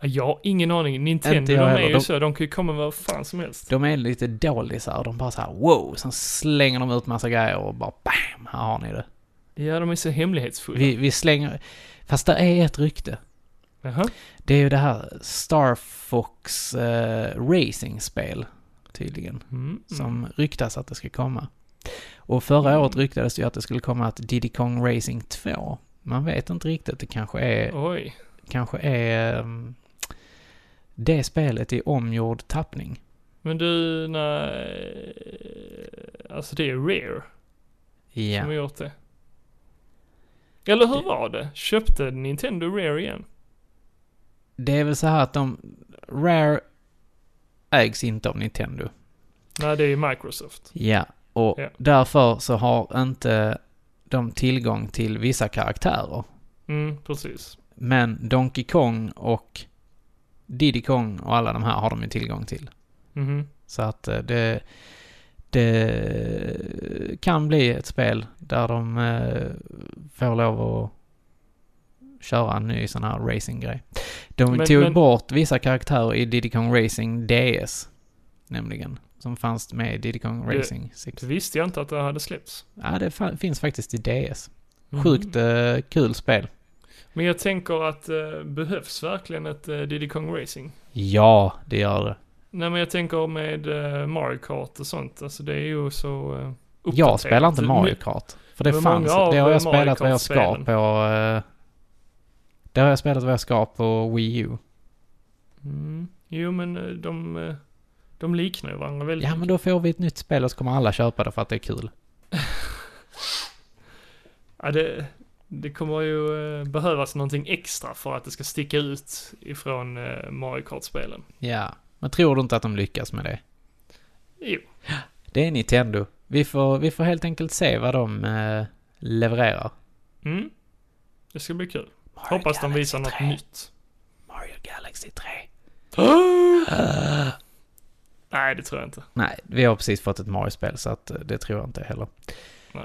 B: Ja, Jag har ingen aning. Nintendo,
A: Inte
B: de
A: jag
B: är
A: heller.
B: ju
A: De-
B: så. De kan ju komma vad fan som helst.
A: De är lite dålisar. De bara så här wow, sen slänger de ut massa grejer och bara bam, här har ni det.
B: Ja, de är så hemlighetsfulla.
A: Vi, vi slänger... Fast det är ett rykte.
B: Jaha.
A: Det är ju det här Star Fox eh, Racing-spel, tydligen.
B: Mm, mm.
A: som ryktas att det ska komma. Och förra året ryktades det ju att det skulle komma ett Diddy Kong Racing 2. Man vet inte riktigt, det kanske är,
B: Oj.
A: kanske är ehm, det spelet i omgjord tappning.
B: Men du, nej. Alltså det är Rare som
A: Ja,
B: har gjort det. Eller hur var det? Köpte Nintendo Rare igen?
A: det är väl så här att de, Rare ägs inte av Nintendo.
B: Nej, det är ju Microsoft.
A: Ja, och
B: Ja.
A: därför så har inte de tillgång till vissa karaktärer.
B: Mm, precis.
A: Men Donkey Kong och Diddy Kong och alla de här har de ju tillgång till.
B: Mhm.
A: Så att eh, det, det kan bli ett spel där de eh, får lov att köra en ny sån här racinggrej. De
B: Men-
A: tog
B: men-
A: bort vissa karaktärer i Diddy Kong Racing DS, nämligen. Som fanns med i Diddy Kong
B: Det-
A: Racing 6.
B: Det visste jag inte att det hade släppts.
A: Ja, det fa- finns faktiskt i DS.
B: Mhm.
A: Sjukt eh, kul spel.
B: Men jag tänker att eh, behövs verkligen ett eh, Diddy Kong Racing?
A: Ja, det gör det.
B: Nej men jag tänker med eh, Mario Kart och sånt, alltså det är ju så eh,
A: Jag
B: uppdaterat.
A: spelar inte Mario
B: Nu-
A: Kart. För det
B: Men
A: fanns,
B: många av
A: det har jag
B: Mario
A: spelat vad jag ska
B: Kart-spelen.
A: på... eh, Det har jag spelat vad jag ska på Wii U.
B: Mm. Jo men eh, de, eh, de liknar ju varandra väldigt
A: Ja men då får vi ett nytt spel och så kommer alla köpa det för att det är kul.
B: ja, det, det kommer ju eh, behövas någonting extra för att det ska sticka ut ifrån eh, Mario Kart-spelen.
A: Ja. Men tror du inte att de lyckas med det?
B: Jo,
A: Det är Nintendo. Vi får, vi får helt enkelt se vad de eh, levererar.
B: mm. det ska bli kul.
A: Mario
B: Hoppas de
A: Galaxy
B: visar något
A: 3.
B: nytt.
A: Mario Galaxy 3.
B: Nej, det tror jag inte.
A: Nej, vi har precis fått ett Mario-spel så att eh, det tror jag inte heller.
B: Nej.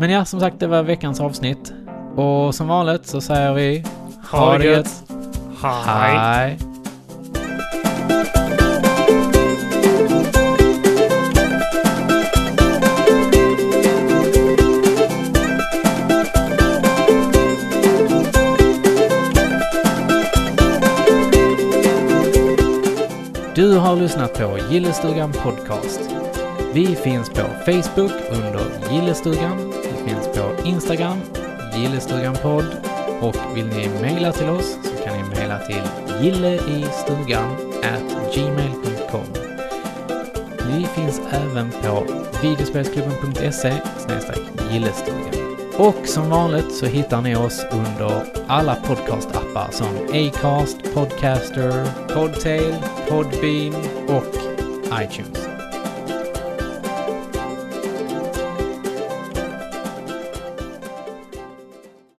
A: Men ja, som sagt det var veckans avsnitt. Och som vanligt så säger vi
B: Ha det gött. Hej.
A: Hej. Du har lyssnat på Gillestugan Podcast. Vi finns på Facebook under Gillestugan. Vi finns på Instagram, Gillestugan Podd. Och vill ni mejla till oss så kan ni mejla till gilleistugan at gmail.com. Vi finns även på videospelsklubben.se snedstreck gillestugan. Och som vanligt så hittar ni oss under alla podcastappar som Acast, Podcaster, Podtail, Podbean och iTunes.